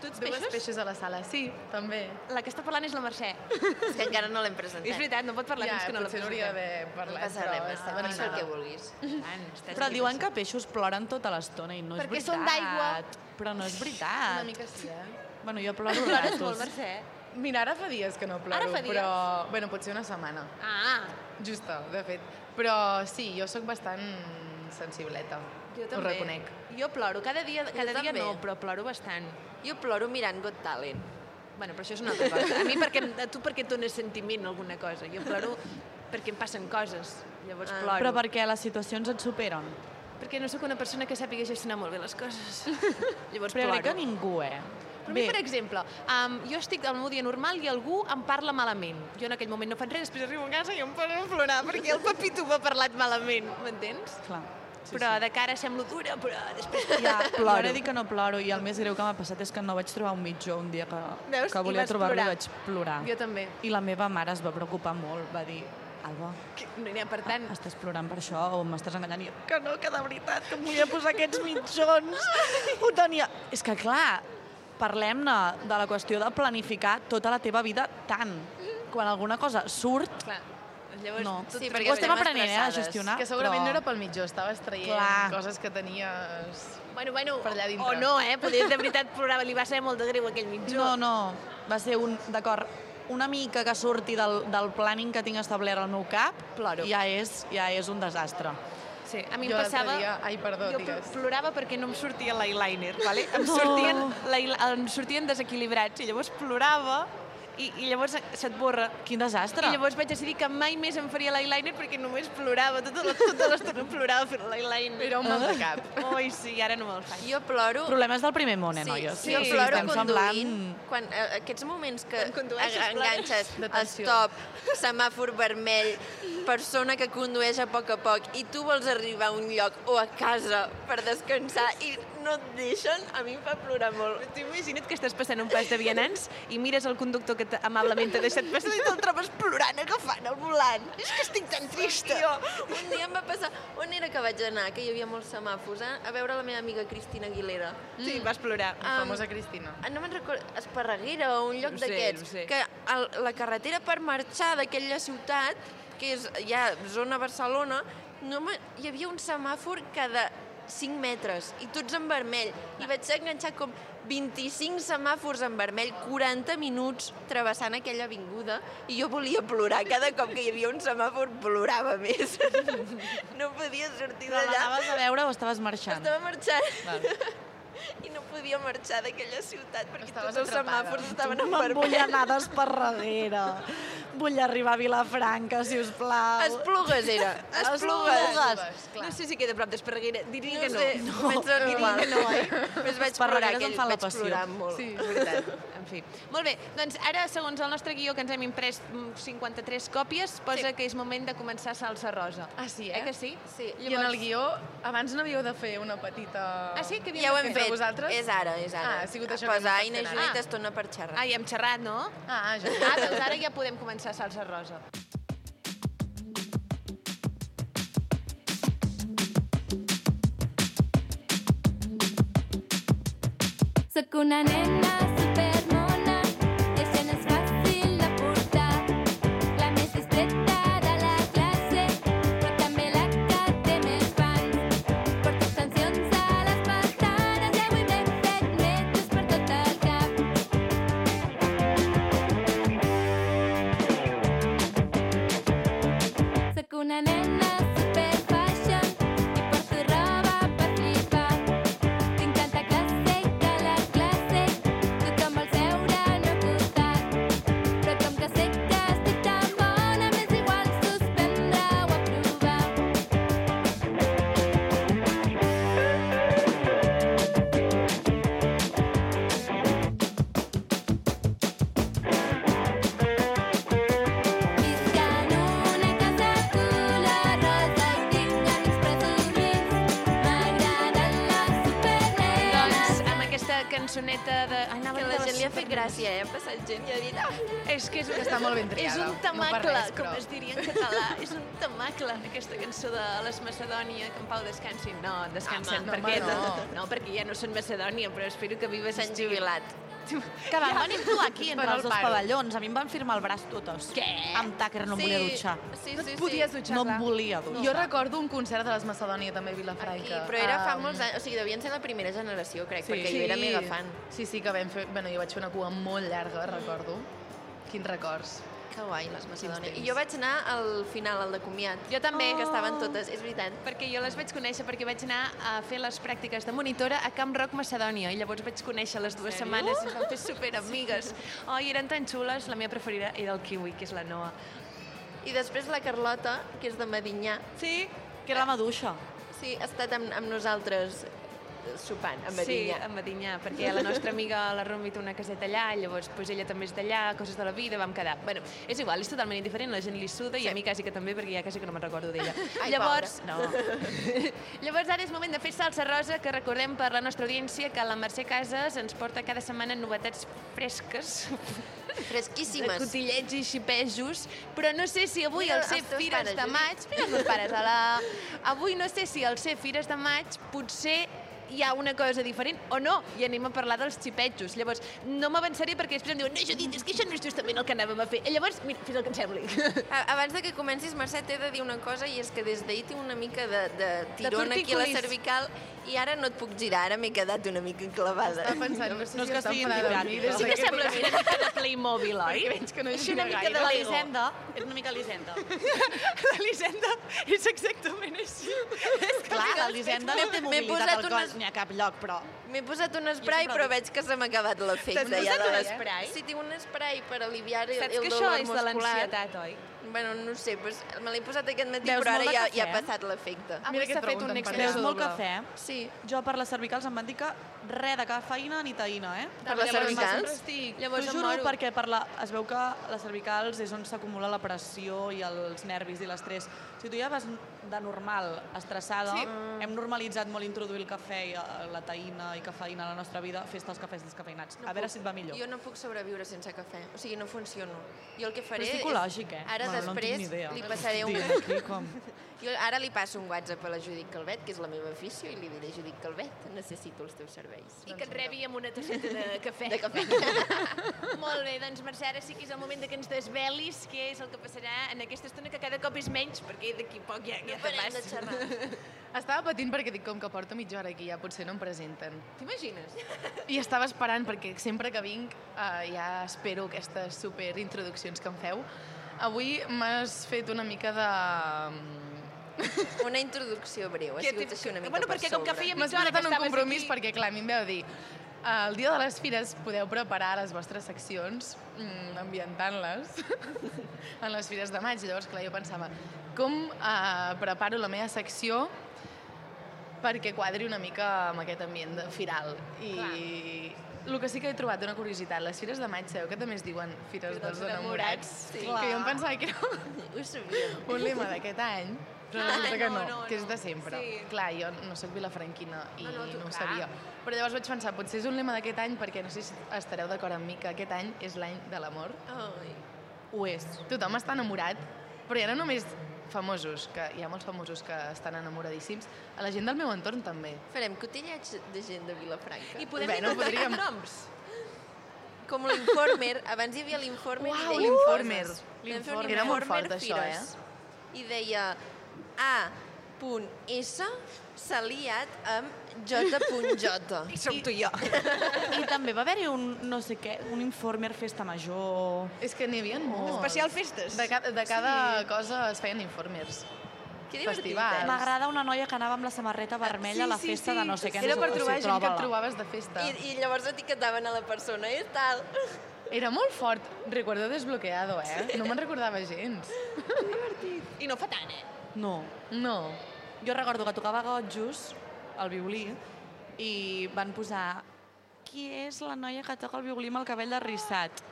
C: Tu ets
A: Dues
C: peixos?
A: peixos a la sala, sí, també.
C: La que està parlant és la Mercè.
B: És que encara no l'hem presentat.
C: És veritat, no pot parlar
A: ja,
C: fins que no la
A: potser n'hauria
C: presentem.
A: d'haver parlat,
B: passa
A: però
B: res,
A: està
B: passa
A: ben
B: res, el
A: ara.
B: que vulguis.
V: Però diuen que peixos ploren tota l'estona i no és
C: Perquè
V: veritat.
C: són d'aigua. Ah.
V: Però no és
A: Una
V: veritat.
A: mica sí, eh?
V: Bueno, jo ploro
C: Plores
V: ratos.
C: molt, eh? Mercè.
A: Mira, ara fa dies que no ploro,
C: Ara fa dies?
A: però... Bueno, potser una setmana.
C: Ah,
A: Justa, de fet. Però sí, jo sóc bastant sensibleta.
C: jo
A: Ho
C: també.
A: reconec.
C: Jo ploro, cada dia, cada dia
B: també.
C: no, però ploro bastant.
B: Jo ploro mirant Got Talent.
C: Bueno, però això és una altra cosa. A mi, perquè, a tu perquè et dones sentiment a alguna cosa. Jo ploro perquè em passen coses, llavors
V: Ah.
C: ploro.
V: Però perquè les situacions et superen.
C: Perquè no sóc una persona que sàpiga gestionar molt bé les coses. Llavors
V: Però crec
C: ploro.
V: que ningú, eh?
C: Però a mi, per exemple, um, jo estic al meu dia normal i algú em parla malament. Jo en aquell moment no faig res, després arribo a casa i em poso a plorar perquè el Pepito m'ha parlat malament, m'entens?
V: Clar.
C: Sí, però sí. de cara semblo dura, però després
V: Ja, ploro.
C: ploro.
V: Ara dic que no ploro i el més greu que m'ha passat és que no vaig trobar un mitjó un dia que,
C: Veus?
V: que
C: I
V: volia
C: vas
V: trobar-lo i
C: plorar.
V: vaig plorar.
C: Jo també.
V: I la meva mare es va preocupar molt, va dir, Alba, ah,
C: Que, no, n'hi ha per tant...
V: estàs plorant per això o m'estàs enganyant? I jo, que no, que de veritat, que em volia posar aquests mitjons. Ho tenia... És que, clar, parlem-ne de la qüestió de planificar tota la teva vida tant. Quan alguna cosa surt,
C: Clar. Llavors,
V: No.
C: tot-
V: Sí, perquè Ho estem aprenem, eh, a gestionar,
A: Que segurament no
V: però-
A: era pel mitjó, estaves traient
V: Clar.
A: coses que tenies...
C: Bueno, bueno,
A: per allà dintre.
C: o no, eh? Poder, de veritat, plorava, li va ser molt de greu aquell mitjó.
V: No, no, va ser un... D'acord, una mica que surti del, del planning que tinc establert al meu cap, Ploro. ja és, ja és un desastre.
C: Sí, a mi
A: Jo
C: em
A: l'altre
C: passava...
A: dia- ai, perdó,
C: jo
A: digues.
C: plorava perquè no em sortia l'eyeliner, vale? em,
V: No.
C: sortien, l'eyel- em sortien desequilibrats i llavors plorava i, i llavors se't borra.
V: Quin desastre.
C: I llavors vaig decidir que mai més em faria l'eyeliner perquè només plorava, tota la- tota l'estona plorava fent l'eyeliner.
A: Era un mal de cap.
C: Ui, sí, ara no me'l faig.
B: Jo ploro...
V: Problemes del primer món, eh,
B: Sí,
V: noies?
B: sí, jo ploro
V: estem
B: conduint,
V: semblant-
B: quan, eh, aquests moments que
C: condueixes,
B: en- enganxes
C: plores.
B: el
C: Detenció.
B: stop, semàfor vermell, persona que condueix a poc a poc i tu vols arribar a un lloc o a casa per descansar i no et deixen, a mi em fa plorar molt.
C: T'ho imagina't que estàs passant un pas de vianants i mires el conductor que t- amablement t'ha deixat passar i te'l trobes plorant, agafant el volant. És que estic tan trista.
B: Jo, un dia em va passar... On era que vaig anar? Que hi havia molts semàfors, eh? A veure la meva amiga Cristina Aguilera.
C: Sí, vas plorar.
B: Em-
A: Famosa Cristina.
B: Ah, No me'n recordo, Esparreguera o un lloc
A: Ho sé, ho
B: d'aquests,
A: sé.
B: que el, la carretera per marxar d'aquella ciutat, que és ja zona Barcelona, no me, hi havia un semàfor cada 5 metres i tots en vermell. I vaig enganxar com 25 semàfors en vermell, 40 minuts travessant aquella avinguda i jo volia plorar. Cada cop que hi havia un semàfor plorava més. No podia sortir
V: Però l'anaves a
B: d'allà.
V: veure o estaves marxant?
B: Estava marxant.
V: Val.
B: I no podia marxar d'aquella ciutat perquè
A: Estaves
B: tots els
A: atrapada.
B: semàfors estaven en
V: Me'n vull
B: vermell.
V: anar d'esparradera. Vull arribar a Vilafranca, si us plau.
B: Esplugues era.
V: Esplugues.
C: No sé si queda a prop d'Esparreguera. Diria
B: No
C: que no.
B: sé, comença
V: Oh,
B: a
C: diria
B: igual.
C: que no, eh?
B: Més vaig
C: Esparreguera
B: plorar,
C: em
B: aquell
C: fa la
B: vaig
C: passió.
B: plorar molt.
C: Sí, és veritat. En fi. Molt bé, doncs ara, segons el nostre guió, que ens hem imprès mm, 53 còpies, posa que és moment de començar salsa rosa.
A: Ah, sí, eh?
C: Eh que sí?
A: I en el guió, abans no havíeu de fer una petita...
C: Ah, sí? Que
A: Ja ho hem fet, vosaltres?
B: És ara, és ara.
A: Ah, ha sigut això
B: Pues
A: que
B: a
A: hem
B: Aina
A: estat fent
B: Judit
A: ara.
B: estona per xerrar.
C: Ah, i hem xerrat, no?
A: Ah, ja.
C: Ah, doncs ara ja podem començar salsa rosa.
I: Sóc una nena supermona que se n'és fàcil de portar. La més distreta de la classe, però també la que té més fans. Porto sancions a les patanes i avui m'he fet netos per tot el cap. Sóc una nena superfashion i porto roba per flipar. Tinc tanta classe que la classe tothom vol seure al meu costat. Però com que sé que estic tan bona, m'és igual suspendre o aprovar. Visc en una casa color rosa i tinc amics presumits. M'agraden les supernenes.
C: Doncs amb aquesta cançoneta de... Ai, anava
B: Que
C: a dir
B: la
C: de
B: gent li ha fet
C: supernenes.
B: gràcia, eh? Ha passat gent i ha dit... Ah.
C: És que és,
B: Que està molt ben triada,
C: És un
B: no
C: temacle,
B: per res,
C: com
B: però.
C: es diria en català. És un temacle, aquesta cançó de les Macedònia, que en Pau descansi. No, descansen,
B: Home,
C: perquè...
B: home, no.
C: no, perquè ja no són Macedònia, però espero que vives...
B: S'han
C: estigui-
B: jubilat.
C: Que
V: Que van venir a actuar aquí entre
C: Però
V: els
C: el
V: dos
C: paro.
V: pavellons. A mi em van firmar el braç totes. Què? Amb Tucker no em volia dutxar.
A: no et podies dutxar,
V: No
A: clar.
V: em volia dutxar.
A: Jo recordo un concert de les Macedònia, també, a Vilafranca. Ah.
B: Aquí, però era fa
A: Am,
B: molts anys, o sigui, devien ser la primera generació, crec, perquè jo era mega fan.
A: Sí, sí, que vam fer... Bueno, jo vaig fer una cua molt llarga, recordo. Quins records.
B: Que guai, les Macedònia. I jo vaig anar al final, al de comiat. Jo
C: també.
B: Que estaven totes, és veritat.
C: Oh. Perquè jo les vaig conèixer perquè vaig anar a fer les pràctiques de monitora a Camp Rock Macedònia i llavors vaig conèixer les dues
B: Sèrio?
C: setmanes i ens vam fer superamigues. Oh, i eren tan xules, la meva preferida era el kiwi, que és la Noa.
B: I després la Carlota, que és de Medinyà.
V: Sí, que era la maduixa.
B: Sí, ha estat amb, amb nosaltres eh, sopant a
C: Sí,
B: Medinyà.
C: a Medinyà, perquè la nostra amiga, la Romi, té una caseta allà, llavors pues, ella també és d'allà, coses de la vida, vam quedar. Bueno, és igual, és totalment indiferent, la gent li suda i a mi quasi que també, perquè ja quasi que no me'n recordo d'ella.
B: Ai,
C: llavors,
B: pobra.
C: no. llavors ara és moment de fer salsa rosa, que recordem per la nostra audiència que la Mercè Casas ens porta cada setmana novetats fresques.
B: Fresquíssimes.
C: De cotillets i xipejos, però no sé si avui
B: Mira
C: al ser
B: els teus
C: Fires
B: pares, eh?
C: de
B: Judit.
C: Maig... Mira els meus pares, a la... avui no sé si al ser Fires de Maig potser hi ha una cosa diferent o no, i anem a parlar dels xipetxos. Llavors, no m'avançaré perquè després em diuen no, Judit, és que això no és justament el que anàvem a fer. I llavors, mira, fes el que em sembli.
B: A- Abans de que comencis, Mercè, t'he de dir una cosa, i és que des d'ahir tinc una mica de, de tirón aquí a la
C: tortícolis.
B: cervical i ara no et puc girar, ara m'he quedat una mica clavada.
A: Estava pensant, no sé No és si que està estigui enfadada amb mi
V: lligat, des
C: Sí
V: de
C: que
V: que
C: sembla
V: tira-
C: una mica de Playmobil, oi?
V: Perquè veig que no
C: és
V: gira
C: una mica
V: gaire.
C: de
V: La
C: Lego.
V: Lisenda, és una mica l'Hisenda.
C: L'Elisenda és exactament així. És
V: Clar, la Lisenda no té
B: M'he
V: mobilitat
B: posat,
V: al
B: unes,
V: cos ni a cap lloc, però...
B: m'he posat un esprai,
V: sempre
B: però
V: dic-
B: veig que se m'ha acabat l'efecte.
V: T'has
B: ja
V: posat
B: de
V: un
B: les-
V: esprai?
B: eh, Sí, tinc un esprai per aliviar el,
C: Saps
B: el
C: que
B: dolor
C: això
B: muscular.
C: és de l'ansietat, oi?
B: Bueno, no ho sé, però me l'he posat aquest matí,
V: Veus
B: però ara
V: molt de
B: ja,
V: cafè,
B: ja ha
V: eh?
B: passat l'efecte.
V: Avui s'ha fet un expresso Veus molt doble. cafè?
B: Sí.
V: Jo per les cervicals em van dir que res de cafeïna ni teïna, eh?
B: Per les
V: Llavors,
B: cervicals?
V: sempre estic-
B: Llavors
V: T'ho
B: em
V: juro
B: moro.
V: perquè per la, es veu que les cervicals és on s'acumula la pressió i els nervis i l'estrès. Si tu ja vas de normal, estressada, Mm.
C: Sí.
V: hem normalitzat molt introduir el cafè i eh, la teïna i cafeïna a la nostra vida, fes-te els cafès descafeïnats. a veure
B: puc-
V: si et va millor.
B: Jo no puc sobreviure sense cafè, o sigui, no funciono. Jo el que
V: Però
B: faré
V: és psicològic, eh?
B: Ara
V: Bueno, no en tinc
B: després
V: ni idea.
B: li passaré un...
V: Estic aquí com-
B: Jo ara li passo un WhatsApp a la Judit Calvet, que és la meva afició, i li diré, Judit Calvet, necessito els teus serveis.
C: I que et rebi amb una tasseta de cafè.
B: De cafè.
C: Molt bé, doncs Mercè, ara sí que és el moment de que ens desvelis què és el que passarà en aquesta estona, que cada cop és menys, perquè d'aquí a poc ja, ja te
B: parem de
C: vas.
B: xerrar.
A: Estava patint perquè dic, com que porto mitja hora aquí, ja potser no em presenten.
C: T'imagines?
A: I estava esperant, perquè sempre que vinc eh, ja espero aquestes superintroduccions que em feu. Avui m'has fet una mica de...
B: Doncs, Una introducció breu, ha
A: Que
B: sigut
A: t'he-
B: així una mica
A: Bueno,
B: per
A: perquè com que
B: sobre.
A: feia mitja hora que estaves un compromís, aquí... perquè clar, a mi em veu dir "Eh, el dia de les fires podeu preparar les vostres seccions mm, ambientant-les en les fires de maig. Llavors, clar, jo pensava, com eh, preparo la meva secció perquè quadri una mica amb aquest ambient de firal. I el que sí que he trobat una curiositat, les fires de maig, sabeu que també es diuen fires dels doncs enamorats?
B: Sí.
A: Que jo em pensava que era
B: Ho sabia.
A: un lema d'aquest any. Però
C: Ah,
A: resulta que
C: no,
A: no,
C: no,
A: que és
C: no.
A: de sempre.
C: Sí.
A: Clar, jo no sóc vilafranquina i
C: No,
A: no,
C: no,
A: no,
C: tu,
A: ho
C: clar.
A: sabia. Però llavors vaig pensar, potser és un lema d'aquest any, perquè no sé si estareu d'acord amb mi que aquest any és l'any de l'amor.
C: Ai.
A: Ho és. Tothom està enamorat, però ja no només famosos, que hi ha molts famosos que estan enamoradíssims, a la gent del meu entorn també.
B: Farem cotillets de gent de Vilafranca.
A: I podem Bé, no inventar podríem.
B: noms. Com l'Informer. Abans hi havia l'Informer.
C: Ah,
A: Uau,
B: i deia
A: l'Informer.
B: coses. Vam fer un
A: L'Informer. Era molt
B: Informer
A: fort, això,
C: eh?
A: eh?
B: Fires. I deia A punt S s'ha liat amb J punt J. I som tu i jo.
V: I també va haver-hi un, no sé què, un informer festa major...
A: És que n'hi havia molts.
V: Especial festes.
A: De, ca de cada
V: Sí.
A: sí. cosa es feien informers.
V: Que
C: eh?
A: Festivals.
V: M'agrada una noia que anava amb la samarreta vermella a la festa de no sé què.
A: Era
V: no sé
A: per
V: què,
A: trobar
V: sí,
A: gent que et
V: troba-la.
A: trobaves de festa.
B: I, I llavors etiquetaven a la persona, i tal.
A: Era molt fort. Recuerdo desbloqueado, eh?
V: Sí.
A: No me'n recordava gens.
V: I no fa tant, eh? No.
A: No.
V: Jo recordo que tocava Gotjos, el violí, i van posar qui és la noia que toca el violí amb el cabell arrissat?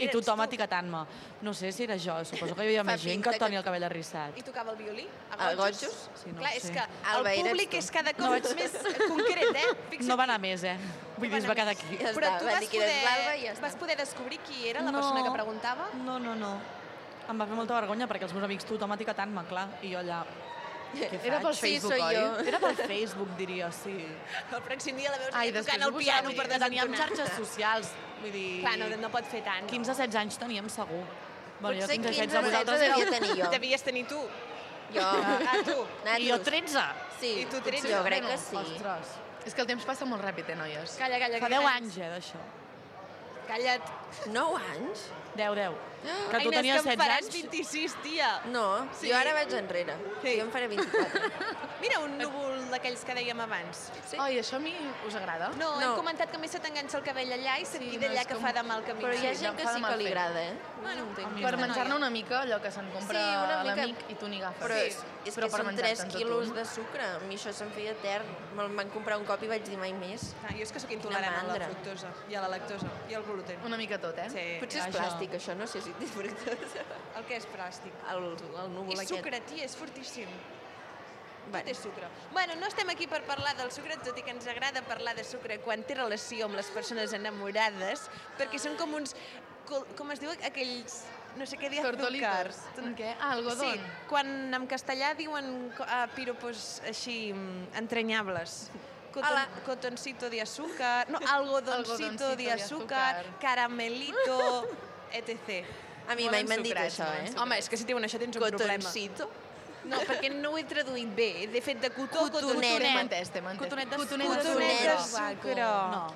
V: I tothom etiquetant-me. No sé si era jo, suposo que hi havia
C: Fa
V: més gent
C: pinta
V: que toni el cabell arrissat.
C: I tocava el violí?
V: A
C: Gojos?
V: Gojos? Sí, no
C: Clar,
V: ho
C: és
V: sé.
C: que
V: Alba,
C: el
V: eres
C: públic
V: tu.
C: és cada cop
V: No vaig-
C: més concret, eh?
V: No va anar més, eh? Vull dir, es va quedar aquí.
C: Però tu vas poder, vas poder descobrir qui era la
V: No.
C: persona que preguntava?
V: No, no, no. Em va fer molta vergonya perquè els meus amics tothom etiquetant-me, clar, i jo allà... Què faig?
A: Era pel Facebook,
V: sí,
A: oi?
V: Jo. Era pel Facebook, diria, sí.
C: El pròxim dia la veus
V: Ai,
C: allà tocant el piano per desentonar.
V: Teníem eh? xarxes socials, vull dir...
C: Clar, no, no pot fer tant.
V: 15-16 anys teníem segur. Bueno, jo
C: Potser
V: 15 16
C: 15 o 16
V: vosaltres éreu-
C: devia tenir jo. Devies tenir tu.
B: Jo.
A: Ah,
C: tu.
A: I jo 13.
B: Sí,
A: I tu
B: 13. jo crec que sí.
A: Ostres. És que el temps passa molt ràpid, eh, noies?
C: Calla, calla,
V: Fa
C: que
V: 10
C: grans.
V: anys, eh, d'això.
C: Calla't.
B: 9 anys?
V: 10, 10. Que tu
C: Ai, Inés,
V: tenies
C: que em
V: 16
C: faràs
V: anys?
C: 26, tia.
B: No, sí. jo ara vaig enrere. Sí. Jo en faré 24.
C: Mira un núvol d'aquells que dèiem abans. Sí.
A: Ai, això a mi us agrada?
C: No, no, hem comentat que a més se t'enganxa el cabell allà i se't sí,
A: no,
C: queda allà
A: és
C: que
A: com-
C: fa de mal camí.
A: Però hi ha gent que
C: fa de
A: sí
C: mal
A: que li
C: fer.
A: agrada, eh?
C: Bueno,
A: Per menjar-ne una mica allò que se'n compra
B: Sí, una mica.
A: l'amic i tu n'hi agafes.
B: Però és, és que són 3
A: menjar-te'ns a tu.
B: quilos de sucre. A mi això se'm feia etern. Me'l van comprar un cop i vaig dir mai més.
C: Ah, jo és que sóc
B: Quina
C: intolerant a la
B: mandra.
C: fructosa i a la lactosa i al gluten.
A: Una mica tot, eh?
C: Sí.
B: Potser és plàstic, això, no sé si té fructosa.
C: El que és plàstic?
B: El, el núvol
C: És
B: aquest.
C: sucre, tia, és fortíssim.
B: Bueno.
C: Tot és sucre. Bueno, no estem aquí per parlar del sucre, tot i que ens agrada parlar de sucre quan té relació amb les persones enamorades, perquè són com uns... col- Com es diu? Aquells... No sé què dir,
A: Tortolitos. Un què? Ah, algodón.
C: Sí, quan en castellà diuen uh, piropos així mm, entranyables. Coton, Hola. cotoncito de azúcar, no, algodoncito
B: Algodoncito
C: de
B: de
C: azúcar,
B: azúcar.
C: caramelito, etc.
B: A mi mai m'han dit això, eh?
C: Home, és que si diuen això tens un problema.
B: Cotoncito.
C: No, perquè no ho he traduït bé. He fet de cotó,
B: Cotonet.
A: T'hem
C: cotonet.
A: entès, t'hem entès.
C: Cotonet de
A: de
C: sucre.
A: sucre.
B: de
C: sucre.
B: No.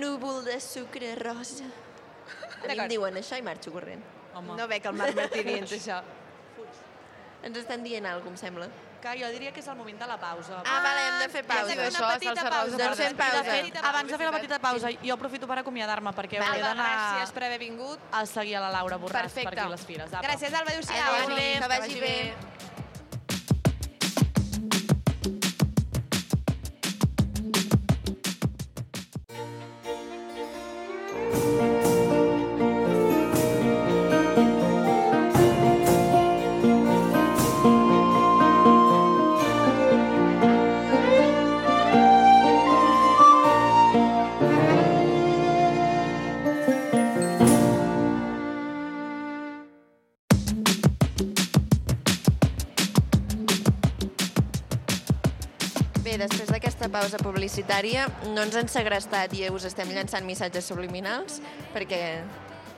B: Núvol de sucre rosa. A mi em
C: D'acord.
B: diuen això i marxo corrent.
C: Home. No veig el Marc Martí dient això.
B: Ens estan dient alguna cosa, em sembla.
V: Que jo diria que és el moment de la pausa.
B: Ah, vale, hem de fer pausa. Doncs fem pausa.
V: De fet, abans de fer la petita pausa, jo aprofito per acomiadar-me perquè
C: Alba,
V: hauria d'anar...
C: gràcies per haver vingut.
V: A seguir a la Laura Borràs
C: Perfecte.
V: per aquí a les fires. Apa.
C: Gràcies, Alba. Adéu-siau.
V: Adéu,
C: Adéu,
V: Inés,
C: que vagi bé.
B: Bé, després d'aquesta pausa publicitària, no ens han segrestat i us estem llançant missatges subliminals, perquè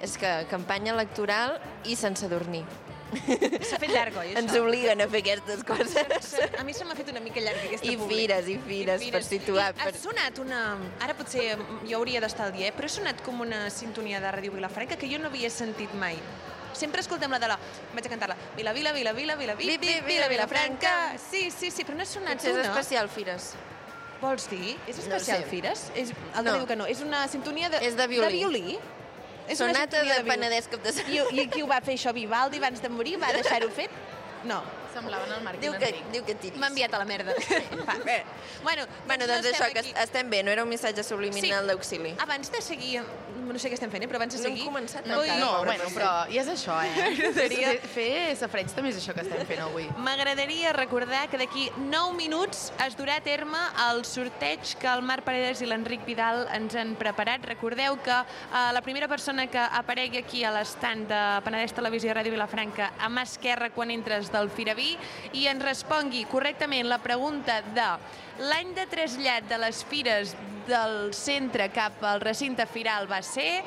B: és que campanya electoral i sense dormir.
C: S'ha fet llarg, oi, això?
B: Ens obliguen a fer aquestes coses.
C: A mi se m'ha fet una mica llarga aquesta
B: I
C: publi.
B: fires, i fires, per situar.
C: I
B: Per...
C: ha sonat una... Ara potser jo hauria d'estar al dia, eh? però ha sonat com una sintonia de Ràdio Vilafranca que jo no havia sentit mai. Sempre escoltem la de la... Vaig a cantar-la. Vila, vila, vila, vila, vila, vila, vila, vila, Vilafranca. Sí, sí, sí, però no ha sonat
B: Potser és
C: una.
B: especial, Fires.
C: Vols dir? És especial,
B: sé.
C: Fires? És, el no. diu que no. És una sintonia de...
B: És de violí.
C: De violí? una
B: Sonata
C: sintonia
B: de
C: violí.
B: Penedès Cap de Setmana.
C: I, I qui ho va fer això? Vivaldi, abans de morir, va deixar-ho fet? No.
A: Semblaven el Marc
B: Diu
A: i
B: que,
A: l'Enric.
B: diu que tiris.
W: M'ha enviat a la merda.
B: Va, bé.
W: Bueno,
B: Bueno, doncs
W: no
B: això,
W: estem
B: que estem bé, no era un missatge subliminal d'auxili.
W: Abans de seguir, no sé què estem fent, eh, però abans de
B: No hem
W: seguir...
B: començat
W: Ui,
A: no, bueno, però i és això, eh?
W: M'agradaria-
A: Fer- Fer safareig també és això que estem fent avui.
C: M'agradaria recordar que d'aquí 9 minuts es durà a terme el sorteig que el Marc Paredes i l'Enric Vidal ens han preparat. Recordeu que eh, la primera persona que aparegui aquí a l'estand de Penedès Televisió i Ràdio Vilafranca a mà esquerra quan entres del Firaví i ens respongui correctament la pregunta de l'any de trasllat de les fires del centre cap al recinte firal va ser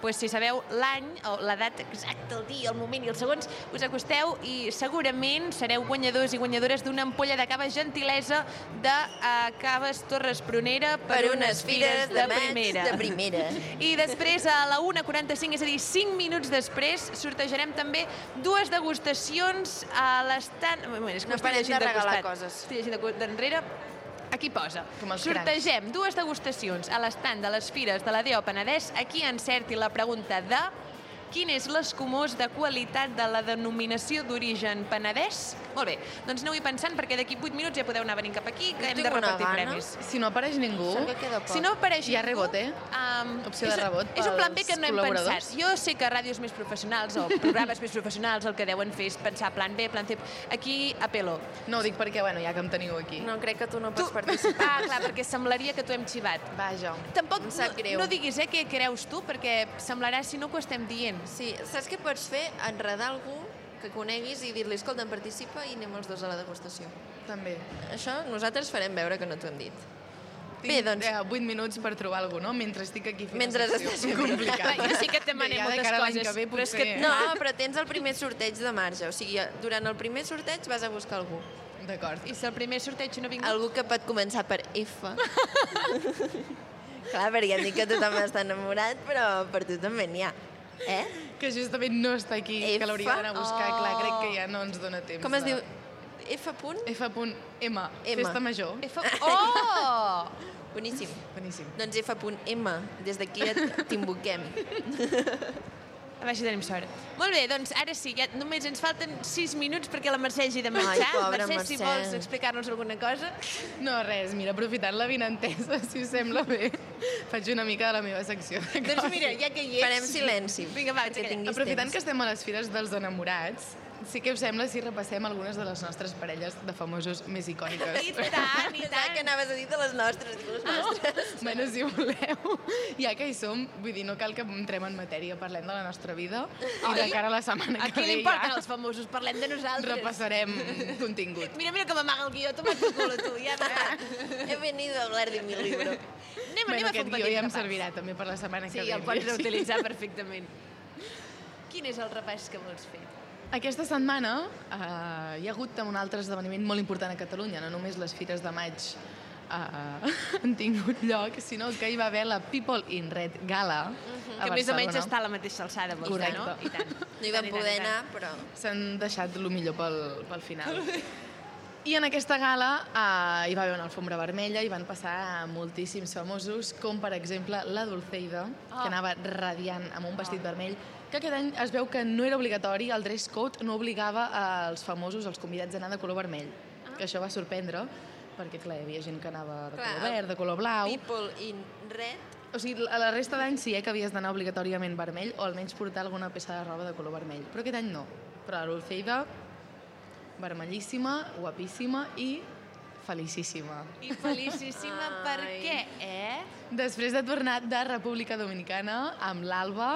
C: pues, si sabeu l'any, o la data exacta, el dia, el moment i els segons, us acosteu i segurament sereu guanyadors i guanyadores d'una ampolla de cava gentilesa de eh, Caves Torres Prunera per,
B: Per unes fires de maig de primera.
C: I després, a la 1.45, és a dir, 5 minuts després, sortejarem també dues degustacions a l'estant... Bueno, és que
B: No
C: ho estic
B: parem
C: llegint
B: de regalar
C: costat.
B: coses.
C: Estic llegint de cu- d'enrere. Aquí posa. Com
A: els
C: Sortegem dues degustacions a l'estand de les fires de la Déu Penedès. Aquí encerti la pregunta de quin és l'escumós de qualitat de la denominació d'origen Penedès? Molt bé, doncs aneu-hi pensant perquè d'aquí 8 minuts ja podeu anar venint cap aquí que hem de repartir premis.
A: Si no apareix ningú...
C: Sembla que queda poc. Si no apareix
A: Hi ha
C: ningú,
A: rebot, eh?
C: Um,
A: Opció de rebot
C: És un plan B
A: pels
C: que no hem
A: col·laboradors.
C: pensat. Jo sé que ràdios més professionals o programes més professionals el que deuen fer és pensar plan B, plan C. Aquí apelo.
A: No ho dic perquè, bueno, ja que em teniu aquí.
C: No, crec que tu no pots tu... participar. Ah, clar, perquè semblaria que tu hem xivat.
A: Vaja.
C: Tampoc
B: Em sap
C: no,
B: greu.
C: no diguis eh, què creus tu, perquè semblarà si no que ho estem dient.
B: Sí, saps què pots fer? Enredar algú que coneguis i dir-li, escolta, em participa i anem els dos a la degustació.
A: També.
B: Això nosaltres farem veure que no t'ho hem dit.
A: Tinc, Bé, doncs... Eh, 8 minuts per trobar alguna cosa, no? Mentre estic aquí fent
B: Mentre
A: secció.
B: estàs fent-
A: Complicat.
B: Clar, jo sí que et
C: demanem
A: Ja de
C: moltes
A: cara a l'any
C: coses,
A: que ve,
C: però és
A: potser...
B: No, però tens el primer sorteig de marge. O sigui, durant el primer sorteig vas a buscar algú.
A: D'acord.
C: I si el primer sorteig no ha vingut?
B: Algú que pot començar per F. Clar, perquè hem dit que tothom està enamorat, però per tu també n'hi ha. Eh?
A: Que justament no està aquí, F... que l'hauria d'anar a buscar.
B: Oh.
A: Clar, crec que ja no ens dona temps.
B: Com es
A: de...
B: diu? F punt?
A: F punt M.
B: M.
A: Festa major.
C: F...
B: Oh! Boníssim.
A: Boníssim.
B: Doncs F.M. Des d'aquí et t'invoquem.
C: A veure si tenim sort. Molt bé, doncs ara sí, ja només ens falten 6 minuts perquè la Mercè hagi de marxar.
A: pobra
C: Mercè, si
A: Mercè.
C: vols explicar-nos alguna cosa.
A: No, res, mira, aprofitant la vinentesa, si us sembla bé, faig una mica de la meva secció.
C: Doncs mira, ja que hi ets...
B: Farem silenci,
C: Vinga, va,
B: perquè tinguis
A: Aprofitant
B: temps.
A: que estem a les fires dels enamorats, sí que us sembla si repassem algunes de les nostres parelles de famosos més icòniques.
B: I tant, i tant. que anaves a dir de les nostres, de les
A: Ah.
B: nostres.
A: Bueno, si voleu, ja que hi som, vull dir, no cal que entrem en matèria, parlem de la nostra vida i de
C: Ai,
A: cara a la setmana
C: A
A: que
C: qui li
A: ve
C: importen
A: ja
C: els famosos? Parlem de nosaltres.
A: repassarem contingut.
C: Mira, mira com amaga el guió, toma't el culo, tu, ja va.
B: He venido a hablar de mi libro.
C: Anem, anem
A: bueno,
C: a fer
A: aquest
C: un
A: guió
C: petit
A: ja em
C: repàs.
A: servirà també per la setmana
C: Sí,
A: que ve.
C: el pots reutilitzar perfectament. Quin és el repàs que vols fer?
A: Aquesta setmana eh, hi ha hagut un altre esdeveniment molt important a Catalunya, no només les fires de maig eh, han tingut lloc, sinó que hi va haver la People in Red Gala a
C: Que més o menys
A: Barcelona.
C: està Uh-huh. a la mateixa alçada, vols dir, no?
A: Correcte.
C: I tant.
B: No hi
C: I tant,
B: vam
C: i
B: poder
C: tant.
B: anar, però...
A: S'han deixat el millor pel, pel final. I en aquesta gala eh, hi va haver una alfombra vermella, hi van passar moltíssims famosos, com per exemple la Dulceida,
F: Oh.
B: Ah.
A: que anava radiant amb un vestit vermell, que aquest any es veu que no era obligatori, el dress code no obligava als famosos, als convidats, a anar de color vermell, que això va sorprendre, perquè clar, hi havia gent que anava de
B: Ah. Clar,
A: color verd, de color blau...
B: People in red.
A: O sigui, a la resta d'anys sí eh, que havies d'anar obligatòriament vermell o almenys portar alguna peça de roba de color vermell. Però aquest any no. Però la Dulceida, vermellíssima, guapíssima i felicíssima.
C: I felicíssima, per què, eh?
A: Després de tornar de República Dominicana amb l'Alba,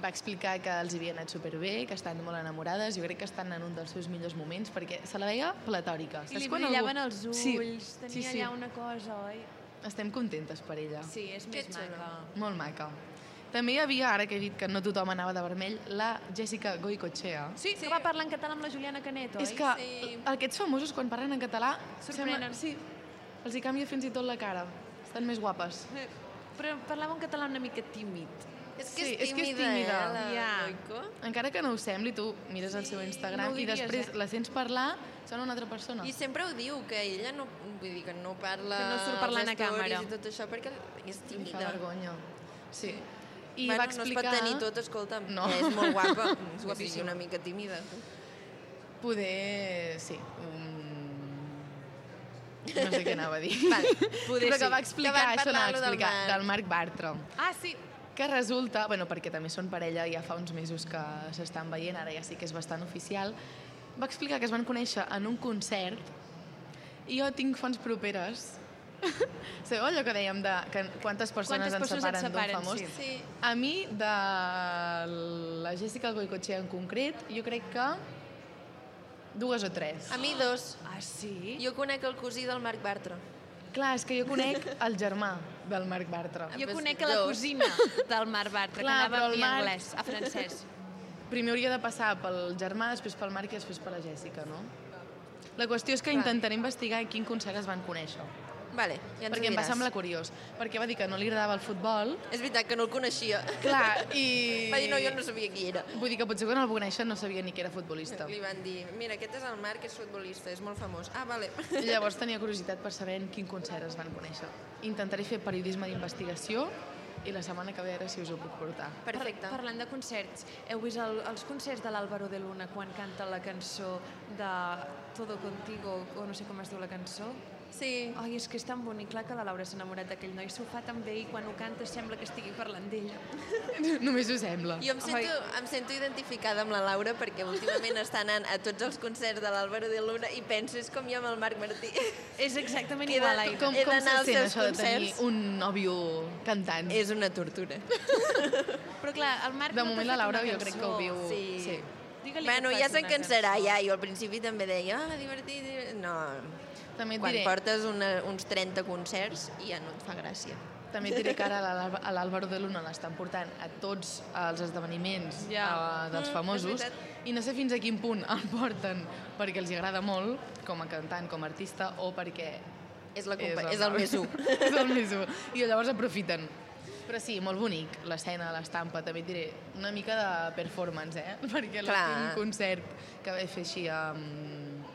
A: va explicar que els havia anat superbé, que estan molt enamorades, jo crec que estan en un dels seus millors moments, perquè se la veia platòrica.
C: I li
A: quan
C: brillaven els ulls,
A: Sí,
C: tenia
A: sí, sí.
C: allà una cosa, oi?
A: Estem contentes per ella.
C: Sí, és més maca.
A: Molt maca. També hi havia, ara que he dit que no tothom anava de vermell, la Jessica Goicoechea.
C: Sí, que va parlar en català amb la Juliana Canet, oi?
A: És que sí. aquests famosos, quan parlen en català,
C: Sorprenen.
A: sí, els hi canvia fins i tot la cara. Estan més guapes.
C: Però parlava un català una mica tímid.
B: És eh,
A: sí, és que és tímida.
B: Goico.
A: Encara que no ho sembli, tu mires el seu Instagram
B: no ho
A: i
B: diries,
A: després
B: eh?
A: la sents parlar, sona una altra persona.
B: I sempre ho diu, que ella no, vull dir, que no parla...
A: Que no surt
B: als
A: parlant a
B: stories
A: càmera.
B: I tot això, perquè és tímida.
A: fa vergonya. Sí. I
B: bueno,
A: va explicar...
B: no es pot tenir tot, escolta'm.
A: No.
B: No. És molt guapa.
A: Sí,
B: És guapíssima.
A: sí.
B: una mica tímida.
A: Poder, sí. Mm... No sé què anava a dir. Vale,
C: poder
A: que
C: sí.
A: va explicar,
C: Que van
A: això anava a
C: parlar-ho del
A: explicar,
C: Marc.
A: del Marc Bartrom. Ah, sí. Que resulta, bueno, perquè també són parella, ja fa uns mesos que s'estan veient, ara ja sí que és bastant oficial, va explicar que es van conèixer en un concert i jo tinc fonts properes. Sabeu allò que dèiem de que quantes persones
C: Quantes
A: ens
C: persones ens
A: separen d'un
C: separen,
A: famós?
C: sí. Sí.
A: A mi, de la Jessica Goicoechea en concret, jo crec que dues o tres.
B: A mi dos. Ah, sí? Jo conec el cosí del Marc Bartra.
A: Clar, és que jo conec el germà del Marc Bartra.
C: Jo conec a la cosina del Marc Bartra, que
A: Clar,
C: anava
A: però
C: a
A: el
C: mi
A: Marc-
C: anglès, a francès.
A: Primer hauria de passar pel germà, després pel Marc i després per la Jessica, no? La qüestió és que intentaré investigar en quin concert es van conèixer.
B: Vale, ja ens ho
A: perquè em va
B: diràs.
A: semblar curiós. Perquè va dir que no li agradava el futbol.
B: És veritat que no el coneixia.
A: Clar, i...
B: Va dir, no, jo no sabia qui era.
A: Vull dir que potser quan el va conèixer no sabia ni que era futbolista.
B: Li van dir, mira, aquest és el Marc, és futbolista, és molt famós. Ah, vale.
A: Llavors tenia curiositat per saber en quin concert es van conèixer. Intentaré fer periodisme d'investigació i la setmana que ve a veure si us ho puc portar.
C: Perfecte. Parlant de concerts, heu vist el, els concerts de l'Àlvaro de Luna quan canta la cançó de Todo Contigo, o no sé com es diu la cançó?
B: Sí.
C: Ai, és que és tan bonic. Clar que la Laura s'ha enamorat d'aquell noi, s'ho fa tan bé i quan ho canta sembla que estigui parlant d'ella.
A: Només ho sembla.
B: Jo em sento, em sento identificada amb la Laura perquè últimament està anant a tots els concerts de l'Àlvaro de Luna i penso, és com jo amb el Marc Martí.
C: És exactament
B: he
C: igual,
B: de-
C: Aida.
A: Com,
B: He
A: com se
B: d'anar als
A: sent
B: seus
A: això de tenir
B: concerts.
A: un nòvio cantant?
B: És una tortura.
C: Però clar, el Marc
A: De
C: no t'ha
A: moment
C: fet
A: la Laura
C: una
A: jo crec que ho
C: cançó.
A: viu...
B: Sí.
A: sí.
C: Digue-li que
B: Bueno,
C: et
B: ja
C: faci
B: se'n
C: una
B: cansarà,
C: cançó.
B: ja. Jo al principi també deia, ah, divertit, divertit. No,
A: També et
B: quan
A: diré-
B: portes una, uns 30 concerts i ja no et fa gràcia.
A: També et diré que ara l'Al- a l'Àlvaro de Luna l'estan portant a tots els esdeveniments
B: Ja.
A: eh, dels
B: Mm, és
A: famosos
B: veritat.
A: i no sé fins a quin punt el porten perquè els hi agrada molt com a cantant, com a artista o perquè
B: És la compa- és el més u.
A: és el més u. I llavors aprofiten. Però sí, molt bonic, l'escena, l'estampa, també et diré, una mica de performance, eh? Perquè
B: Clar.
A: l'últim concert que vaig fer així amb...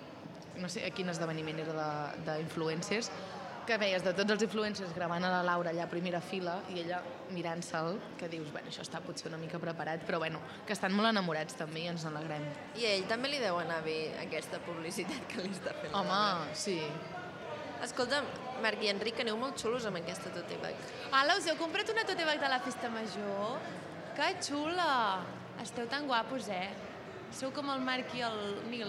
A: no sé a quin esdeveniment era d'influencers, que veies de tots els influencers gravant a la Laura allà a primera fila i ella mirant-se'l, que dius, bueno, això està potser una mica preparat, però bueno, que estan molt enamorats també i ens n'alegrem.
B: I a ell també li deu anar bé aquesta publicitat que li està fent. la Laura.
A: Home, sí.
B: Escolta, Marc i Enric, aneu molt xulos amb aquesta tote bag.
C: Ala, us heu comprat una tote bag de la festa major? Que xula! Esteu tan guapos, eh? Sou com el Marc i el Nil,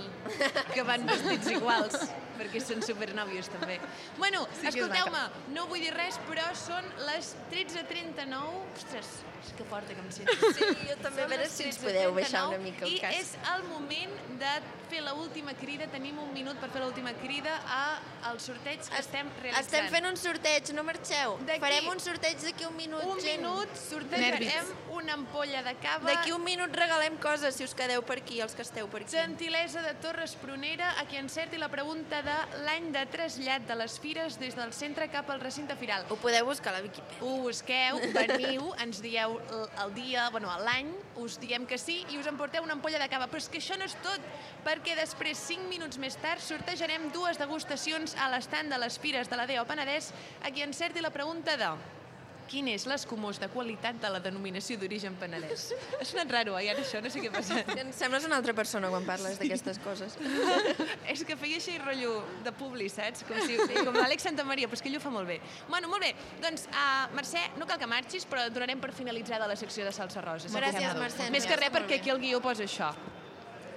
C: que van vestits iguals, perquè són supernòvios, també. Bueno,
A: Sí que
C: sí
A: és
C: escolteu-me,
A: maca.
C: no vull dir res, però són les 13.39... Ostres, és que forta que em sento.
B: Sí, jo també, a
C: Són
B: veure
C: les
B: si ens podeu baixar
C: 13.39,
B: una mica el
C: I
B: cas.
C: és el moment de fer l'última crida, tenim un minut per fer l'última crida a al sorteig que estem realitzant.
B: Estem fent un sorteig, no marxeu. Farem un sorteig d'aquí un minut,
C: Un
B: gent.
C: minut sortejarem una ampolla de cava.
B: D'aquí un minut regalem coses, si us quedeu per aquí, els que esteu per aquí.
C: Gentilesa de Torres Prunera, a qui encerti la pregunta de l'any de trasllat de les fires des del centre cap al recinte firal.
B: Ho podeu buscar a la Wikipedia.
C: Ho busqueu, veniu, ens dieu l- el dia, bueno, l'any, us diem que sí i us emporteu una ampolla de cava. Però és que això no és tot, perquè després, 5 minuts més tard, sortejarem dues degustacions a l'estand de les fires de la Deo Penedès, a qui encerti la pregunta de... Quin és l'escumós de qualitat de la denominació d'origen penedès? Ha sonat raro, eh, ara això, no sé què passa.
B: Em sembles una altra persona quan parles d'aquestes coses.
C: és que feia així rotllo de publi, saps? Com, si, com l'Àlex Santamaria, però és que ell ho fa molt bé. Bueno, molt bé, doncs, uh, Mercè, no cal que marxis, però donarem per finalitzada la secció de salsa rosa. si et
A: Gràcies,
C: sembla.
A: Mercè,
C: Més
A: ens
C: que
A: sembla
C: res,
A: molt
C: perquè
A: bé.
C: aquí el guió posa això.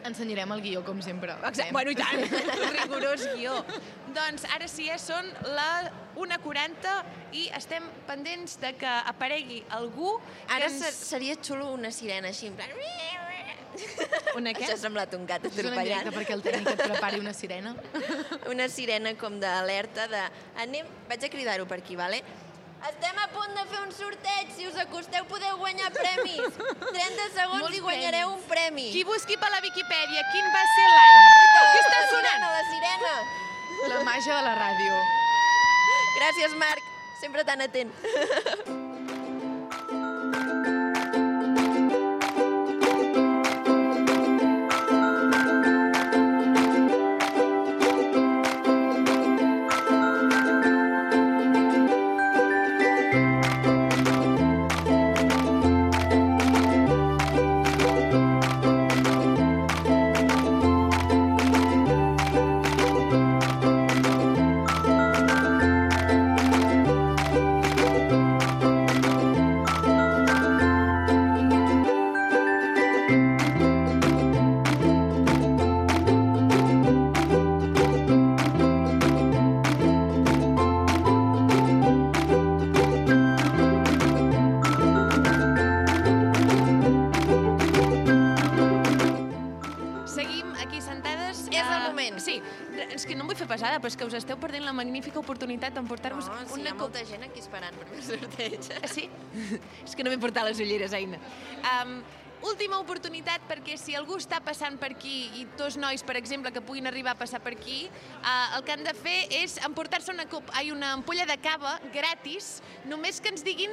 A: Ensenyarem el guió, com sempre.
C: Exacte. Bueno, i tant, rigorós guió. Doncs ara sí, eh, són la 1.40 i estem pendents de que aparegui algú
B: Ara
C: que
B: se- seria xulo una sirena així, en plan...
C: Una què?
B: Això ha semblat un gat
A: Això és en
B: atropellant.
A: directe perquè el tècnic et prepari una sirena.
B: Una sirena com d'alerta de... Anem... Vaig a cridar-ho per aquí, vale? Estem a punt de fer un sorteig. Si us acosteu podeu guanyar premis. 30 segons
C: Molts
B: i guanyareu
C: premis.
B: un premi.
C: Qui busqui per la Viquipèdia quin va ser l'any? Què està
B: la
C: sonant?
B: sirena, la sirena.
A: La màgia de la ràdio.
B: Gràcies, Marc. Sempre tan atent.
C: Ah, passarà, però és que us esteu perdent la magnífica oportunitat d'emportar-vos
B: No, sí, hi
C: una
B: ha molta gent aquí esperant per fer el sorteig.
C: Sí? És que no m'he portat les ulleres, Aina. Um, última oportunitat perquè si algú està passant per aquí i dos nois, per exemple, que puguin arribar a passar per aquí, uh, el que han de fer és emportar-se una, cop, ai, una ampolla de cava gratis, només que ens diguin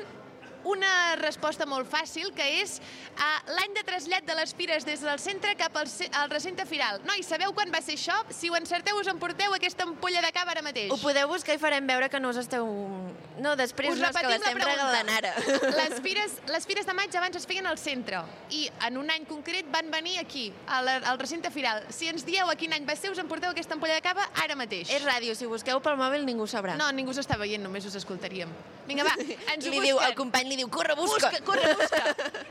C: una resposta molt fàcil, que és uh, l'any de trasllat de les fires des del centre cap al, ce al recinte firal. Nois, sabeu quan va ser això? Si ho encerteu, us emporteu aquesta ampolla de cava ara mateix.
B: Ho podeu buscar i farem veure que no us esteu... No, després
C: Us
B: no, és que
C: repetim
B: l'estem
C: la pregunta.
B: regalant ara.
C: Les fires, les fires de maig abans es feien al centre i en un any concret van venir aquí, a la, al recinte firal. Si ens dieu a quin any va ser, us emporteu aquesta ampolla de cava ara mateix.
B: És ràdio, si busqueu pel mòbil ningú ho sabrà.
C: No, ningú us està veient, només us escoltaríem. Vinga, va, ens ho
B: Li diu,
C: busquen.
B: el company li diu, corre, busca.
C: Busca, corre, busca.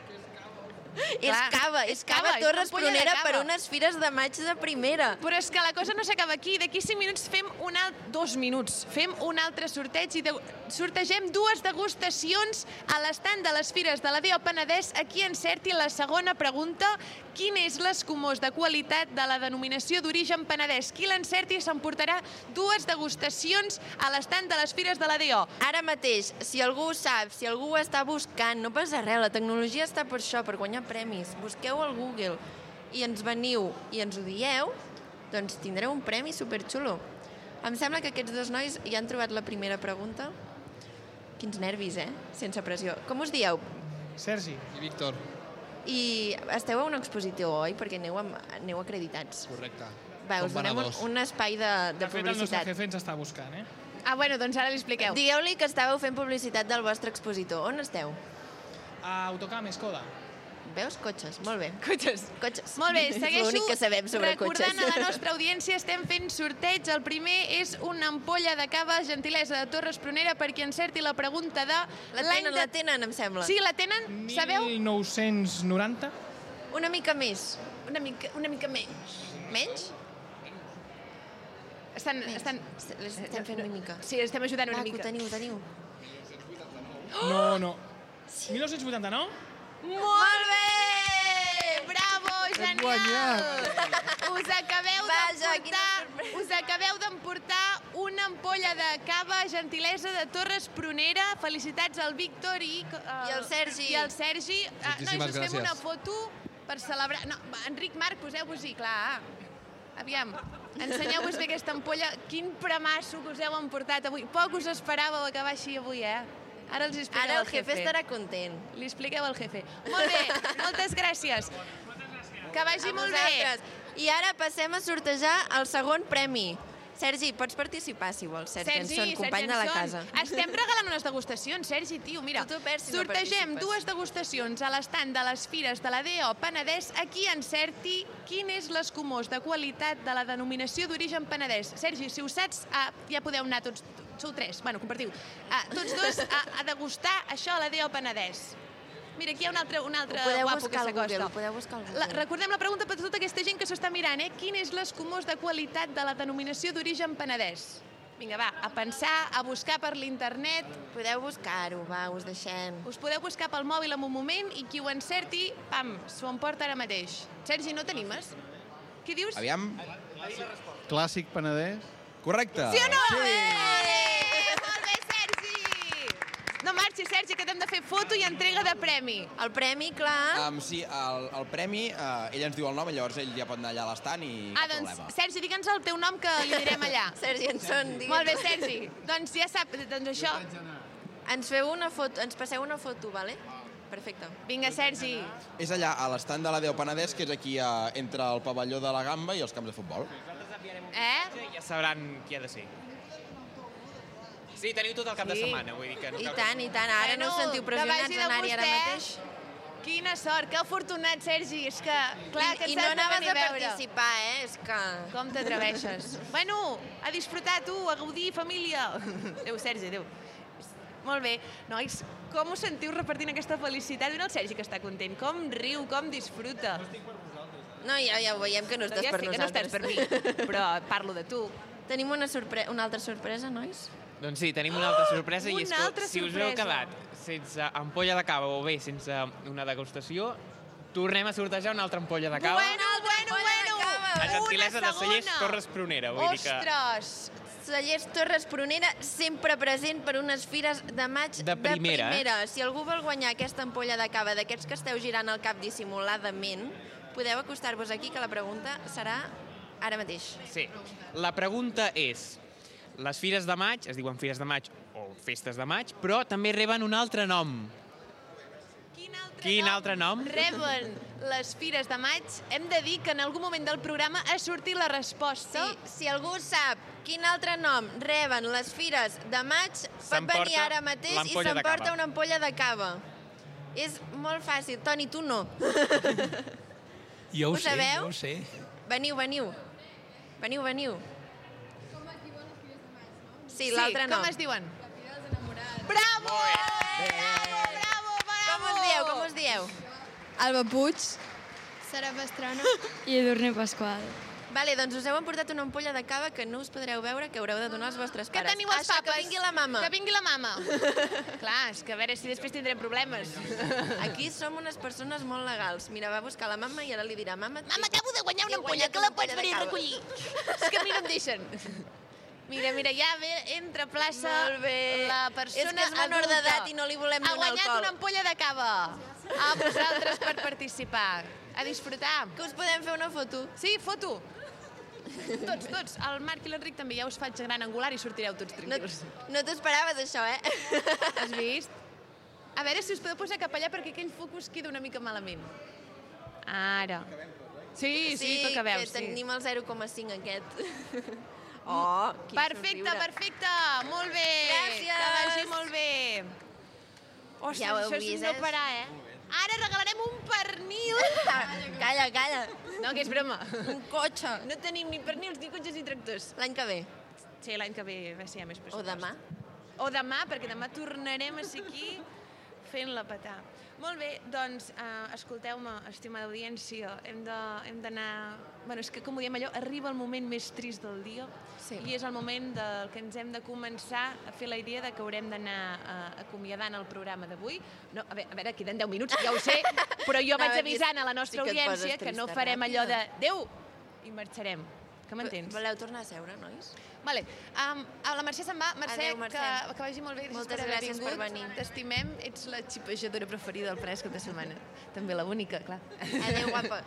B: És
C: Clar,
B: cava, és cava,
C: és
B: Torres
C: ampolla de
B: Prunera
C: cava.
B: per unes fires de maig de primera.
C: Però és que la cosa no s'acaba aquí. D'aquí 5 minuts fem un alt... Dos minuts. Fem un altre sorteig i de... sortegem dues degustacions a l'estant de les Fires de la Déu Penedès. Aquí encerti la segona pregunta. Quin és l'escumós de qualitat de la denominació d'origen Penedès? Qui l'encerti s'emportarà dues degustacions a l'estant de les Fires de la Déu.
B: Ara mateix, si algú ho sap, si algú ho està buscant, no passa res, la tecnologia està per això, per guanyar premis. Busqueu al Google i ens veniu i ens ho dieu, doncs tindreu un premi superxulo. Em sembla que aquests dos nois ja han trobat la primera pregunta. Quins nervis, eh? Sense pressió. Com us dieu?
K: Sergi. I Víctor.
B: I esteu a un expositiu, oi? Perquè aneu, amb, aneu acreditats.
K: Correcte.
B: Va, us
K: Com van a
B: donem un,
K: dos.
B: un espai de, de
K: De fet, el nostre
B: publicitat.
K: jefe ens està buscant, eh?
C: Ah, bueno, doncs ara li expliqueu.
B: Digueu-li que estàveu fent publicitat del vostre expositor. On esteu?
K: A Autocam, Escoda.
B: Veus? Cotxes, molt bé.
C: Cotxes.
B: Cotxes.
C: Molt bé, segueixo
B: L'únic que sabem sobre
C: recordant
B: cotxes.
C: a la nostra audiència, estem fent sorteig. El primer és una ampolla de cava, gentilesa de Torres Prunera, perquè encerti la pregunta de...
B: La
C: l'any
B: tenen,
C: de...
B: la tenen, em sembla.
C: Sí, la tenen, sabeu?
K: 1990?
B: Una mica més.
C: Una mica, una mica menys.
B: Menys?
C: Estan, estan...
B: Estem fent una mica.
C: Sí, estem ajudant una
B: Va, que
C: mica.
B: ho teniu, ho teniu.
K: No, no. 1989?
C: Molt bé! Bravo,
K: Hem
C: genial!
K: guanyat.
C: Us acabeu d'emportar us acabeu d'emportar una ampolla de cava gentilesa de Torres Prunera. Felicitats al Víctor i... eh,
B: I al Sergi.
C: I al Sergi. Ah, Nois,
K: Moltíssimes
C: us fem
K: gràcies.
C: una foto per celebrar... No, va, Enric Marc, poseu-vos-hi, clar. Aviam, ensenyeu-vos bé aquesta ampolla. Quin premasso que us heu emportat avui. Poc us esperàveu acabar així avui, eh? Ara els hi expliqueu
B: Ara el
C: al
B: jefe estarà content.
C: Li expliqueu al jefe. Molt bé, moltes gràcies. Que vagi
B: A
C: molt bé.
B: vosaltres. I ara passem a sortejar el segon premi. Sergi, pots participar, si vols. Sergi, Anson, company de la casa.
C: Anson. Estem regalant unes degustacions, Sergi, tio, mira. Tu perds,
B: no
C: Sortegem
B: participes.
C: dues degustacions a l'estant de les fires de la D.O. Penedès. Aquí encerti quin és l'escumós de qualitat de la denominació d'origen Penedès. Sergi, si ho saps, ah, ja podeu anar tots... Sou tres, bueno, compartiu. Ah, tots dos a, a degustar això a la D.O. Penedès. Mira, aquí hi ha un altre, un altre
B: Ho podeu
C: guapo que
B: buscar al Google,
C: s'acosta.
B: ho podeu buscar al
C: La,
B: Google.
C: recordem la pregunta per tota aquesta gent que s'ho està mirant, eh? Quin és l'escumós de qualitat de la denominació d'origen Penedès? Vinga, va, a pensar, a buscar per l'internet.
B: Podeu buscar-ho, va, us deixem.
C: Us podeu buscar pel mòbil en un moment i qui ho encerti, pam, s'ho emporta ara mateix. Sergi, no t'animes? Què dius?
D: Aviam. Clàssic penedès. Correcte.
C: Sí o no? Bé! Molt bé, Sergi! No marxis, Sergi, que t'hem de fer foto i entrega de premi.
B: El premi,
C: Ah?
B: clar.
D: Um, sí, el, el premi, uh, ell ens diu el nom, llavors ell ja pot anar allà a l'estant i
C: Ah,
D: cap
C: doncs,
D: problema.
C: Sergi, digue'ns el teu nom que li direm allà.
B: Sergi Anson, digue'ns.
C: Molt bé, Sergi. Doncs ja sap, doncs això.
B: Ens feu una foto, ens passeu una foto, vale? Perfecte.
C: Vinga, Sergi.
D: És allà, a l'estant de la Déu Penedès, que és aquí uh, entre el pavelló de la Gamba i els camps de futbol.
C: Eh?
E: Ja sabran qui ha de ser. Sí, teniu tot el cap de
C: Sí.
E: setmana, vull dir que... no
B: I
E: cal que-
B: tant, i tant. Ara no us
C: Bueno,
B: sentiu
C: que
B: pressionats
C: vagi de
B: a anar-hi ara
C: vostè.
B: mateix?
C: Quina sort, que afortunat, Sergi. És que, clar, que ens
B: I no
C: has de
B: anaves
C: venir
B: a
C: a veure.
B: participar, eh? És que...
C: Com t'atreveixes? Bueno, a disfrutar, tu, a gaudir, família. Adéu, Sergi, adéu. Molt bé. Nois, com us sentiu repartint aquesta felicitat? Mira el Sergi que està content. Com riu, com disfruta.
B: No, ja, ja ho veiem que no estàs
C: ja
B: per
C: sé que no
B: nosaltres.
C: estàs per mi, però parlo de tu.
B: Tenim una, sorpre una altra sorpresa, nois?
E: Doncs sí, tenim una altra sorpresa
B: Una
E: i és que
B: altra
E: si us heu
B: sorpresa.
E: quedat sense ampolla de cava o bé sense una degustació, tornem a sortejar una altra ampolla de cava.
C: Bueno, bueno, bueno!
E: a gentilesa
C: una
E: de Cellers
C: segona.
E: Torres Prunera. Vull dir que...
C: Ostres!
B: Cellers Torres Prunera, sempre present per unes fires de maig
E: De primera,
B: de
E: eh?
B: primera. Si algú vol guanyar aquesta ampolla de cava d'aquests que esteu girant al cap dissimuladament, podeu acostar-vos aquí, que la pregunta serà ara mateix.
E: Sí. La pregunta és, les fires de maig, es diuen fires de maig o festes de maig, però també reben un altre nom. Quin altre Quin nom? altre nom?
C: Reben les fires de maig. Hem de dir que en algun moment del programa ha sortit la resposta.
B: Si algú sap quin altre nom reben les fires de maig, pot
C: S'emporta
B: venir ara mateix i
C: l'ampolla de
B: s'emporta
C: cava.
B: una ampolla de cava. És molt fàcil. Toni, tu no.
I: Jo ho,
B: Ho
I: sé,
B: sabeu?
I: jo ho sé.
B: Veniu, veniu. Veniu, veniu. Sí,
C: Sí,
B: l'altre no.
C: com es diuen?
B: Bravo! Com us dieu, com us dieu?
U: Alba Puig. Sara Pastrana. I Edurne Pasqual.
B: Vale, doncs us heu emportat una ampolla de cava que no us podreu veure, que haureu de donar als vostres pares.
C: Que teniu els
B: Això,
C: papes.
B: que vingui la mama.
C: Que vingui la mama. Clar, és que a veure si després tindrem problemes.
B: Aquí som unes persones molt legals. Mira, va buscar la mama i ara li dirà mama... Mama,
C: acabo de guanyar
B: una ampolla, que la pots venir a recollir.
C: És que a mi no em deixen. Mira, mira, ja ve, entra a plaça
B: Molt bé.
C: la
B: És
C: persona
B: que és menor
C: adulta.
B: d'edat i no li volem
C: Ha
B: donar
C: guanyat
B: alcohol.
C: una ampolla de cava. A vosaltres per participar. A disfrutar.
B: Que us podem fer una foto.
C: Sí, foto. Tots, tots. El Marc i l'Enric també ja us faig gran angular i sortireu tots tranquils.
B: No t'ho esperaves, això, eh?
C: Has vist? A veure si us podeu posar cap allà perquè aquell focus queda una mica malament. Ara. Sí, sí, tot que veus.
B: que tenim el 0,5 aquest.
C: Oh,
B: quin
C: perfecte,
B: somriure.
C: perfecte. Molt bé.
B: Gràcies.
C: Que vagi molt bé. Ostres,
B: Ja ho heu
C: això és
B: vist,
C: no
B: eh?
C: parar, eh? Ara regalarem un pernil.
B: Calla, calla.
C: No, que és broma.
B: Un cotxe.
C: No tenim ni pernils, ni cotxes, ni tractors.
B: L'any que ve.
C: Sí, l'any que ve, a veure si hi ha més pressupost.
B: demà.
C: O demà, perquè demà tornarem a ser aquí fent-la petar. Molt bé, doncs, eh, escolteu-me, estimada audiència, hem de- hem d'anar... Bueno, és que, com ho diem allò, arriba el moment més trist del dia
B: Sí.
C: i és el moment del que ens hem de començar a fer la idea de que haurem d'anar eh, acomiadant el programa d'avui. No, a veure, a veure, queden 10 minuts, ja ho sé, però jo
B: Anava
C: vaig
B: a dir,
C: avisant a la
B: sí
C: nostra
B: que et poses
C: audiència que no
B: trista
C: farem allò de
B: ràpida.
C: Déu i marxarem. Que m'entens?
B: Voleu tornar a seure, nois?
C: Vale. Um, a la Mercè se'n va. Mercè,
B: Adéu, Mercè.
C: Que, que vagi molt bé.
B: Moltes
C: per haver
B: gràcies per
C: vingut.
B: venir.
C: T'estimem. Ets la xipejadora preferida del fresc de setmana. També la única, clar.
B: Adéu, guapa.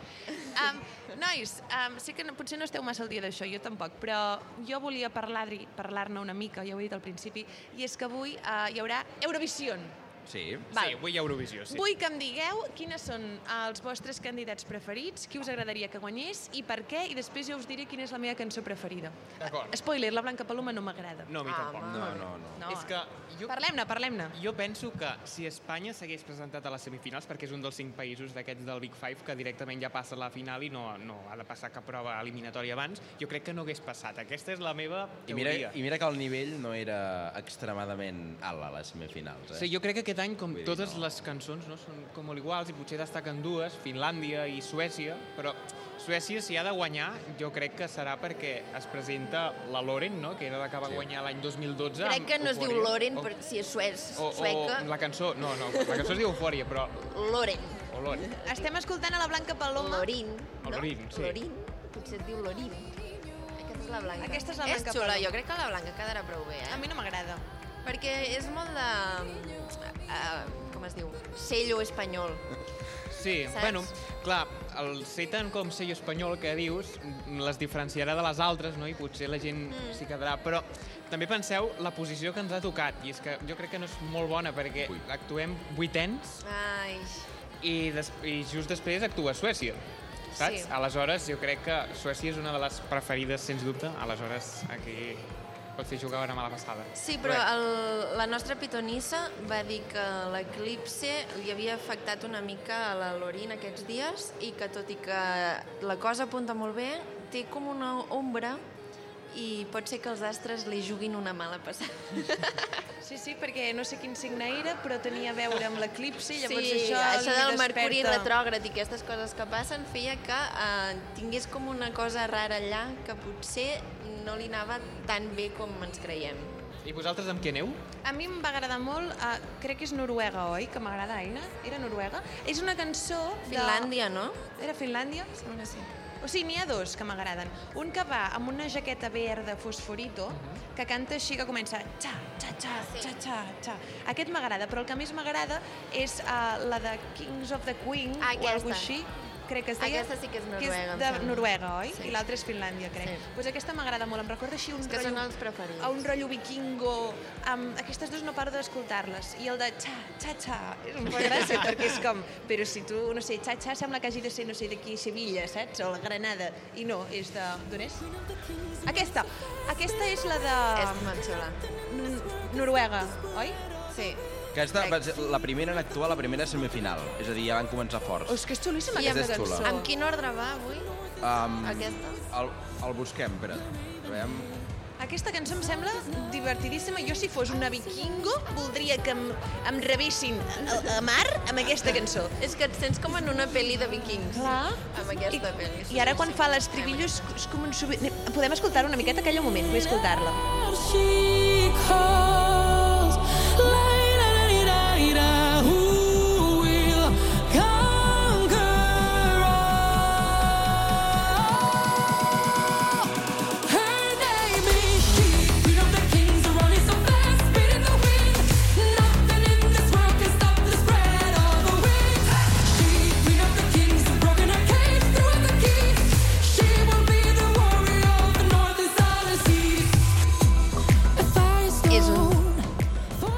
C: Um, nois, um, sé que no, potser no esteu massa al dia d'això, jo tampoc, però jo volia parlar-hi- parlar-ne una mica, ja ho he dit al principi, i és que avui uh, hi haurà Eurovision.
D: Sí.
C: Val.
E: Sí, avui hi ha Eurovisió, sí.
C: Vull que em digueu quines són eh, els vostres candidats preferits, qui us agradaria que guanyés i per què, i després jo us diré quina és la meva cançó preferida.
E: D'acord.
C: Spoiler, la Blanca Paloma no m'agrada.
E: No, a mi tampoc.
C: No.
E: És que jo...
C: Ah, Parlem-ne, parlem-ne.
E: Jo penso que si Espanya s'hagués presentat a les semifinals, perquè és un dels cinc països d'aquests del Big Five que directament ja passa a la final i no, no ha de passar cap prova eliminatòria abans, jo crec que no hagués passat. Aquesta és la meva
D: I mira,
E: teoria.
D: I mira que el nivell no era extremadament alt a les semifinals, eh?
E: Sí, jo crec que aquest any, com
D: Vull dir,
E: totes les cançons, no, són com molt iguals i potser destaquen dues, Finlàndia i Suècia, però Suècia, si ha de guanyar, jo crec que serà perquè es presenta la Loren, no?, que era la que va guanyar l'any 2012.
B: Crec
E: amb
B: que no es diu
E: Euphoria.
B: Loren,
E: O-
B: per, si és suec,
E: O,
B: sueca.
E: o la cançó, no, no, la cançó es diu Eufòria, però...
B: Loren.
E: O Loren.
C: Estem escoltant a la Blanca Paloma.
B: Lorin.
E: El Lorin, sí.
B: Lorin. Potser et diu Lorin. Aquesta és la blanca.
C: Aquesta és la blanca,
B: És xula,
C: Paloma.
B: jo crec que la blanca quedarà prou bé, eh?
C: A mi no m'agrada.
B: Perquè és molt de... Uh, com es diu? Sello espanyol.
E: Sí,
B: Saps?
E: bueno, clar, el ser tan com sello espanyol que dius les diferenciarà de les altres, no? I potser la gent
B: Mm.
E: s'hi quedarà. Però també penseu la posició que ens ha tocat, i és que jo crec que no és molt bona, perquè actuem vuitens
B: Ai,
E: i, des i just després actua Suècia. Saps?
B: Sí.
E: Aleshores, jo crec que Suècia és una de les preferides, sens dubte. Aleshores, aquí pot fer jugar una mala passada.
B: Sí, però el, la nostra pitonissa va dir que l'eclipse li havia afectat una mica a la Lorin aquests dies i que tot i que la cosa apunta molt bé, té com una ombra i pot ser que els astres li juguin una mala passada.
C: Sí, sí, perquè no sé quin signe era, però tenia a veure amb l'eclipse, i llavors
B: sí,
C: això,
B: això
C: li
B: del
C: desperta.
B: mercuri retrògrad i aquestes coses que passen feia que eh, tingués com una cosa rara allà que potser no li anava tan bé com ens creiem.
E: I vosaltres amb qui aneu?
C: A mi em va agradar molt, eh, crec que és Noruega, oi? Que m'agrada, Aina? Era Noruega? És una cançó de...
B: Finlàndia, no?
C: Era Finlàndia? Sembla que sí. O sigui, n'hi ha dos que m'agraden. Un que va amb una jaqueta verda fosforito,
B: Mhm.
C: que canta així, que comença xa, xa, xa, xa, xa, xa. Aquest m'agrada, però el que més m'agrada és uh, la de Kings of the Queen, o
B: Ah, Aquesta.
C: alguna així. Crec que es deia...
B: Aquesta sí que és
C: Que
B: noruega, em
C: és de
B: sembla.
C: Noruega, oi?
B: Sí.
C: I l'altra és Finlàndia, crec.
B: Sí.
C: Doncs pues aquesta m'agrada molt, em recorda així un
B: És que són els preferits.
C: A un rotllo vikingo. Um, aquestes dues no paro d'escoltar-les. I el de xa, xa, xa, és un poc gràcia, perquè és com... Però si tu, no sé, xa, xa, sembla que hagi de ser, no sé, d'aquí a Sevilla, saps? O la Granada. I no, és de... D'on és? Aquesta. Aquesta és la de... És Manxola. Noruega, oi? Sí.
D: Aquesta va ser la primera en actuar, la primera semifinal. És a dir, ja van començar forts.
C: Oh, És que és xulíssima
D: I amb-
C: aquesta cançó.
D: Amb
B: quin ordre va avui?
D: Um,
B: Aquesta?
D: El, el busquem, espera. A veure,
C: Aquesta cançó em sembla divertidíssima. Jo, si fos una vikingo, voldria que em, em rebessin a, a mar amb aquesta cançó. És que et sents com en una pel·li de vikings. Clar.
B: Amb aquesta pel·li.
C: I ara, quan fa l'estribillo, és, és com un subi... Podem escoltar-ho una miqueta? Calla un moment, vull escoltar-la.
I: She calls, la-di-da-di-da-di-da, who will conquer all? Her name is she. Queen of the kings, are running so fast, speeding the wind. Nothing in this world can stop the spread of the wind. She, queen of the kings, has broken her cage, through the key. She will be the warrior of the northern solid seas.
B: És un...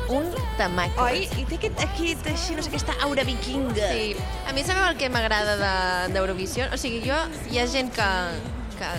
B: Un temaco.
C: Oi? I té aquest, aquest, així, no sé, aquesta aura vikinga.
B: Sí. A mi sabeu el que m'agrada de- d'Eurovisió? O sigui, jo... Hi ha gent que, que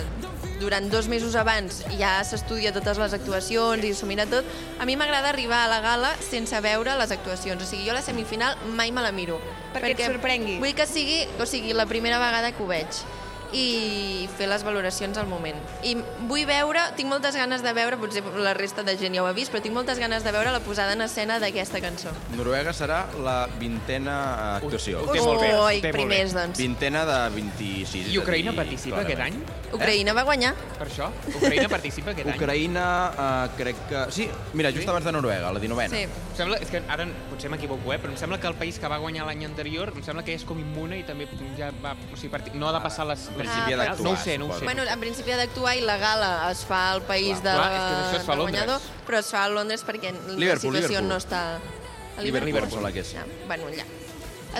B: durant dos mesos abans ja s'estudia totes les actuacions i s'ho mira tot. A mi m'agrada arribar a la gala sense veure les actuacions. O sigui, jo la semifinal mai me la miro.
C: Perquè et sorprengui.
B: Vull que sigui, o sigui, la primera vegada que ho veig i fer les valoracions al moment. I vull veure, tinc moltes ganes de veure, potser la resta de gent ja ho ha vist, però tinc moltes ganes de veure la posada en escena d'aquesta cançó.
E: Eh?
D: Noruega serà la vintena eh, actuació.
B: Ho- ho té molt bé, Ui, ho té molt primers, bé. doncs.
D: Vintena de 26.
E: I Ucraïna participa aquest any?
B: Ucraïna va guanyar.
E: Per això? Ucraïna participa aquest any?
D: Ucraïna, eh, crec que... Sí, mira, just abans de Noruega, la 19a.
B: Sí.
E: Em Sembla, és que ara potser m'equivoco, eh? però em sembla que el país que va guanyar l'any anterior em sembla que és com immune i també ja va, o sigui, parti... no ha
D: Ah,
E: de passar les... les
B: principi ha
E: finals.
B: d'actuar,
E: No ho sé, no ho sé.
B: Ah, Bueno, en principi ha d'actuar i la gala es fa al país
E: Clar,
B: de,
E: clar, és que això es fa a
B: del guanyador,
E: Londres.
B: però es fa a Londres perquè la
D: Liverpool,
B: situació
D: Liverpool.
B: no està... A
D: Liverpool, sembla que és.
B: Ja, bueno, allà.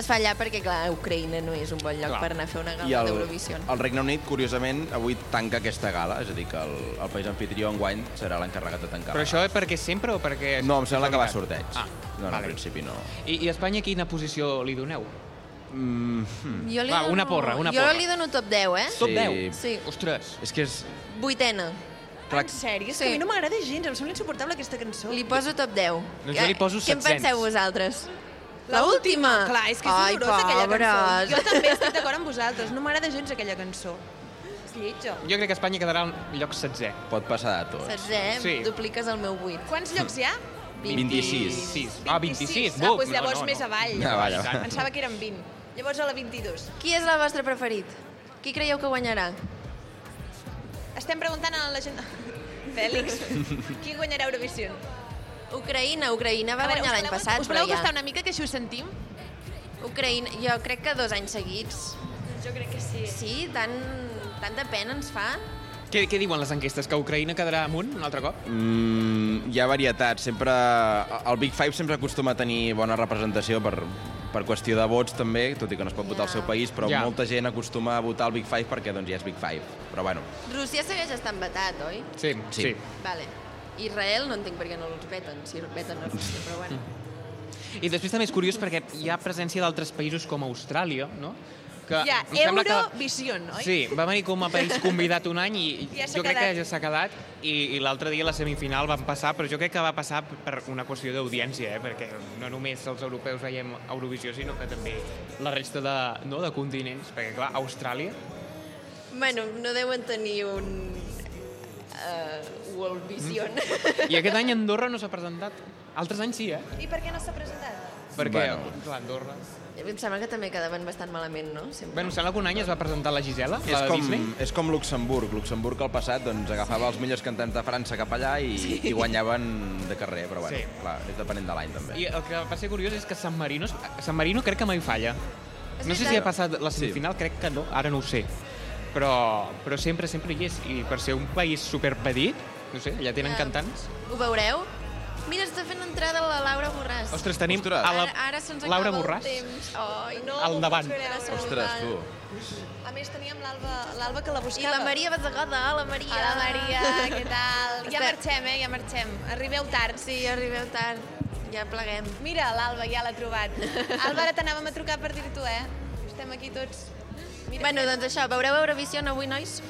B: Es fa allà perquè, clar, Ucraïna no és un bon lloc
D: Clar.
B: per anar a fer una
D: I
B: gala
D: el,
B: d'Eurovisió.
D: el Regne Unit, curiosament, avui tanca aquesta gala, és a dir, que el, el país anfitrió enguany serà l'encarregat de tancar.
E: Però això és perquè sempre o perquè...
D: No, em sembla que va a
E: sorteig. Ah,
D: No, no,
E: vale. Eh?
D: al principi no.
E: I, I a Espanya quina posició li doneu?
D: Mm,
B: Jo li
E: va,
B: dono,
E: una porra, una
B: jo
E: porra.
B: li dono top 10, eh?
E: Top 10?
B: Sí.
E: Ostres.
D: És que és...
B: Vuitena.
D: Clar,
C: En sèrio? És que a mi no m'agrada gens, em sembla insuportable aquesta cançó.
B: Li poso top 10.
D: Doncs jo li poso
B: Què en
D: 700.
B: penseu vosaltres?
C: La última. Clar, és que és
B: Ai,
C: dolorosa aquella
B: pobres.
C: cançó. Jo també estic d'acord amb vosaltres, no m'agrada gens aquella cançó. És lletja.
E: Jo crec que Espanya quedarà al lloc setzè.
D: Pot passar de tot.
B: Saps, eh?
E: Sí.
B: Dupliques el meu 8.
C: Quants llocs hi ha?
E: 26. Ah, 26.
C: Ah, doncs llavors més avall.
E: Ah,
C: llavors.
E: vale, vale.
C: Pensava que eren 20. Llavors a la 22.
B: Qui és el vostre preferit? Qui creieu que guanyarà?
C: Estem preguntant a la gent... Fèlix, qui guanyarà Eurovisió?
B: Ucraïna, Ucraïna va
C: A veure, us
B: guanyar l'any
C: voleu-
B: passat.
C: us voleu
B: però
C: gastar una mica, que així ho sentim?
B: Ucraïna, jo crec que dos anys seguits.
C: Jo crec que sí.
B: Sí, tant, tant de pena ens fa.
E: Què, què diuen les enquestes? Que Ucraïna quedarà amunt un altre cop?
D: Mm, hi ha varietat. Sempre, el Big Five sempre acostuma a tenir bona representació per, per qüestió de vots també, tot i que no es pot votar al seu país, però
E: Ja.
D: molta gent acostuma a votar el Big Five perquè doncs, ja és Big Five. Però bueno,
B: Rússia segueix estant vetat, oi?
E: sí, sí. sí.
B: Vale. Israel no entenc per què no els veten, si veten a Rússia, però bueno.
E: I després també és curiós perquè hi ha presència d'altres països com Austràlia, no? Que
C: Hi ha
E: Eh, em sembla que-
C: Eurovision, oi?
E: Sí, va venir com a país convidat un any i
C: I ja s'ha
E: jo crec
C: quedat.
E: que ja s'ha quedat i, i l'altre dia la semifinal van passar, però jo crec que va passar per una qüestió d'audiència, eh? perquè no només els europeus veiem Eurovisió, sinó que també la resta de, no, de continents, perquè clar, Austràlia...
B: Bueno, no deuen tenir un... Uh, World Vision.
C: Mm.
E: I aquest any Andorra no s'ha presentat. Altres anys sí, eh?
C: I per què no s'ha presentat?
E: Perquè
D: Bueno.
E: bueno. clar, Andorra...
B: Em sembla que també quedaven bastant malament, no? Sempre.
E: Bueno, em sembla que un any es va presentar la Gisela, la
D: és
E: de
D: com,
E: Disney.
D: és com Luxemburg. Luxemburg al passat doncs, agafava els millors cantants de França cap allà i,
E: Sí.
D: i guanyaven de carrer, però bueno,
E: Sí.
D: clar, és depenent de l'any també.
E: I el que va ser curiós és que San Marino, San Marino crec que mai falla. No sé si ha passat la semifinal, crec que no, ara no ho sé. però, però sempre, sempre hi és. I per ser un país superpedit, no sé, allà tenen
B: Ja.
E: cantants.
B: Ho veureu? Mira, està fent entrada la Laura Borràs.
E: Ostres, tenim Ostres. a la-
B: Ara, ara se'ns
E: Laura
B: acaba
E: Borràs?
B: el temps. Ai, no,
E: Al
B: m'ho
E: davant.
B: puc creure.
D: Ostres, tu.
B: A més, teníem l'Alba l'Alba que la buscava. I la Maria Basagada, hola Maria.
C: Hola, Maria, què tal? Ja
B: Estem-
C: marxem, eh? Ja marxem. Arribeu tard.
B: Sí, arribeu tard. Ja pleguem.
C: Mira, l'Alba ja l'ha trobat. Alba, ara t'anàvem a trucar per dir-t'ho, eh? Estem aquí tots. Mira,
B: Bueno, doncs això, veureu Eurovision avui, nois?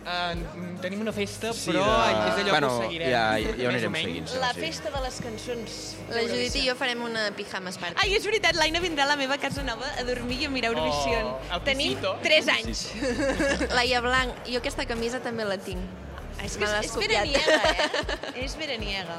E: Uh, tenim una festa,
D: Sí,
E: però
D: de-
E: és allò
D: bueno,
E: que ho seguirem.
D: ja- ja ho
E: més o
D: anirem
E: menys.
D: seguint, sí,
B: La
D: sí.
B: festa de les cançons. La Judit i jo farem una pijamas party.
C: Ai, és veritat, l'Aina vindrà a la meva casa nova a dormir i a mirar Eurovision.
B: Oh, al
C: Tenim
B: pisito.
C: 3 anys.
B: Laia Blanc, jo aquesta camisa també la tinc.
C: Ah, És que
B: Me l'has
C: és
B: copiat.
C: veraniega, eh? És veraniega.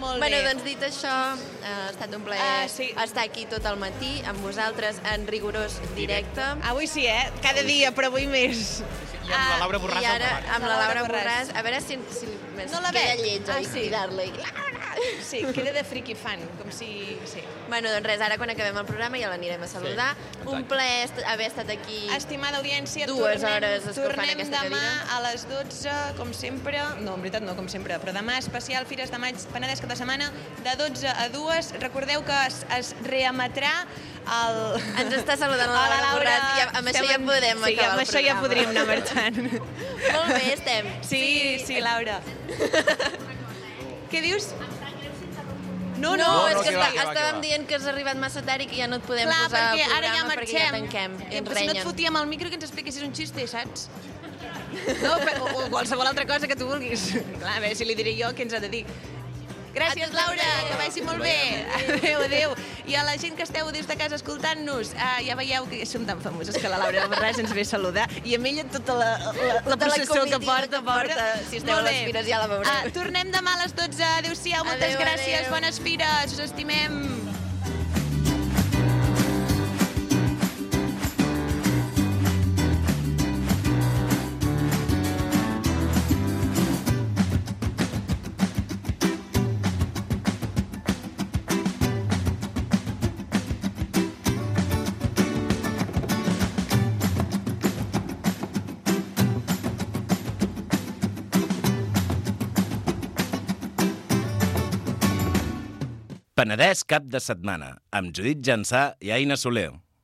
C: Molt
B: bueno,
C: bé.
B: doncs dit això, eh, ha estat un plaer
C: Ah,
B: sí. estar aquí tot el matí amb vosaltres en rigorós directe.
C: Avui sí, eh? Cada dia, però avui més.
B: I amb
C: la Laura Borràs
B: Ah, I ara
C: al davant.
B: amb la Laura
C: La Laura Borràs.
B: Borràs. A veure si, si
C: No la
B: queda
C: veig.
B: lleig
C: Ah,
B: oi,
C: sí.
B: cridar-la.
C: Sí, queda de friki fan, com si... Sí.
B: Bueno, doncs res, ara quan acabem el programa ja l'anirem a saludar.
C: exacte.
B: un plaer est haver estat aquí
C: Estimada audiència,
B: dues
C: tornem,
B: hores escalfant
C: tornem
B: aquesta
C: demà
B: cadira.
C: a les 12, com sempre. No, en veritat no, com sempre, però demà especial Fires de Maig, Penedès cada setmana, de 12 a 2. Recordeu que es, es reemetrà el...
B: Ens està saludant la Laura Borràs i amb això
C: Estem
B: ja
C: en-
B: podem
C: sí,
B: acabar
C: amb
B: el
C: això ja
B: programa.
C: podríem anar marxant. Molt
B: bé, estem.
C: Sí, sí, sí Laura. Què dius? No, no,
B: és que,
C: que va, que va,
B: està,
C: que
B: estàvem
C: va.
B: dient que has arribat massa tard i que ja no et podem
C: Clar,
B: posar al
C: perquè ara
B: programa
C: ja marxem.
B: perquè ja tanquem i ens
C: però si no et
B: renyen.
C: fotíem el micro que ens expliquessis un xiste, saps? No, però, o, o qualsevol altra cosa que tu vulguis. Clar, a veure si li diré jo què ens ha de dir. Gràcies, Laura, que vagi molt bé. Adéu, adéu. I a la gent que esteu des de casa escoltant-nos, ah, ja veieu que som tan famoses que la Laura Barràs ens ve a saludar i amb ella tota la, la, la
B: Tota la
C: processó que
B: comitiva
C: porta,
B: que porta.
C: pobra.
B: Si esteu a
C: Molt
B: les
C: bé.
B: fires ja la veureu.
C: Ah, tornem demà a les 12. Adéu-siau, moltes
B: Adéu,
C: gràcies.
B: adéu.
C: Bones fires, us estimem.
M: Penedès cap de setmana, amb Judit Jansà i Aina Soler.